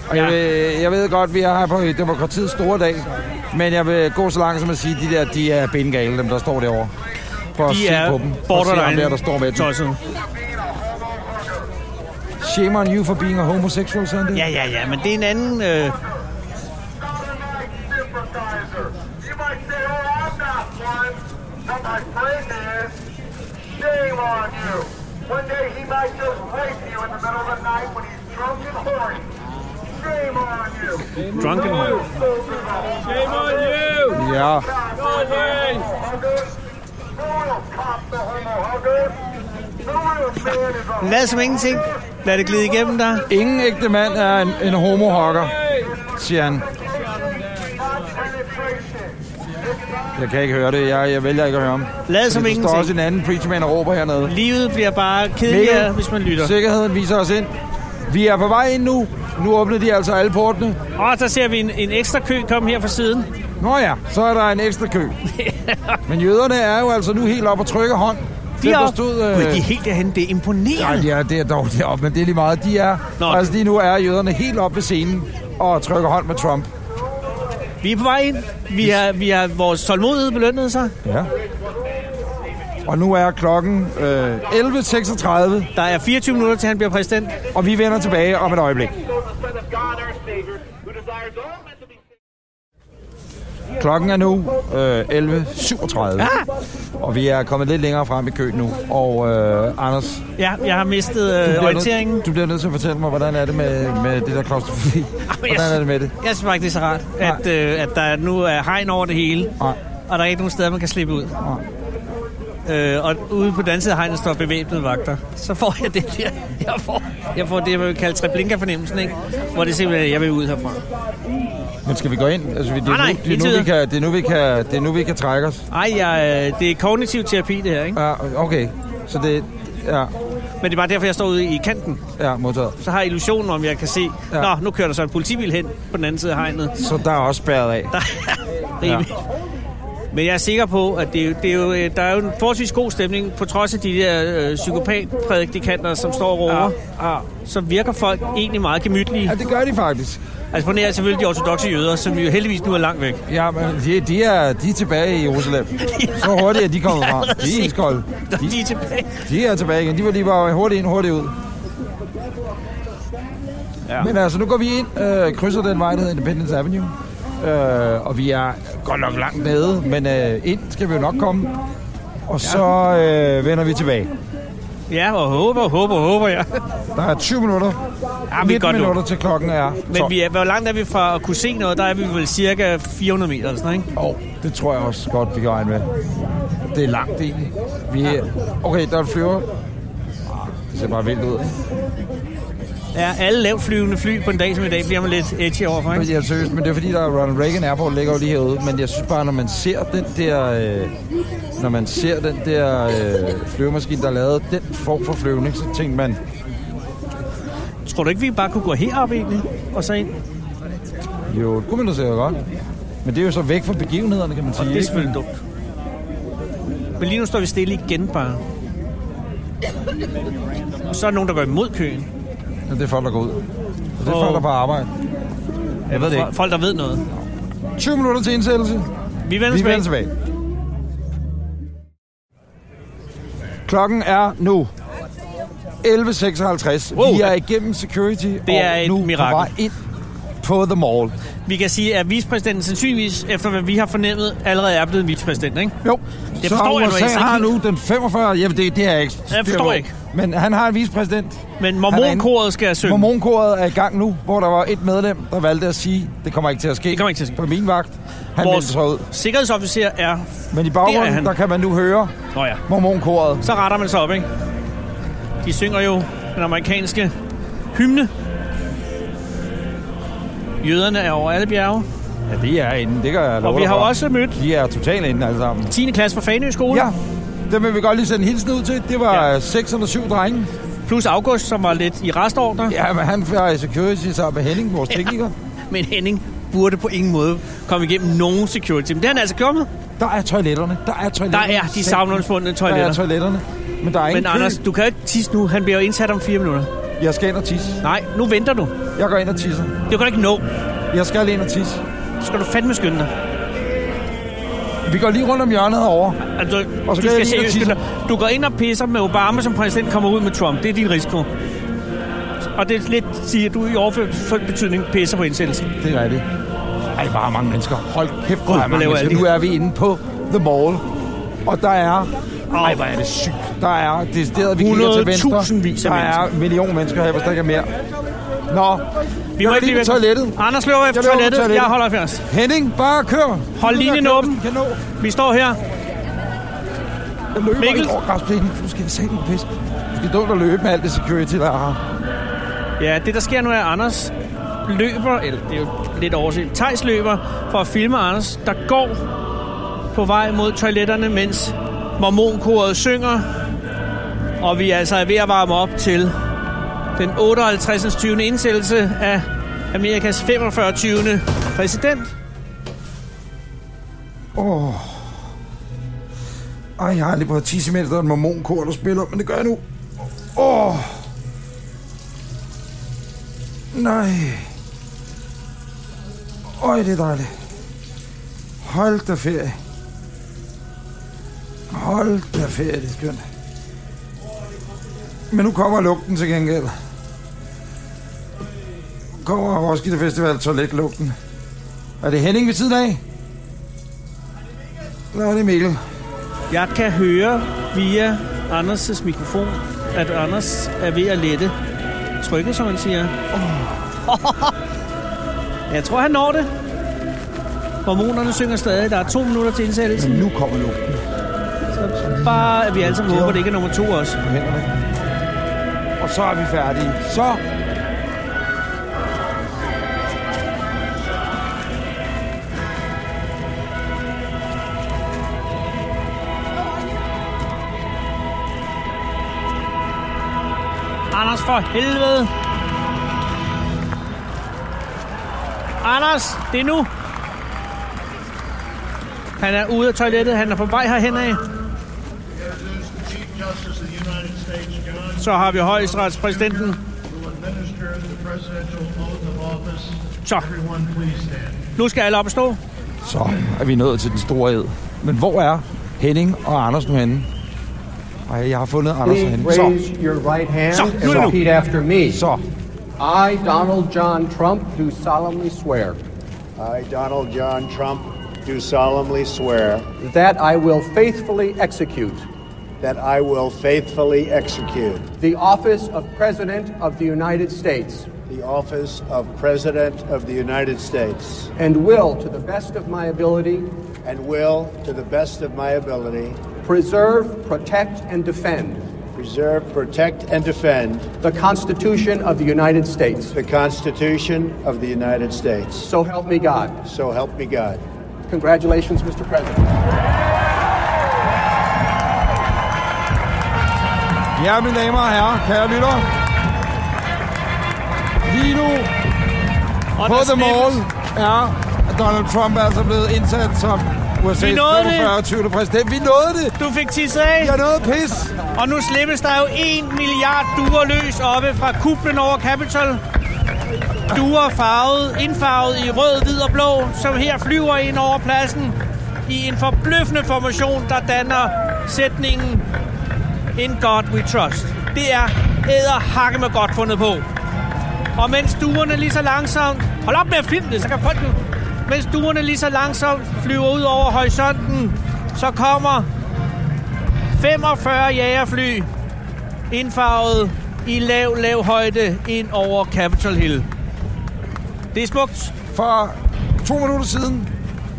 Speaker 3: Og jeg,
Speaker 2: Ja.
Speaker 3: ved, jeg ved godt, vi er her på demokratiets store dag, men jeg vil gå så langt som at sige, at de der de er bengale, dem der står derovre. Prøv at
Speaker 2: De
Speaker 3: se på
Speaker 2: er
Speaker 3: dem. Prøv at se ham
Speaker 2: borderline.
Speaker 3: der, der står med dem.
Speaker 2: tossede.
Speaker 3: Shame on you for being a homosexual, sådan det.
Speaker 2: Ja, ja, ja, men det er en anden... Øh...
Speaker 7: You might say, oh, I'm not one, but my friend is. Shame on you. One day he might just rape you in the middle of the night when he's drunk and horny. Shame on you.
Speaker 2: Drunk and horny.
Speaker 7: Shame on you.
Speaker 3: ja.
Speaker 7: Who will cop the homo huggers? The real man is a
Speaker 2: Lad som ingenting. Lad det glide igennem der.
Speaker 3: Ingen ægte mand er en, en homohokker, siger han.
Speaker 7: not penetration.
Speaker 3: Jeg kan ikke høre det. Jeg, jeg vælger ikke at høre ham.
Speaker 2: Lad som
Speaker 3: Fordi Der står også
Speaker 2: ingenting.
Speaker 3: en anden preacher man og råber hernede.
Speaker 2: Livet bliver bare kedeligere,
Speaker 3: Mikkel,
Speaker 2: hvis man lytter.
Speaker 3: Sikkerheden viser os ind. Vi er på vej ind nu. Nu åbner de altså alle portene.
Speaker 2: Og der ser vi en, en ekstra kø komme her fra siden.
Speaker 3: Nå ja, så er der en ekstra
Speaker 2: (laughs)
Speaker 3: kø. Men jøderne er jo altså nu helt op og trykker hånd.
Speaker 2: De er,
Speaker 3: der
Speaker 2: op...
Speaker 3: stod, øh,
Speaker 2: Gud, de er helt derhen. Det er
Speaker 3: Nej,
Speaker 2: imponerende.
Speaker 3: de er, det er dog deroppe, men det er lige meget. De er,
Speaker 2: Nå.
Speaker 3: Nå. altså lige nu er jøderne helt oppe ved scenen og trykker hånd med Trump.
Speaker 2: Vi er på vej ind. Vi har, vi har vores tålmodighed belønnet sig.
Speaker 3: Ja. Og nu er klokken øh, 11.36,
Speaker 2: Der er 24 minutter, til han bliver præsident.
Speaker 3: og vi vender tilbage om et øjeblik.
Speaker 7: So the Son of God, our Savior, who desires all men to be
Speaker 3: Klokken er nu øh, 11.37, og vi er kommet lidt længere frem i køen nu. Og øh, Anders,
Speaker 2: Ja, jeg har mistet
Speaker 3: Du
Speaker 2: øh,
Speaker 3: bliver
Speaker 2: orienteringen.
Speaker 3: Nødt, du bliver nødt til at fortælle mig, hvordan er det med, med det der
Speaker 2: (laughs)
Speaker 3: klaustrofobi? Hvordan er det med det?
Speaker 2: Jeg synes faktisk, det er så rart, at, øh, at der nu er hegn over det hele.
Speaker 3: Nej.
Speaker 2: Og der er ikke nogen steder, man kan slippe ud. Øh, og ude på den anden side af hegnet står bevæbnede vagter. Så får jeg det der. Jeg får, jeg får det, man vil kalde treblinka-fornemmelsen, ikke? Hvor det simpelthen er, jeg vil ud herfra.
Speaker 3: Men skal vi gå ind? Altså, vi- det, er
Speaker 2: Nej, Ah, nej,
Speaker 3: nu, det, er
Speaker 2: ikke
Speaker 3: nu, vi
Speaker 2: videre.
Speaker 3: kan, det, er nu, vi kan, det er nu, vi kan trække os.
Speaker 2: Ej, jeg, øh, det er kognitiv terapi, det her, ikke?
Speaker 3: Ja, okay. Så det ja,
Speaker 2: Men det er bare derfor, jeg står ude i kanten.
Speaker 3: ja, modtaget.
Speaker 2: Så har jeg illusionen om, jeg kan se, ja.
Speaker 3: Ja.
Speaker 2: nå, nu kører der så en politibil hen på den anden side af hegnet.
Speaker 3: Så der er også spærret af.
Speaker 2: Der er rimeligt. Ja. Men jeg er sikker på, at det, er jo- det er jo, øh, der er jo en forholdsvis god stemning, på trods af de der øh, psykopatprædikanter, som står og råber.
Speaker 3: Ja.
Speaker 2: Så virker folk egentlig meget gemytlige.
Speaker 3: Ja, det gør de faktisk.
Speaker 2: Altså på nær selvfølgelig de ortodoxe jøder, som jo heldigvis nu er langt væk. (laughs)
Speaker 3: Ja, men de, de, er, de er tilbage i Jerusalem. Så hurtigt er de kommet fra. De er iskolde.
Speaker 2: Der er de tilbage.
Speaker 3: De er tilbage igen. De var lige bare hurtigt ind, hurtigt ud.
Speaker 2: Ja.
Speaker 3: Ja. Men altså, nu går vi ind, øh, krydser den vej, der hedder Independence Avenue. Øh, og vi er godt nok langt nede, men øh, ind skal vi jo nok komme. Og så øh, vender vi tilbage.
Speaker 2: Ja, og håber, håber, håber, ja.
Speaker 3: Der er 20 minutter.
Speaker 2: ja vi er
Speaker 3: 19
Speaker 2: godt nu.
Speaker 3: minutter til klokken er
Speaker 2: Men vi er, hvor langt er vi fra at kunne se noget? Der er vi vel cirka 400 meter eller sådan noget, ikke?
Speaker 3: Oh, det tror jeg også godt, vi kan regne med. Det er langt egentlig. Vi er... Okay, der er en flyver. Ah, Det ser bare vildt ud.
Speaker 2: Ja, alle lavt flyvende fly på en dag som i dag bliver man lidt edgy overfor, ikke?
Speaker 3: Men jeg seriøst, men det er fordi, der er Ronald Reagan Airport ligger jo lige herude. Men jeg synes bare, når man ser den der... Øh, når man ser den der øh, flyvemaskine, der er lavet den form for flyvning, så tænker man,
Speaker 2: Tror du ikke, vi bare kunne gå herop egentlig? Og så ind?
Speaker 3: Jo, det kunne man da sikkert godt. Men det er jo så væk fra begivenhederne, kan man sige.
Speaker 2: Det er
Speaker 3: ikke?
Speaker 2: selvfølgelig dumt. Men lige nu står vi stille igen bare. Og så er der nogen, der går imod køen.
Speaker 3: Ja, det er folk, der går ud. Og det er
Speaker 2: Åh.
Speaker 3: folk, der er på arbejde. Jeg ved det ikke.
Speaker 2: Folk, der ved noget.
Speaker 3: 20 minutter til indsættelse.
Speaker 2: Vi vender
Speaker 3: Vi vender
Speaker 2: tilbage.
Speaker 3: tilbage. Klokken er nu 11.56.
Speaker 2: Wow.
Speaker 3: Vi er igennem security og
Speaker 2: er et
Speaker 3: nu
Speaker 2: mirakel.
Speaker 3: på vej ind på The Mall.
Speaker 2: Vi kan sige, at vicepræsidenten sandsynligvis, efter hvad vi har fornemmet, allerede er blevet en vicepræsident, ikke?
Speaker 3: Jo,
Speaker 2: Det
Speaker 3: så
Speaker 2: forstår jeg nu
Speaker 3: USA
Speaker 2: ikke.
Speaker 3: har nu den 45... Jamen, det, det er jeg ikke. styr
Speaker 2: forstår
Speaker 3: på.
Speaker 2: ikke.
Speaker 3: Men han har en vicepræsident.
Speaker 2: Men
Speaker 3: Han er
Speaker 2: mormonkoret skal synge. Mormon.
Speaker 3: Mormonkoret er i gang nu, hvor der var et medlem, der valgte at sige, det kommer ikke til at ske. Det
Speaker 2: kommer ikke til at ske.
Speaker 3: På min vagt. Han Vores...
Speaker 2: Vores
Speaker 3: meldte sig ud.
Speaker 2: sikkerhedsofficer er...
Speaker 3: Men i
Speaker 2: Det er
Speaker 3: baggrunden,
Speaker 2: han.
Speaker 3: der kan man nu høre
Speaker 2: Nå ja,
Speaker 3: mormonkoret.
Speaker 2: så retter man sig op, ikke? De synger jo den amerikanske hymne. Jøderne er over alle bjerge.
Speaker 3: Ja, det er inden. Det kan jeg love
Speaker 2: Og vi
Speaker 3: dig
Speaker 2: har
Speaker 3: for.
Speaker 2: også mødt
Speaker 3: De er totalt inde alle sammen.
Speaker 2: 10. klasse fra Fanø skole.
Speaker 3: Ja, dem vil vi godt lige sende en hilsen ud til. Det var ja. 6 eller 7 drenge.
Speaker 2: Plus August, som var lidt i restordner.
Speaker 3: Ja, men han var i security sammen med Henning, vores tekniker.
Speaker 2: Men Henning burde på ingen måde komme igennem nogen security. Men det er han altså kommet.
Speaker 3: Der er toiletterne. Der er toiletterne.
Speaker 2: Der er de savnomspundne
Speaker 3: Der er
Speaker 2: toiletter.
Speaker 3: toiletterne. Men der er ingen
Speaker 2: Men
Speaker 3: kø.
Speaker 2: Anders, du kan jo ikke tisse nu. Han bliver jo indsat om fire minutter.
Speaker 3: Jeg skal ind og tisse.
Speaker 2: Nej, nu venter du.
Speaker 3: Jeg går ind og tisser.
Speaker 2: Det kan du ikke nå.
Speaker 3: Jeg skal ind og tisse.
Speaker 2: Så skal du fandme skynde dig.
Speaker 3: Vi går lige rundt om hjørnet herovre.
Speaker 2: Altså,
Speaker 3: Og
Speaker 2: og
Speaker 3: så
Speaker 2: så
Speaker 3: kan
Speaker 2: du skal
Speaker 3: jeg lige
Speaker 2: seriøst
Speaker 3: tisse.
Speaker 2: skynde dig. Du går ind og pisser med Obama som præsident, kommer ud med Trump. Det er din risiko. Og det er lidt, siger du i overført betydning, pisser på indsættelsen.
Speaker 3: Det er rigtigt. Ej, hvor er mange mennesker. Hold kæft,
Speaker 2: Gud,
Speaker 3: hvor er
Speaker 2: hvor
Speaker 3: mange
Speaker 2: laver
Speaker 3: mennesker.
Speaker 2: alle
Speaker 3: Nu
Speaker 2: de
Speaker 3: er vi inde på The Mall. Og der er... Ej, hvor er det sygt. Der er decideret, vi kigger til venstre.
Speaker 2: 100.000 af
Speaker 3: Der er en million mennesker her, hvis der ikke er mere. Nå,
Speaker 2: Vi må
Speaker 3: Jeg
Speaker 2: ikke
Speaker 3: lige
Speaker 2: blive
Speaker 3: ved toilettet.
Speaker 2: Anders løber efter
Speaker 3: Jeg løber ved
Speaker 2: toilettet.
Speaker 3: toilettet.
Speaker 2: Jeg holder fast.
Speaker 3: Henning, bare kør.
Speaker 2: Hold linjen
Speaker 3: Kør,
Speaker 2: åben.
Speaker 3: hvis du Kan nå.
Speaker 2: Vi står her.
Speaker 3: Jeg løber
Speaker 2: Mikkel.
Speaker 3: ikke over græsplænen. Nu skal vi se den pis. Det er dumt at løbe med alt det security, der er her.
Speaker 2: Ja, det der sker nu er, at Anders løber, eller det er jo lidt overset, Tejs løber for at filme Anders, der går på vej mod toiletterne, mens mormonkoret synger. Og vi er altså ved at varme op til den 58. 20. indsættelse af Amerikas 45. 20. præsident.
Speaker 3: Åh. Ej, jeg har aldrig prøvet at tisse, mens der er en mormonkor, der spiller, men det gør jeg nu. Åh. Nej. Øj, det er dejligt. Hold da ferie. Hold da ferie, det er skønt. Men nu kommer lugten til gengæld. Nu kommer Roskilde Festival toiletlugten. Er det Henning ved siden af? Nå, det er Mikkel.
Speaker 2: Jeg kan høre via Anders' mikrofon, at Anders er ved at lette trykket, som han siger. Oh. Jeg tror, han når det. Hormonerne synger stadig. Der er to minutter til indsættelsen.
Speaker 3: Nu kommer lugten
Speaker 2: Bare at vi alle sammen håber, det ikke er nummer to også.
Speaker 3: på hænderne. Og så er vi færdige. Så...
Speaker 2: Anders, for helvede! Anders, det er nu! Han er ude af toilettet. Han er på vej herhen af.
Speaker 8: Chief Justice of the United States, John,
Speaker 2: Så har vi højesteretspræsidenten.
Speaker 8: will administer the presidential oath of office.
Speaker 2: Så,
Speaker 8: Everyone, please stand.
Speaker 2: nu skal alle op og stå.
Speaker 3: Så er vi nået til den store ed. Men hvor er Henning og Anders nu henne? Ej, jeg har fundet Anders og
Speaker 9: Please
Speaker 3: Henning.
Speaker 9: raise
Speaker 3: Så,
Speaker 9: your right hand
Speaker 2: So,
Speaker 9: and
Speaker 2: no, no, no.
Speaker 9: repeat after me.
Speaker 3: så.
Speaker 9: I, Donald John Trump, do solemnly swear
Speaker 8: I, Donald John Trump, do solemnly swear
Speaker 9: that I will faithfully execute
Speaker 8: that I will faithfully execute
Speaker 9: the office of President of the United States
Speaker 8: the office of President of the United States
Speaker 9: and will, to the best of my ability,
Speaker 8: and will, to the best of my ability,
Speaker 9: preserve, protect, and defend
Speaker 8: preserve, protect, and defend
Speaker 9: the Constitution of the United States.
Speaker 8: the Constitution of the United States.
Speaker 9: So help me God.
Speaker 8: So help me God.
Speaker 9: Congratulations, Mr. President.
Speaker 3: Ja, mine damer og herrer, kære lyttere. Lige nu
Speaker 2: Og der
Speaker 3: på The
Speaker 2: stemmes.
Speaker 3: Mall er Donald Trump altså blevet indsat som
Speaker 2: Vi
Speaker 3: USA's
Speaker 2: nåede det.
Speaker 3: 45. 20. præsident. Vi nåede det!
Speaker 2: Du fik tisset af.
Speaker 3: Jeg nåede pis!
Speaker 2: Og nu slippes der jo en milliard duer løs oppe fra kuplen over Capitol. Duer farvet, indfarvet i rød, hvid og blå, som her flyver ind over pladsen i en forbløffende formation, der danner sætningen In God We Trust. Det er æderhakke med godt fundet på. Og mens duerne lige så langsomt... Hold op med at filme det, så kan folk nu... Mens duerne lige så langsomt flyver ud over horisonten, så kommer 45 jægerfly indfarvet i lav, lav højde ind over Capitol Hill. Det er smukt.
Speaker 3: For to minutter siden,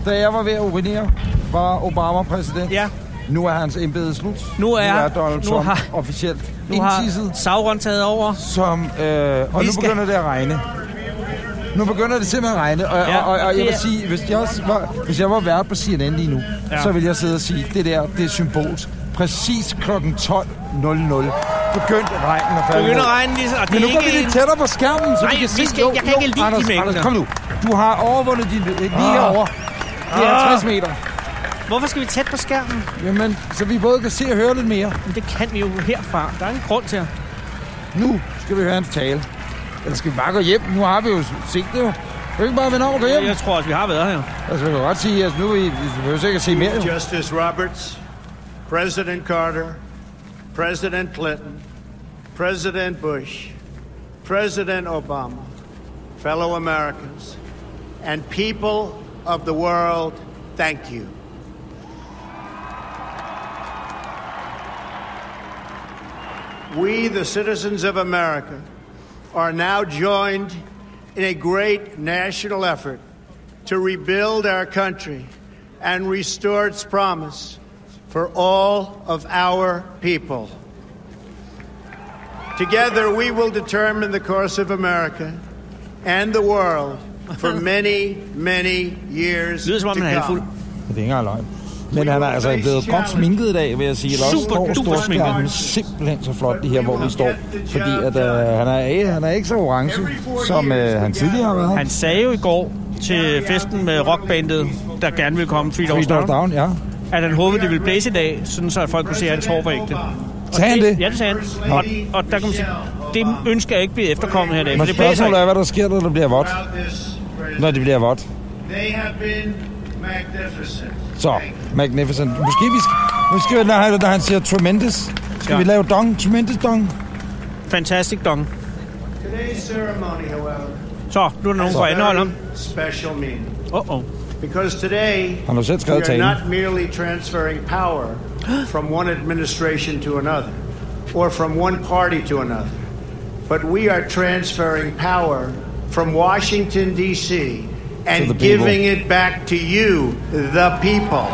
Speaker 3: da jeg var ved at urinere, var Obama præsident.
Speaker 2: Ja.
Speaker 3: Nu er hans embede slut.
Speaker 2: Nu er-
Speaker 3: nu er Donald
Speaker 2: nu
Speaker 3: Trump
Speaker 2: har-
Speaker 3: officielt
Speaker 2: Nu har
Speaker 3: indtisset.
Speaker 2: Sauron taget over.
Speaker 3: som... Øh, og
Speaker 2: Vi
Speaker 3: nu
Speaker 2: skal-
Speaker 3: begynder det at regne. Nu begynder det simpelthen at regne, og,
Speaker 2: Ja,
Speaker 3: ja, og, og,
Speaker 2: og
Speaker 3: og
Speaker 2: det
Speaker 3: jeg vil
Speaker 2: er-
Speaker 3: sige, hvis jeg, også var, hvis jeg var vært på CNN lige nu,
Speaker 2: Ja.
Speaker 3: ja. så ville jeg sidde og sige, det der, det er symbolt. Præcis kl. 12.00 begyndte regnen at falde.
Speaker 2: Begynder
Speaker 3: ned.
Speaker 2: regnen lige så... Og det
Speaker 3: Men nu
Speaker 2: er
Speaker 3: går vi
Speaker 2: ikke
Speaker 3: lidt
Speaker 2: en-
Speaker 3: tættere på skærmen, så
Speaker 2: Nej,
Speaker 3: vi kan
Speaker 2: vi
Speaker 3: se...
Speaker 2: skal- jeg kan ikke lide de
Speaker 3: Anders,
Speaker 2: mængder.
Speaker 3: Anders, kom nu. Du har overvundet din... øh, Lige herovre. Det er
Speaker 2: Ah.
Speaker 3: 50 meter.
Speaker 2: Hvorfor skal vi tæt på skærmen?
Speaker 3: Jamen, så vi både kan se og høre lidt mere.
Speaker 2: Men det kan vi jo herfra. Der er en grund til at...
Speaker 3: Nu skal vi høre hans tale. Eller skal vi bare gå hjem? Nu har vi jo set det jo. Kan vi ikke bare vende om og gå hjem?
Speaker 2: Jeg tror også, vi har været her.
Speaker 3: Altså, vi kan godt sige, at altså, nu er vi, vi behøver sikkert se mere. jo.
Speaker 8: Justice Roberts, President Carter, President Clinton, President Bush, President Obama, fellow Americans, and people of the world, thank you. We, the citizens of America, are now joined in a great national effort to rebuild our country and restore its promise for all of our people. Together, we will determine the course of America and the world
Speaker 2: (laughs)
Speaker 8: for many, many years
Speaker 2: Det lyder, som om
Speaker 8: to
Speaker 2: han er halvfuld.
Speaker 8: come.
Speaker 3: Det er ikke engang løgn. Men han er altså blevet godt sminket i dag, vil jeg sige. Eller også
Speaker 2: Super
Speaker 3: står
Speaker 2: duper
Speaker 3: storskærmen
Speaker 2: sminket.
Speaker 3: simpelthen så flot, det her, hvor vi står. Fordi at, øh, han, er, eh, han er ikke så orange, som øh, han tidligere har været.
Speaker 2: Han sagde jo i går til festen med rockbandet, der gerne ville komme Three Doors
Speaker 3: Three Doors
Speaker 2: Down,
Speaker 3: Down, ja.
Speaker 2: at han håbede, det ville blæse i dag, sådan så at folk kunne se, at hans hår var ægte.
Speaker 3: Sagde han det?
Speaker 2: Ja, det sagde han. Og, og der kan man sige, det ønsker jeg ikke bliver efterkommet her i dag. for
Speaker 3: Men
Speaker 2: det blæser
Speaker 3: spørgsmålet
Speaker 2: ikke.
Speaker 3: er, hvad der sker, når det bliver vådt.
Speaker 8: About this,
Speaker 3: Når det bliver vådt.
Speaker 8: they have been magnificent.
Speaker 3: Så, Magnificent. Måske vi skal... Måske, når han, når han siger tremendous, skal
Speaker 2: Ja.
Speaker 3: ja. vi lave dong, tremendous dong.
Speaker 2: Fantastic dong.
Speaker 8: Today's ceremony, however,
Speaker 2: Så, nu er der
Speaker 8: Altså,
Speaker 2: nogen fra anhold om.
Speaker 8: very special meaning.
Speaker 2: Åh, oh,
Speaker 8: Because today,
Speaker 3: Har du selv
Speaker 8: we
Speaker 3: skrevet
Speaker 8: are
Speaker 3: talen?
Speaker 8: not merely transferring power from one administration to another or from one party to another, but we are transferring power from Washington, D.C.
Speaker 3: the
Speaker 8: and
Speaker 3: people.
Speaker 8: giving it back to you, the people.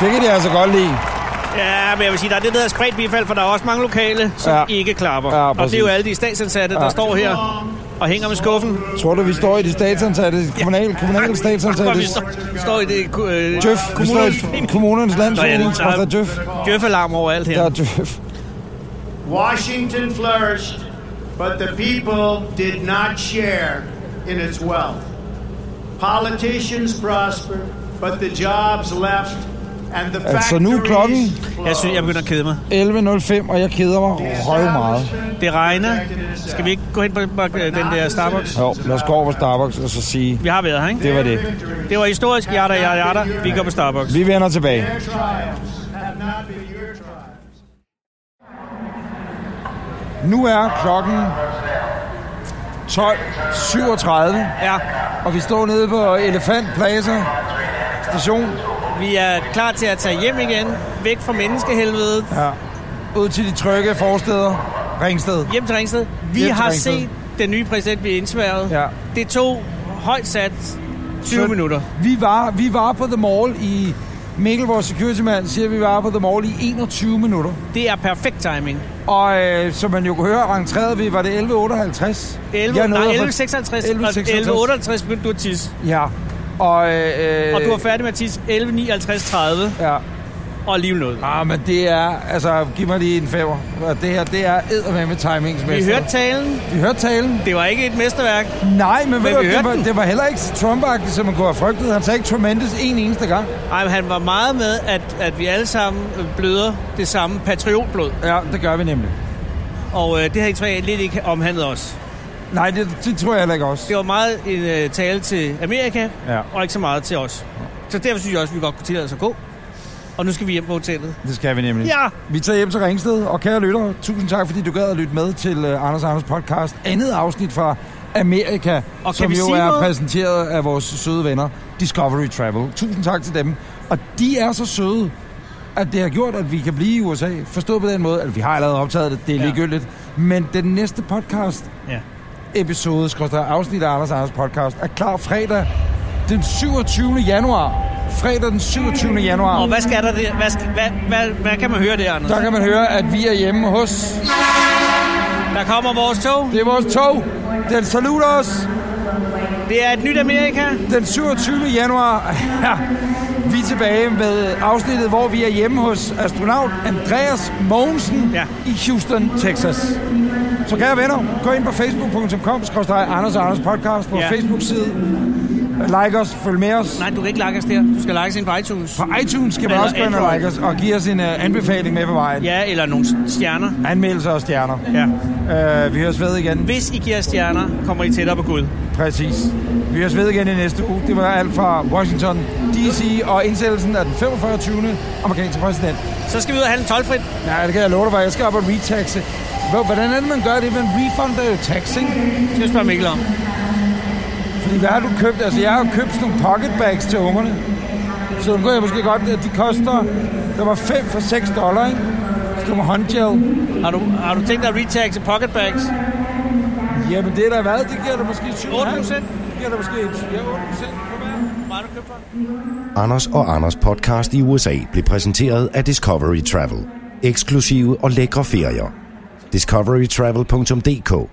Speaker 3: Det kan de altså godt lide.
Speaker 2: Ja, men jeg vil sige, der er det, der hedder spredt bifald, for der er også mange lokale, som ja.
Speaker 3: Ja.
Speaker 2: ikke klapper.
Speaker 3: Ja,
Speaker 2: og det er jo
Speaker 3: præcis.
Speaker 2: alle de statsansatte, der ja. står her og hænger med skuffen.
Speaker 3: Tror du, vi står i det statsansatte, kommunale, kommunale
Speaker 2: Hvor
Speaker 3: statsansatte?
Speaker 2: vi står, står i det... ku- Øh,
Speaker 3: Djøf, vi står i
Speaker 2: kommunens-
Speaker 3: kommunernes
Speaker 2: Nå, ja,
Speaker 3: landsforening,
Speaker 2: der
Speaker 3: tror der
Speaker 2: er
Speaker 3: er djøf.
Speaker 2: Djøf-alarm overalt her.
Speaker 3: Der er djøf.
Speaker 8: Washington flourished, but the people did not share in its wealth. Politicians prospered, but the jobs left and the
Speaker 3: Altså, nu er
Speaker 8: factories
Speaker 3: klokken-
Speaker 8: closed.
Speaker 2: Jeg synes, jeg begynder at kede mig.
Speaker 3: 11.05, og jeg keder mig røv meget.
Speaker 2: Det regner. Skal vi ikke gå hen på på, øh, den der Starbucks?
Speaker 3: Jo, lad os gå over på Starbucks og så sige,
Speaker 2: Vi har været her, ikke?
Speaker 3: det var det.
Speaker 2: Det var historisk. Yada, yada, yada. Vi går på Starbucks.
Speaker 3: Vi vender tilbage.
Speaker 8: Their trials have not been your trials.
Speaker 3: Nu er klokken 12.37,
Speaker 2: Ja,
Speaker 3: og vi står nede på Elefant Plaza station.
Speaker 2: vi er klar til at tage hjem igen. Væk fra menneskehelvedet.
Speaker 3: Ja. Ud til de trygge forsteder. Ringsted.
Speaker 2: Hjem til Ringsted. Vi
Speaker 3: Hjem til
Speaker 2: har
Speaker 3: Ringsted.
Speaker 2: set den nye præsident blive indsværget.
Speaker 3: Ja.
Speaker 2: Det tog højt sat 20
Speaker 3: Synd.
Speaker 2: minutter.
Speaker 3: Vi var, vi var på The Mall i... Mikkel, vores security-mand, siger, at vi var på The Mall i 21 minutter.
Speaker 2: Det er perfekt timing. 11,
Speaker 3: Og øh, som man jo kunne høre, rentrerede vi, var det 11.58? Jeg nåede
Speaker 2: nej,
Speaker 3: at få-
Speaker 2: 1156 og 1158 begyndte du at tisse.
Speaker 3: Ja. Og, øh,
Speaker 2: Og du var færdig med at tisse 1159 30.
Speaker 3: Ja.
Speaker 2: og alligevel noget.
Speaker 3: Ah, men det er, altså, giv mig lige en femmer. Og Det her, det er eddermame
Speaker 2: Vi
Speaker 3: timingsmester.
Speaker 2: hørte talen.
Speaker 3: vi hørte talen.
Speaker 2: Det var ikke et mesterværk.
Speaker 3: Nej, men, ved
Speaker 2: vi
Speaker 3: du, det,
Speaker 2: hørte
Speaker 3: var,
Speaker 2: den.
Speaker 3: det var heller ikke så trump som man kunne have frygtet. Han sagde ikke tremendous en eneste gang.
Speaker 2: Ej, men han var meget med, at, at vi alle sammen øh, bløder det samme patriotblod.
Speaker 3: Ja, det gør vi nemlig.
Speaker 2: Og øh, det har I tre lidt ikke omhandlet os.
Speaker 3: Nej, det, det tror jeg heller ikke også.
Speaker 2: Det var meget en øh, tale til Amerika,
Speaker 3: Ja.
Speaker 2: og ikke så meget til os. Så derfor synes jeg også, at vi godt kunne tillade os at gå. Og nu skal vi hjem på hotellet.
Speaker 3: Det skal vi nemlig.
Speaker 2: Ja!
Speaker 3: Vi tager hjem til Ringsted, og kære lyttere, tusind tak, fordi du gad at lytte med til øh, Anders Anders podcast. Andet afsnit fra Amerika,
Speaker 2: kan
Speaker 3: som
Speaker 2: vi
Speaker 3: jo
Speaker 2: sige
Speaker 3: er
Speaker 2: noget?
Speaker 3: præsenteret af vores søde venner, Discovery Travel. Tusind tak til dem. Og de er så søde, at det har gjort, at vi kan blive i USA. Forstået på den måde, at vi har allerede optaget det, det er
Speaker 2: Ja.
Speaker 3: ligegyldigt. Men den næste podcast
Speaker 2: ja.
Speaker 3: episode, skorstræk afsnit af Anders Anders podcast, er klar fredag den 27. januar. Fredag den 27. januar.
Speaker 2: Og hvad skal der det? Hvad, skal, hvad, hvad, hvad kan man høre der, Anders?
Speaker 3: Der kan man høre, at vi er hjemme hos...
Speaker 2: Der kommer vores tog.
Speaker 3: Det er vores tog. Den saluter os
Speaker 2: Det er et nyt Amerika.
Speaker 3: den 27. januar. (laughs) Ja, vi er tilbage med afsnittet, hvor vi er hjemme hos astronaut Andreas Mogensen ja.
Speaker 2: Ja.
Speaker 3: i Houston, Texas. Så kære venner, gå ind på facebook.com, Anders og Anders podcast på ja.
Speaker 2: Ja.
Speaker 3: Facebook-side. Like os, følg med os.
Speaker 2: Nej, du kan ikke like os der. Du skal like os ind på iTunes.
Speaker 3: På iTunes skal man
Speaker 2: Eller
Speaker 3: også gå ind og
Speaker 2: Android.
Speaker 3: like os og give os en uh, anbefaling med på vejen.
Speaker 2: Ja, eller nogle stjerner.
Speaker 3: Anmeldelser og stjerner.
Speaker 2: Ja.
Speaker 3: Uh, vi høres ved igen.
Speaker 2: Hvis I giver stjerner, kommer I tættere på Gud.
Speaker 3: Præcis. Vi høres ved igen i næste uge. Det var alt fra Washington D.C. og indsættelsen af den 45. amerikanske præsident.
Speaker 2: Så skal vi ud og have en tolvfrit.
Speaker 3: Ja, det kan jeg love dig, for jeg skal op og retaxe. Hvor- Hvordan er det, man gør det? Man refunder jo tax, ikke?
Speaker 2: Det skal jeg spørge Mikkel om.
Speaker 3: Fordi hvad har du købt? Altså, jeg har jo købt sådan nogle pocketbags til ungerne. Så nu kan jeg måske godt, at de koster... Der var 5 for 6 dollar, ikke? Sådan nogle håndgel.
Speaker 2: Har du, har du tænkt dig at retaxe pocketbags?
Speaker 3: Jamen det der har været, det giver dig måske 7,5.
Speaker 2: 8%?
Speaker 3: Det giver dig måske 7, ja, 8 procent.
Speaker 2: Meget du købt for?
Speaker 1: Anders og Anders podcast i USA blev præsenteret af Discovery Travel. Eksklusive og lækre ferier. discoverytravel.dk